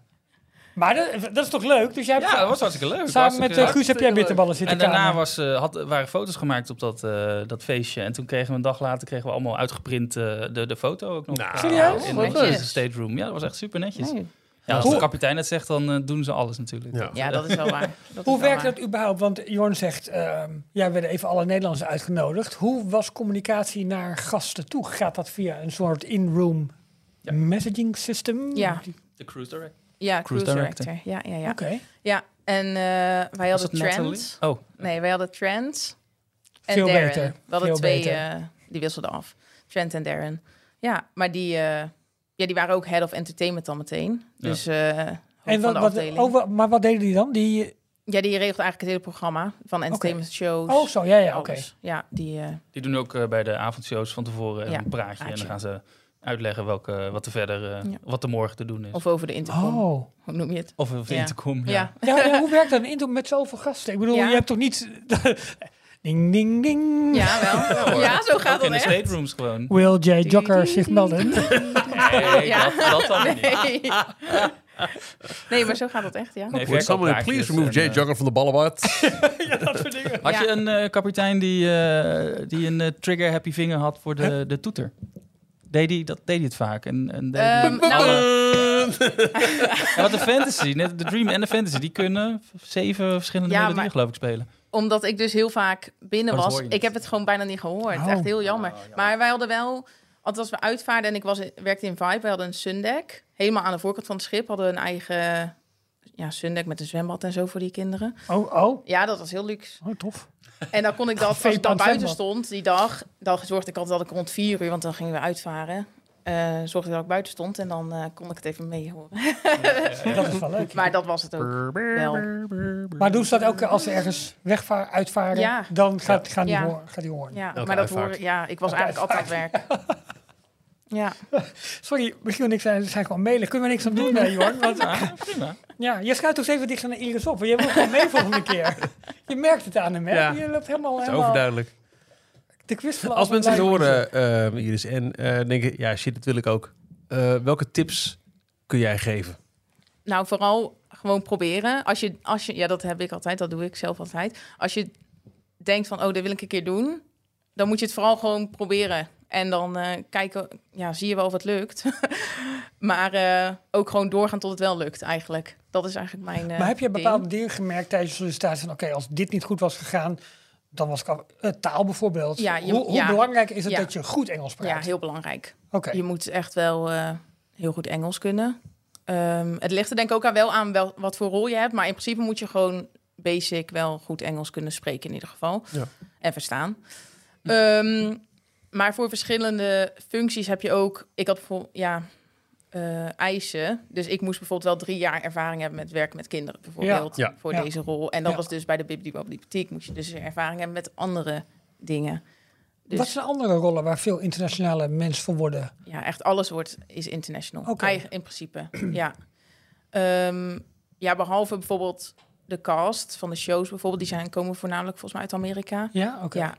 Maar dat, dat is toch leuk? Dus jij hebt
Ja, dat was hartstikke leuk.
samen
Hartstikke
met eh,
leuk.
Guus heb jij bitterballen zitten
En daarna
kamen.
was, eh, had, waren foto's gemaakt op dat, eh, dat feestje. En toen kregen we een dag later kregen we allemaal uitgeprint eh, de, de foto ook nog. eh,
Nou,
Serieus?
In
Wat
de
leuk.
de state room. Ja, dat was echt super netjes.
Nee.
Ja, als de
Hoe-
kapitein het zegt, dan eh, doen ze alles natuurlijk.
Ja.
Ja, dat is wel waar. Dat
Hoe
is wel
werkt
eh,
waar.
dat überhaupt? Want Jorn zegt, ehm ja, werden even alle Nederlanders uitgenodigd. Hoe was communicatie naar gasten toe? Gaat dat via een soort in-room
Ja.
messaging system?
Ja.
Die-
De cruise direct.
Ja,
Cruise
cruise
director.
director. Ja, ja, ja.
Oké.
ja. En eh, wij hadden Trent.
Oh,
Nee, wij hadden Trent en
Veel
Darren.
beter,
We hadden
veel
twee,
beter.
eh, die wisselden af. Trent en Darren. Ja, maar die, eh, ja, die waren ook head of entertainment dan meteen.
Ja.
Dus eh, hoofd
En
van
wat,
de
wat,
afdeling.
oh, wa- maar wat deden die dan? Die,
Ja, die regelt eigenlijk het hele programma van entertainment shows.
oh, zo, ja, ja, oké.
alles. Ja, die... eh,
die doen ook eh, bij de avondshows van tevoren eh,
Ja,
een praatje. En
praatje.
dan gaan ze uitleggen welke, wat er verder, eh,
Ja.
wat er morgen te doen is. Of,
of over de intercom.
Oh.
Hoe noem je het?
of in
Ja.
te komen.
Ja.
Ja, ja, hoe werkt dat in- met zoveel gasten? Ik bedoel,
Ja.
je hebt toch niet... ding, ding, ding.
Ja, wel. Ja, zo gaat
Ook in
dat
de
echt.
state rooms gewoon.
Wil J. Jocker zich melden?
Nee,
Ja.
dat, dat dan weer niet.
Nee. nee, maar zo gaat dat echt, ja.
Nee,
Would someone please
verkooppraatjes
remove
en,
Jay
eh,
Jugger from the ballenbad?
Had
Ja.
je een eh, kapitein die, eh, die een eh, trigger happy vinger had voor de, de toeter? Deed die, dat deed hij het vaak. En, en deed die
Ehm, nou-
Ja, want de fantasy, net de Dream en de fantasy, die kunnen v- zeven verschillende
Ja,
melodieën
maar-
geloof ik spelen.
Omdat ik dus heel vaak binnen
Maar dat
was.
hoor je niet.
Ik heb het gewoon bijna niet gehoord.
Oh.
Echt heel jammer. Maar wij hadden wel... Althans, we uitvaarden en ik was, werkte in Vibe. We hadden een sundeck. Helemaal aan de voorkant van het schip hadden we een eigen... Ja, sundeck met een zwembad en zo voor die kinderen.
Oh, oh.
Ja, dat was heel luxe.
Oh, tof.
En dan kon ik dat, als
Veep
ik
aan
dan
het
buiten
zwembad.
stond die dag, dan zorgde ik altijd dat ik rond vier uur, want dan gingen we uitvaren, eh, zorgde ik dat ik buiten stond en dan eh, kon ik het even meehoren.
Dat is wel leuk.
Maar dat was het ook wel.
Maar doen ze dat ook als ze ergens wegvaar, uitvaren?
Ja.
Dan gaat, gaan die
Ja.
hoor- gaat die horen.
Ja,
Elke
maar dat
uitvaart.
hoor, ja, ik was
Elke
eigenlijk altijd aan het werk. Ja,
Sorry, misschien wil niks zijn, ze zijn gewoon mailen. Kunnen we niks aan doen, nee, Jorn? Want,
Ja, prima.
ja, je schuift toch eens even dicht aan de Iris op. want Je wil gewoon mee volgende keer. Je merkt het aan hem, hè?
Ja.
Je loopt helemaal, helemaal
Overduidelijk.
de quiz
Als mensen het horen, ehm, Iris, en eh, denken, ja shit, dat wil ik ook. Eh, welke tips kun jij geven?
nou vooral gewoon proberen. Als je, als je, ja, dat heb ik altijd, dat doe ik zelf altijd. Als je denkt van, oh, dat wil ik een keer doen, dan moet je het vooral gewoon proberen. En dan eh, kijken, ja, zie je wel of het lukt. maar eh, ook gewoon doorgaan tot het wel lukt, eigenlijk. Dat is eigenlijk mijn. eh,
Maar heb je
ding.
bepaalde dingen gemerkt tijdens je sollicitatie? Van oké, als dit niet goed was gegaan, dan was ik af- eh, taal bijvoorbeeld.
Ja, je-
hoe hoe
ja.
belangrijk is het
Ja.
dat je goed Engels praat?
Ja, heel belangrijk.
Oké.
Je moet echt wel eh, heel goed Engels kunnen. Ehm, het ligt er denk ik ook aan wel aan wel, wat voor rol je hebt. Maar in principe moet je gewoon basic wel goed Engels kunnen spreken in ieder geval.
Ja.
En verstaan. Ehm, Maar voor verschillende functies heb je ook... Ik had bijvoorbeeld, ja, eh, eisen. Dus ik moest bijvoorbeeld wel drie jaar ervaring hebben met werken met kinderen. Bijvoorbeeld,
Ja. Ja.
voor
Ja.
deze rol. En dat
Ja.
was dus bij de bibliotheek. Moest je dus ervaring hebben met andere dingen. Dus
Wat zijn andere rollen waar veel internationale mensen voor worden?
ja, echt alles wordt, is international.
Oké.
Eigen- in principe, ja. Ehm, ja, behalve bijvoorbeeld de cast van de shows bijvoorbeeld. Die zijn, komen voornamelijk volgens mij uit Amerika.
Ja, oké.
Ja.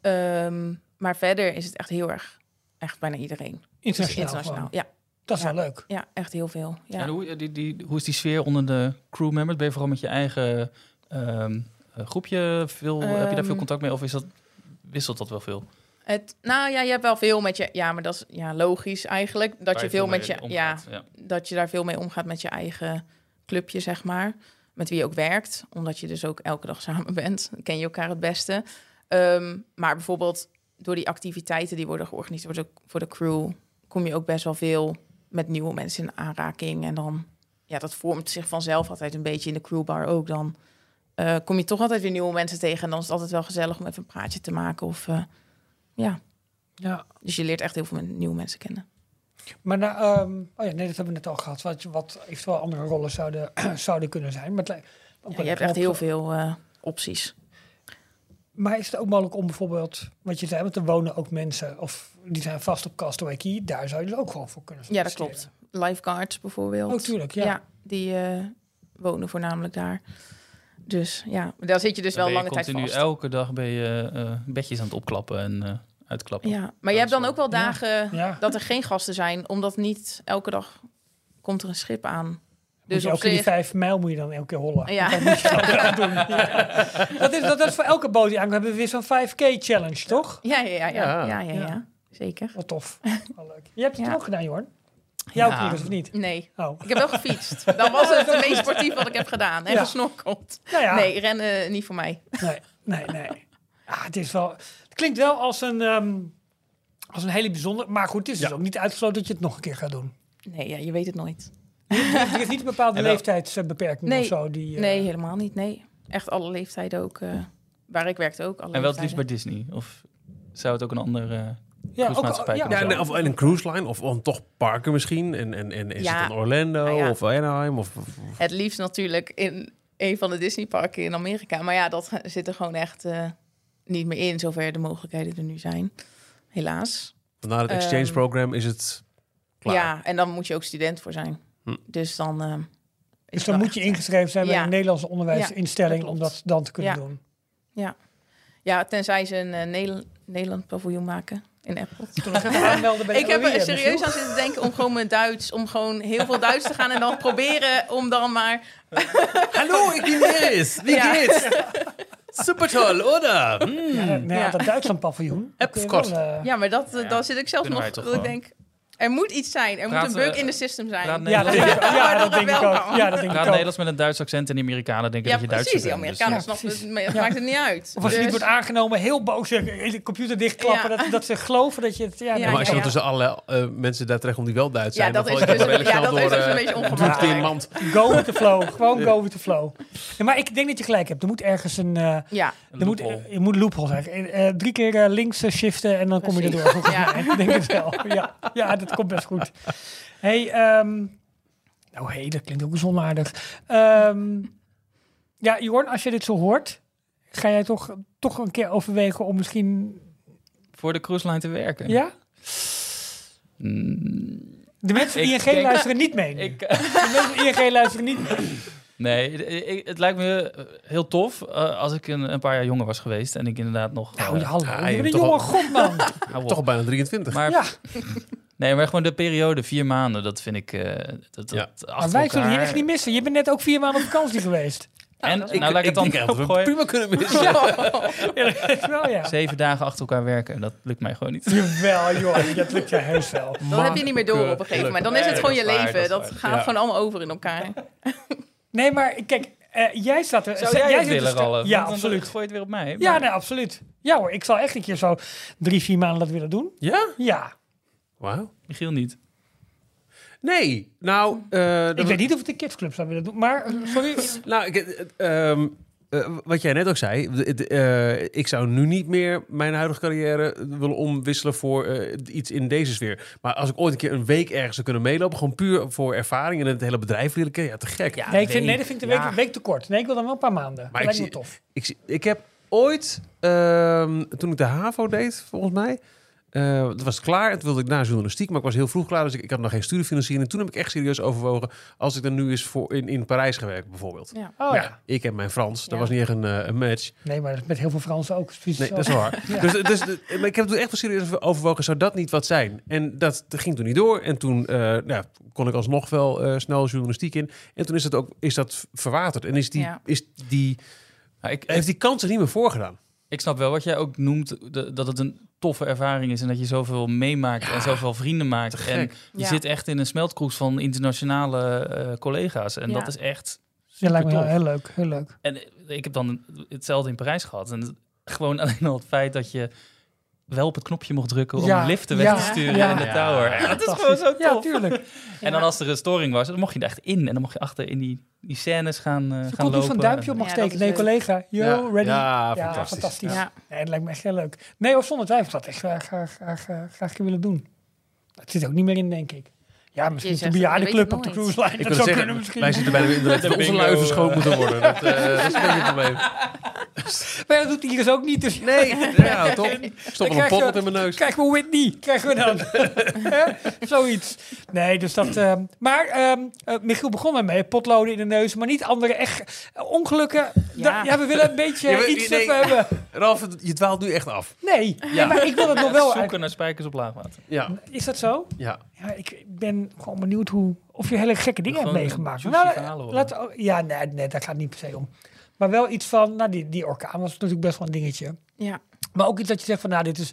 Ehm, maar verder is het echt heel erg, echt bijna iedereen. Dus
Internationaal. gewoon.
Ja,
Dat is wel leuk.
ja, echt heel veel. Ja.
En hoe, eh, die, die, hoe is die sfeer onder de crewmembers? Ben je vooral met je eigen ehm, eh, groepje veel, heb je daar veel
Ehm.
contact mee? Of is dat, wisselt dat wel veel?
Het, nou ja, je hebt wel veel met je... Ja, maar dat is ja, logisch eigenlijk. Dat
Waar
je veel
mee
met je... Ja,
omgaat, ja.
dat je daar veel mee omgaat met je eigen clubje, zeg maar. Met wie je ook werkt, omdat je dus ook elke dag samen bent. Dan ken je elkaar het beste. Ehm, maar bijvoorbeeld door die activiteiten die worden georganiseerd voor de, voor de crew... kom je ook best wel veel met nieuwe mensen in aanraking. En dan, ja, dat vormt zich vanzelf altijd een beetje in de crewbar ook dan. eh, kom je toch altijd weer nieuwe mensen tegen. En dan is het altijd wel gezellig om even een praatje te maken. Of, eh, ja.
Ja.
Dus je leert echt heel veel nieuwe mensen kennen.
Maar nou, ehm, oh ja, nee, dat hebben we net al gehad. Wat, wat eventueel andere rollen zouden, zouden kunnen zijn. Maar het lijkt- ook
Ja,
wel
je
leuk
hebt
om
echt
op-
heel veel eh, opties.
Maar is het ook mogelijk om bijvoorbeeld, wat je zei, want er wonen ook mensen, of die zijn vast op Castaway Key, daar zou je dus ook gewoon voor kunnen
Ja, dat
solliciteren.
klopt. Lifeguards bijvoorbeeld.
Oh, tuurlijk, ja.
die eh, wonen voornamelijk daar. Dus ja, daar zit je dus
Dan
wel
ben
lange
je
tijd
continu
vast.
elke dag ben je eh, bedjes aan het opklappen en eh, uitklappen.
Ja, maar je hebt dan ook wel
Ja.
dagen
Ja.
dat er geen gasten zijn, omdat niet elke dag komt er een schip aan.
Dus
Dus op
elke keer die
zich,
vijf mijl moet je dan elke keer hollen.
Ja.
Dat, moet je elke dag doen. Ja. dat, is, dat is voor elke boot die aankomt. Hebben we weer zo'n 5K challenge, toch?
ja, ja, ja, ja, ja, ja,
Ja.
ja. zeker.
Wat tof. Wel leuk. Je hebt het
Ja.
ook gedaan, Jorn. Jouw
Ja.
ja. dus of niet?
Nee,
Oh.
ik heb wel gefietst. Dat was het meest sportief wat ik heb gedaan. En
Ja.
gesnorkeld.
Nou ja.
Nee, rennen eh, niet voor mij.
Nee, nee, nee. Ah, het, is wel, het klinkt wel als een, ehm, als een hele bijzondere... Maar goed, het is dus
Ja.
ook niet uitgesloten dat je het nog een keer gaat doen.
Nee, ja, je weet het nooit.
Er is niet een bepaalde
En wel-
leeftijdsbeperking
Nee,
of zo. Die, eh,
Nee, helemaal niet. Nee, echt alle leeftijden ook. eh, waar ik werkte ook. Alle
En wel het liefst
leeftijden.
bij Disney? Of zou het ook een ander... eh,
ja, ook,
cruisemaatschappij
ja,
kan
Ja,
Zo.
nee, of en een cruise line, of, of toch parken misschien. En, en, en is
Ja.
het dan Orlando
Nou ja.
of Anaheim? Of, of- of-
Het liefst natuurlijk in een van de Disneyparken in Amerika. Maar ja, dat zit er gewoon echt eh, niet meer in, zover de mogelijkheden er nu zijn. Helaas.
na het exchange
Ehm,
program is het klaar.
Ja, en dan moet je ook student voor zijn.
Hm.
Dus dan. eh, is
Dus
het
dan
wel
moet je
echt- eh,
ingeschreven zijn bij
Ja.
een Nederlandse onderwijsinstelling...
Ja, dat
om
klopt.
dat dan te kunnen
Ja.
doen.
Ja, tenzij ze een eh, Nederland, Nederland paviljoen maken in Apple.
Toen ik even aanmelden bij de
Ik heb
OI
er
hebben ze,
serieus
joh.
aan zitten denken om gewoon mijn Duits, om gewoon heel veel Duits te gaan en dan proberen om dan maar.
Hallo, ik ben Iris. Wie
Ja.
geht's? Super toll, oder? Hm.
Ja, nou ja,
Hmm. Ja.
dat Duitsland paviljoen.
App
kun je
kort.
wel, eh,
Ja, maar dat, eh,
Ja,
dan zit ik zelf
kunnen
nog.
wij toch
Dat ik
gewoon.
denk, er moet iets zijn. Er
Praat,
moet een bug
eh,
in de system zijn.
praat
ja, dat denk ik, ja, dat denk ik ook. Ja, dat
Praat
denk ik ook.
Nederlands met een Duits accent en die Amerikanen denken
Ja,
dat je Duits
precies. Die
bent. Dus,
Amerikanen
ja,
snappen
precies.
het, maar het
Ja.
maakt het niet uit.
Of als je
Dus-
niet wordt aangenomen, heel boos, je hele computer dichtklappen.
Ja.
Dat, dat ze geloven dat je het... Ja,
Ja,
maar als je
ja,
dan tussen alle eh, mensen daar terecht om die wel Duits
Ja,
zijn,
dat
dan
is
val je
dus
toch wel
een-
redelijk
ja,
snel
dat is
door,
dus een
eh,
beetje
doet
ongemakkelijk.
die in mand.
Go with the flow. Gewoon go with the flow. Ja, maar ik denk dat je gelijk hebt. Er moet ergens een... eh,
Ja,
er moet,
loophole.
eh, je moet loophole zeggen. Eh, eh, drie keer eh, links eh, shiften en dan kom je
Precies.
erdoor. volgens
Ja.
mij. Ik denk het wel. Ja, ja, dat komt best goed. hey, ehm, nou hey, dat klinkt ook zonnaardig. Ehm ja, Jorn, als je dit zo hoort, ga jij toch, toch een keer overwegen om misschien...
eh, voor de cruise line te werken.
Ja?
Mm,
De mensen van
Ik
ING
denk-
luisteren niet mee. nu.
eh,
ik,
De mensen van ING luisteren niet mee.
nee, eh, ik- het lijkt me eh, heel tof eh, als ik een, een paar jaar jonger was geweest en ik inderdaad nog...
Nou,
eh,
ja, hallo.
ja,
je
je
bent een
hebt toch
jonge
wel-
god, man.
hou op.
Toch al bijna 23.
Maar,
Ja.
Nee, maar gewoon de periode, vier maanden, dat vind ik... eh, dat, dat,
Ja.
achter
Maar wij zullen je
elkaar.
echt niet missen. Je bent net ook vier maanden op vakantie geweest.
En,
dat
nou,
is-
laat ik het dan
denk eigenlijk dat we
opgooien.
prima kunnen missen.
Ja, dat is wel, ja.
Zeven dagen achter elkaar werken, dat lukt mij gewoon niet.
Jawel, joh. Dat lukt je heus wel.
dan heb je niet meer door op een gegeven moment. Dan is het
Nee,
gewoon je
dat is waar,
leven.
dat is
Dat
waar.
gaat
Ja.
gewoon allemaal over in elkaar.
Nee, maar kijk, eh, jij staat er.
Zou jij, het
zit er
willen
sta-
rollen?
Ja,
Want dan
absoluut.
Gooi je het weer op mij.
Ja,
Maar-
nee, absoluut. Ja hoor, ik zal echt een keer zo drie, vier maanden dat willen doen.
Ja?
Ja.
Wauw.
Michiel niet.
Nee, nou... eh, dat
Ik
we-
weet niet of ik de kidsclub zou willen doen, maar eh, sorry.
Nou, ik, eh, ehm, eh, wat jij net ook zei, d- d- eh, ik zou nu niet meer mijn huidige carrière willen omwisselen voor eh, iets in deze sfeer. Maar als ik ooit een keer een week ergens zou kunnen meelopen, gewoon puur voor ervaring en het hele bedrijf leren kennen, ja, te gek.
Ja,
Nee, ik vind,
week.
nee, dat vind ik de week,
Ja.
week te kort. Nee, ik wil dan wel een paar maanden.
Maar
Maar
ik
dat lijkt me
zie-
tof.
Ik, zie- ik heb ooit, ehm, toen ik de HAVO deed, volgens mij, eh, dat was klaar. Het wilde ik na journalistiek, maar ik was heel vroeg klaar. Dus ik, ik had nog geen studiefinanciering. Toen heb ik echt serieus overwogen, als ik dan nu eens voor in, in Parijs gewerkt bijvoorbeeld.
Ja.
Oh ja.
Maar ja, ik en mijn Frans, dat
Ja.
was niet echt een, eh, een match.
Nee, maar dat is met heel veel Fransen ook. Precies
Nee,
zo.
dat is wel waar.
Ja.
Dus, dus, maar ik heb toen echt wel serieus overwogen, zou dat niet wat zijn? En dat ging toen niet door. En toen eh, nou, kon ik alsnog wel eh, snel journalistiek in. En toen is dat ook is dat verwaterd. En is die,
Ja.
is die,
Ja, ik,
heeft die kans er niet meer voor gedaan.
ik snap wel wat jij ook noemt, de- dat het een toffe ervaring is en dat je zoveel meemaakt en zoveel vrienden maakt. En
gek.
je
Ja.
zit echt in een smeltkroes van internationale eh, collega's en
Ja.
dat is echt
Ja, lijkt me
supertof.
heel, heel leuk. Heel leuk.
En eh, ik heb dan hetzelfde in Parijs gehad. En het- gewoon alleen al het feit dat je wel op het knopje mocht drukken om
Ja,
de liften weg te
ja,
sturen
ja.
in de tower. Ja, dat is gewoon zo tof.
Ja, tuurlijk.
En dan als er een storing was, dan mocht je er echt in. En dan mocht je achter in die, die scènes gaan, eh
Ze
gaan
komt niet
lopen.
zo'n duimpje op mag
Ja, dat
steken.
is
Nee,
leuk.
collega. Yo,
ja.
ready.
Ja,
Ja,
Ah, fantastisch.
fantastisch.
Ja.
Nee, dat lijkt me echt heel leuk. Nee, hoor, zonder twijfel. Dat had ik graag, eh, graag, graag, graag, graag willen doen. Dat zit er ook niet meer in, denk ik. Ja, misschien
Je
is de
zegt het, je weet
bejaardenclub
het
op de
nooit.
cruise line.
Ik wil
Dat zou
zeggen,
kunnen misschien.
wij zitten bijna weer in de dat onze
bingo,
luiven
eh.
schoon moeten worden. Dat, eh, dat is een beetje het probleem.
Maar ja, dat doet Iris ook niet. Dus
Nee, ja, toch? Ik Stop
Dan
wel een
krijg je-
potlood in mijn neus.
Krijgen we Whitney? Krijgen we dan? Hè? Zoiets. Nee, dus dat. ehm, maar ehm, eh, Michiel begon ermee. Potloden in de neus, maar niet andere echt eh, ongelukken.
Ja.
Da- ja, we willen een beetje
Ja, maar-
iets
nee.
even hebben.
Ralf, je dwaalt nu echt af.
Nee, nee, maar ik wil het nog wel.
Zoeken naar spijkers op laagwater.
Ja,
Is dat zo?
ja.
Ja, ik ben gewoon benieuwd hoe, of je hele gekke dingen hebt
Gewoon
meegemaakt.
juicy
Nou,
verhalen horen.
laten we- ja, nee, nee, daar gaat het niet per se om. Maar wel iets van, nou, die, die orkaan was natuurlijk best wel een dingetje.
Ja.
Maar ook iets dat je zegt van, nou, dit is...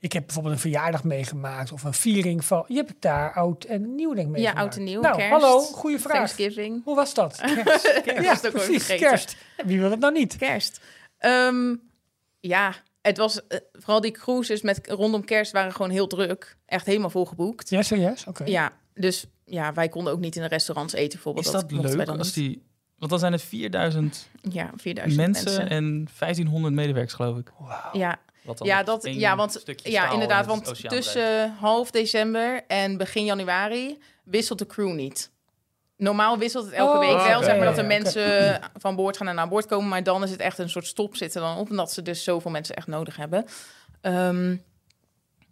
Ik heb bijvoorbeeld een verjaardag meegemaakt of een viering van... Je hebt het daar oud en nieuw denk ik
ja,
meegemaakt.
oud en nieuw,
Nou,
kerst.
hallo, goede vraag.
Thanksgiving.
Hoe was dat?
Kerst
ja,
was het ook alweer
precies,
vergeten.
kerst. Wie wil dat nou niet?
Kerst. Ehm, ja, het was eh, vooral die cruises met rondom kerst waren gewoon heel druk. Echt helemaal volgeboekt.
Ja, serieus? Oké.
Ja, dus ja, wij konden ook niet in de restaurants eten bijvoorbeeld.
Is dat
mochten wij
leuk
dan
als
niet.
die... Want dan zijn het 4000
Ja, 4000
mensen,
mensen.
en 1500 medewerkers, geloof ik.
Ja,
Wat dan
ja,
met
dat,
één
ja, want
stukje
ja,
staal
inderdaad,
in het
want
oceaan
tussen half december en begin januari wisselt de crew niet. Normaal wisselt het elke
Oh,
week wel,
oké,
zeg maar dat
ja,
de
oké.
mensen van boord gaan en naar boord komen. Maar dan is het echt een soort stop zitten dan op, omdat ze dus zoveel mensen echt nodig hebben. Ehm,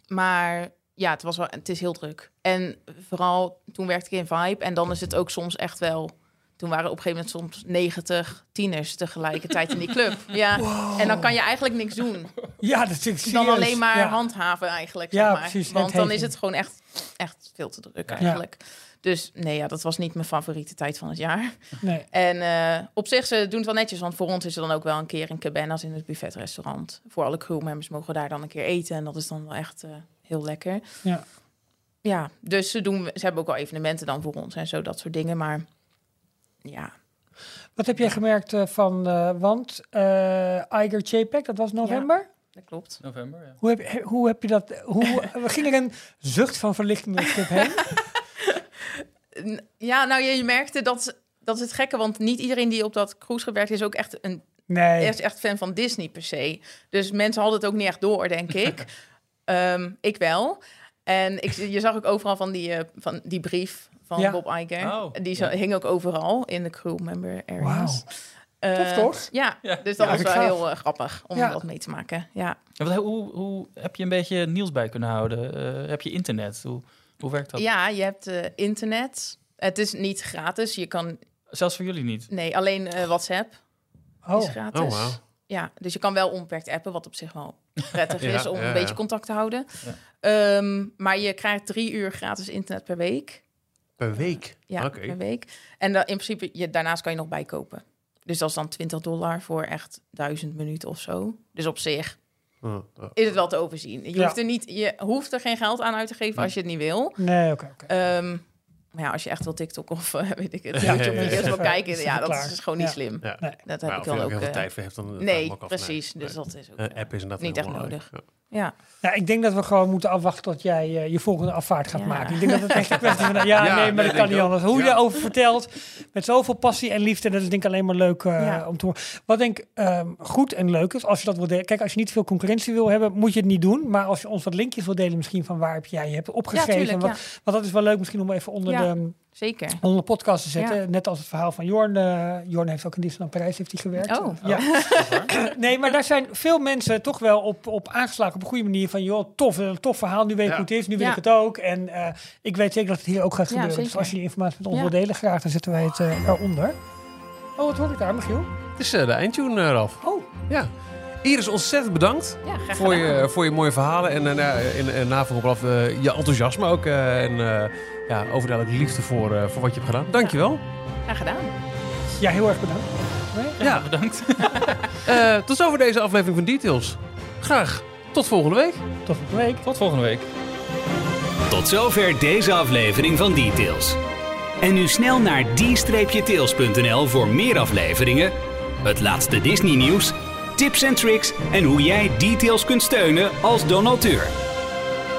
maar ja, het, was wel, het is heel druk. En vooral toen werkte ik in Vibe en dan is het ook soms echt wel... Toen waren op een gegeven moment soms 90 tieners tegelijkertijd in die club. Ja, en dan kan je eigenlijk niks doen
Ja, dat is serieus.
dan alleen maar
ja.
handhaven eigenlijk.
Ja,
zeg maar.
precies,
Want dan
wetgeving.
is het gewoon echt, echt veel te druk eigenlijk. Dus nee, ja, dat was niet mijn favoriete tijd van het jaar.
Nee.
En eh, op zich, ze doen het wel netjes. Want voor ons is er dan ook wel een keer een cabanas in het buffetrestaurant. Voor alle crewmembers mogen we daar dan een keer eten. En dat is dan wel echt eh, heel lekker.
Ja.
Ja, dus ze, doen, ze hebben ook wel evenementen dan voor ons en zo, dat soort dingen. Maar ja,
Wat heb jij gemerkt eh, van... eh, want eh Iger JPEG, dat was november?
dat klopt.
November, ja.
Hoe heb, he- hoe heb je dat... Hoe, ging er een zucht van verlichting door het schip heen?
N- Ja, nou, je je merkte dat... Dat is het gekke, want niet iedereen die op dat cruise gewerkt is ook echt een
Nee.
echt, echt fan van Disney per se. Dus mensen hadden het ook niet echt door, denk ik. Ehm, ik wel. En ik, je zag ook overal van die, eh, van die brief van
Ja.
Bob Iger.
Oh,
die zo,
ja.
hing ook overal in de crew member areas. Eh,
Tof, toch?
Ja,
Ja.
dus dat
Ja,
was
ik
wel
gaaf.
heel eh, grappig om
Ja.
dat mee te maken. Ja.
Ja, want hoe, hoe heb je een beetje nieuws bij kunnen houden? Eh, heb je internet? Hoe, hoe werkt dat?
ja, je hebt eh, internet. Het is niet gratis. Je kan...
Zelfs voor jullie niet.
Nee, alleen eh, WhatsApp is
Oh,
gratis.
Oh, wauw.
Ja, dus je kan wel onbeperkt appen, wat op zich wel prettig
Ja,
is om
ja, ja.
een beetje contact te houden.
Ja.
Ehm, maar je krijgt drie uur gratis internet per week.
Per week?
Ja,
Oké.
per week. En dan in principe, je, daarnaast kan je nog bijkopen. Dus dat is dan 20 dollar voor echt 1000 minuten of zo. Dus op zich
Oh, oh.
is het wel te overzien. Je,
Ja.
hoeft, er niet, je hoeft er geen geld aan uit te geven als je het niet wil.
nee, oké. oké.
Ehm, maar ja, als je echt wil TikTok of eh, weet ik het,
Ja,
YouTube
ja, ja.
video's wil
Even-
kijken, ja,
even
dat
klaar.
is gewoon niet
Ja.
slim.
Ja.
Dat heb
Maar
ik
of je
wel
er
ook.
heel veel
eh,
tijd voor hebt, dan... dan
nee,
ook af.
precies. Dus
nee.
dat is ook...
Een
eh,
app is inderdaad
niet
heel
echt
belangrijk. Ja.
Ja.
Nou, ik denk dat we gewoon moeten afwachten tot jij eh, je volgende afvaart gaat
Ja.
maken. Ik denk dat het echt een kwestie van... Ja,
Ja,
nee, maar
nee,
dat kan
denk
niet
ik
anders. Hoe je
Ja.
daarover vertelt, met zoveel passie en liefde, dat is denk ik alleen maar leuk eh,
Ja.
om te horen. Wat denk ik ehm, goed en leuk is, als je dat wil delen... Kijk, als je niet veel concurrentie wil hebben, moet je het niet doen. Maar als je ons wat linkjes wil delen misschien van waar heb jij je hebt opgeschreven.
ja, tuurlijk.
wat,
Ja,
Want dat is wel leuk misschien om even onder,
Ja.
de,
zeker.
onder de podcast te zetten. Net als het verhaal van Jorn. eh, Jorn heeft ook in Disneyland Parijs heeft hij gewerkt.
Oh.
Ja. nee, maar daar zijn veel mensen toch wel op, op aangeslagen op een goede manier. Van joh, tof, eh, tof verhaal. Nu weet ik
Ja.
hoe het is. Nu wil
Ja.
ik het ook. En eh, ik weet zeker dat het hier ook gaat
Ja,
gebeuren. Dus
zeker.
als je die informatie met ons
Ja.
wil delen, graag. Dan zetten wij het eh, eronder. Oh, wat hoor ik daar, Michiel?
Het is eh, de eindtune, eh, Ralf.
Oh.
Ja. Iris, ontzettend bedankt
Ja, graag
voor
gedaan.
je, eh, voor je mooie verhalen. En, eh, nou, in, in navolg op Ralf, eh, je enthousiasme ook. eh, en eh, ja, overduidelijk liefde voor, eh, voor wat je hebt gedaan. Dankjewel.
Graag gedaan.
Ja, heel erg bedankt.
Ja.
Bedankt.
Eh, tot zover deze aflevering van Details. Graag tot volgende week.
Tot volgende week.
Tot volgende week.
Tot zover deze aflevering van Details. En nu snel naar d-tails.nl voor meer afleveringen, het laatste Disney nieuws, tips en tricks en hoe jij Details kunt steunen als donateur.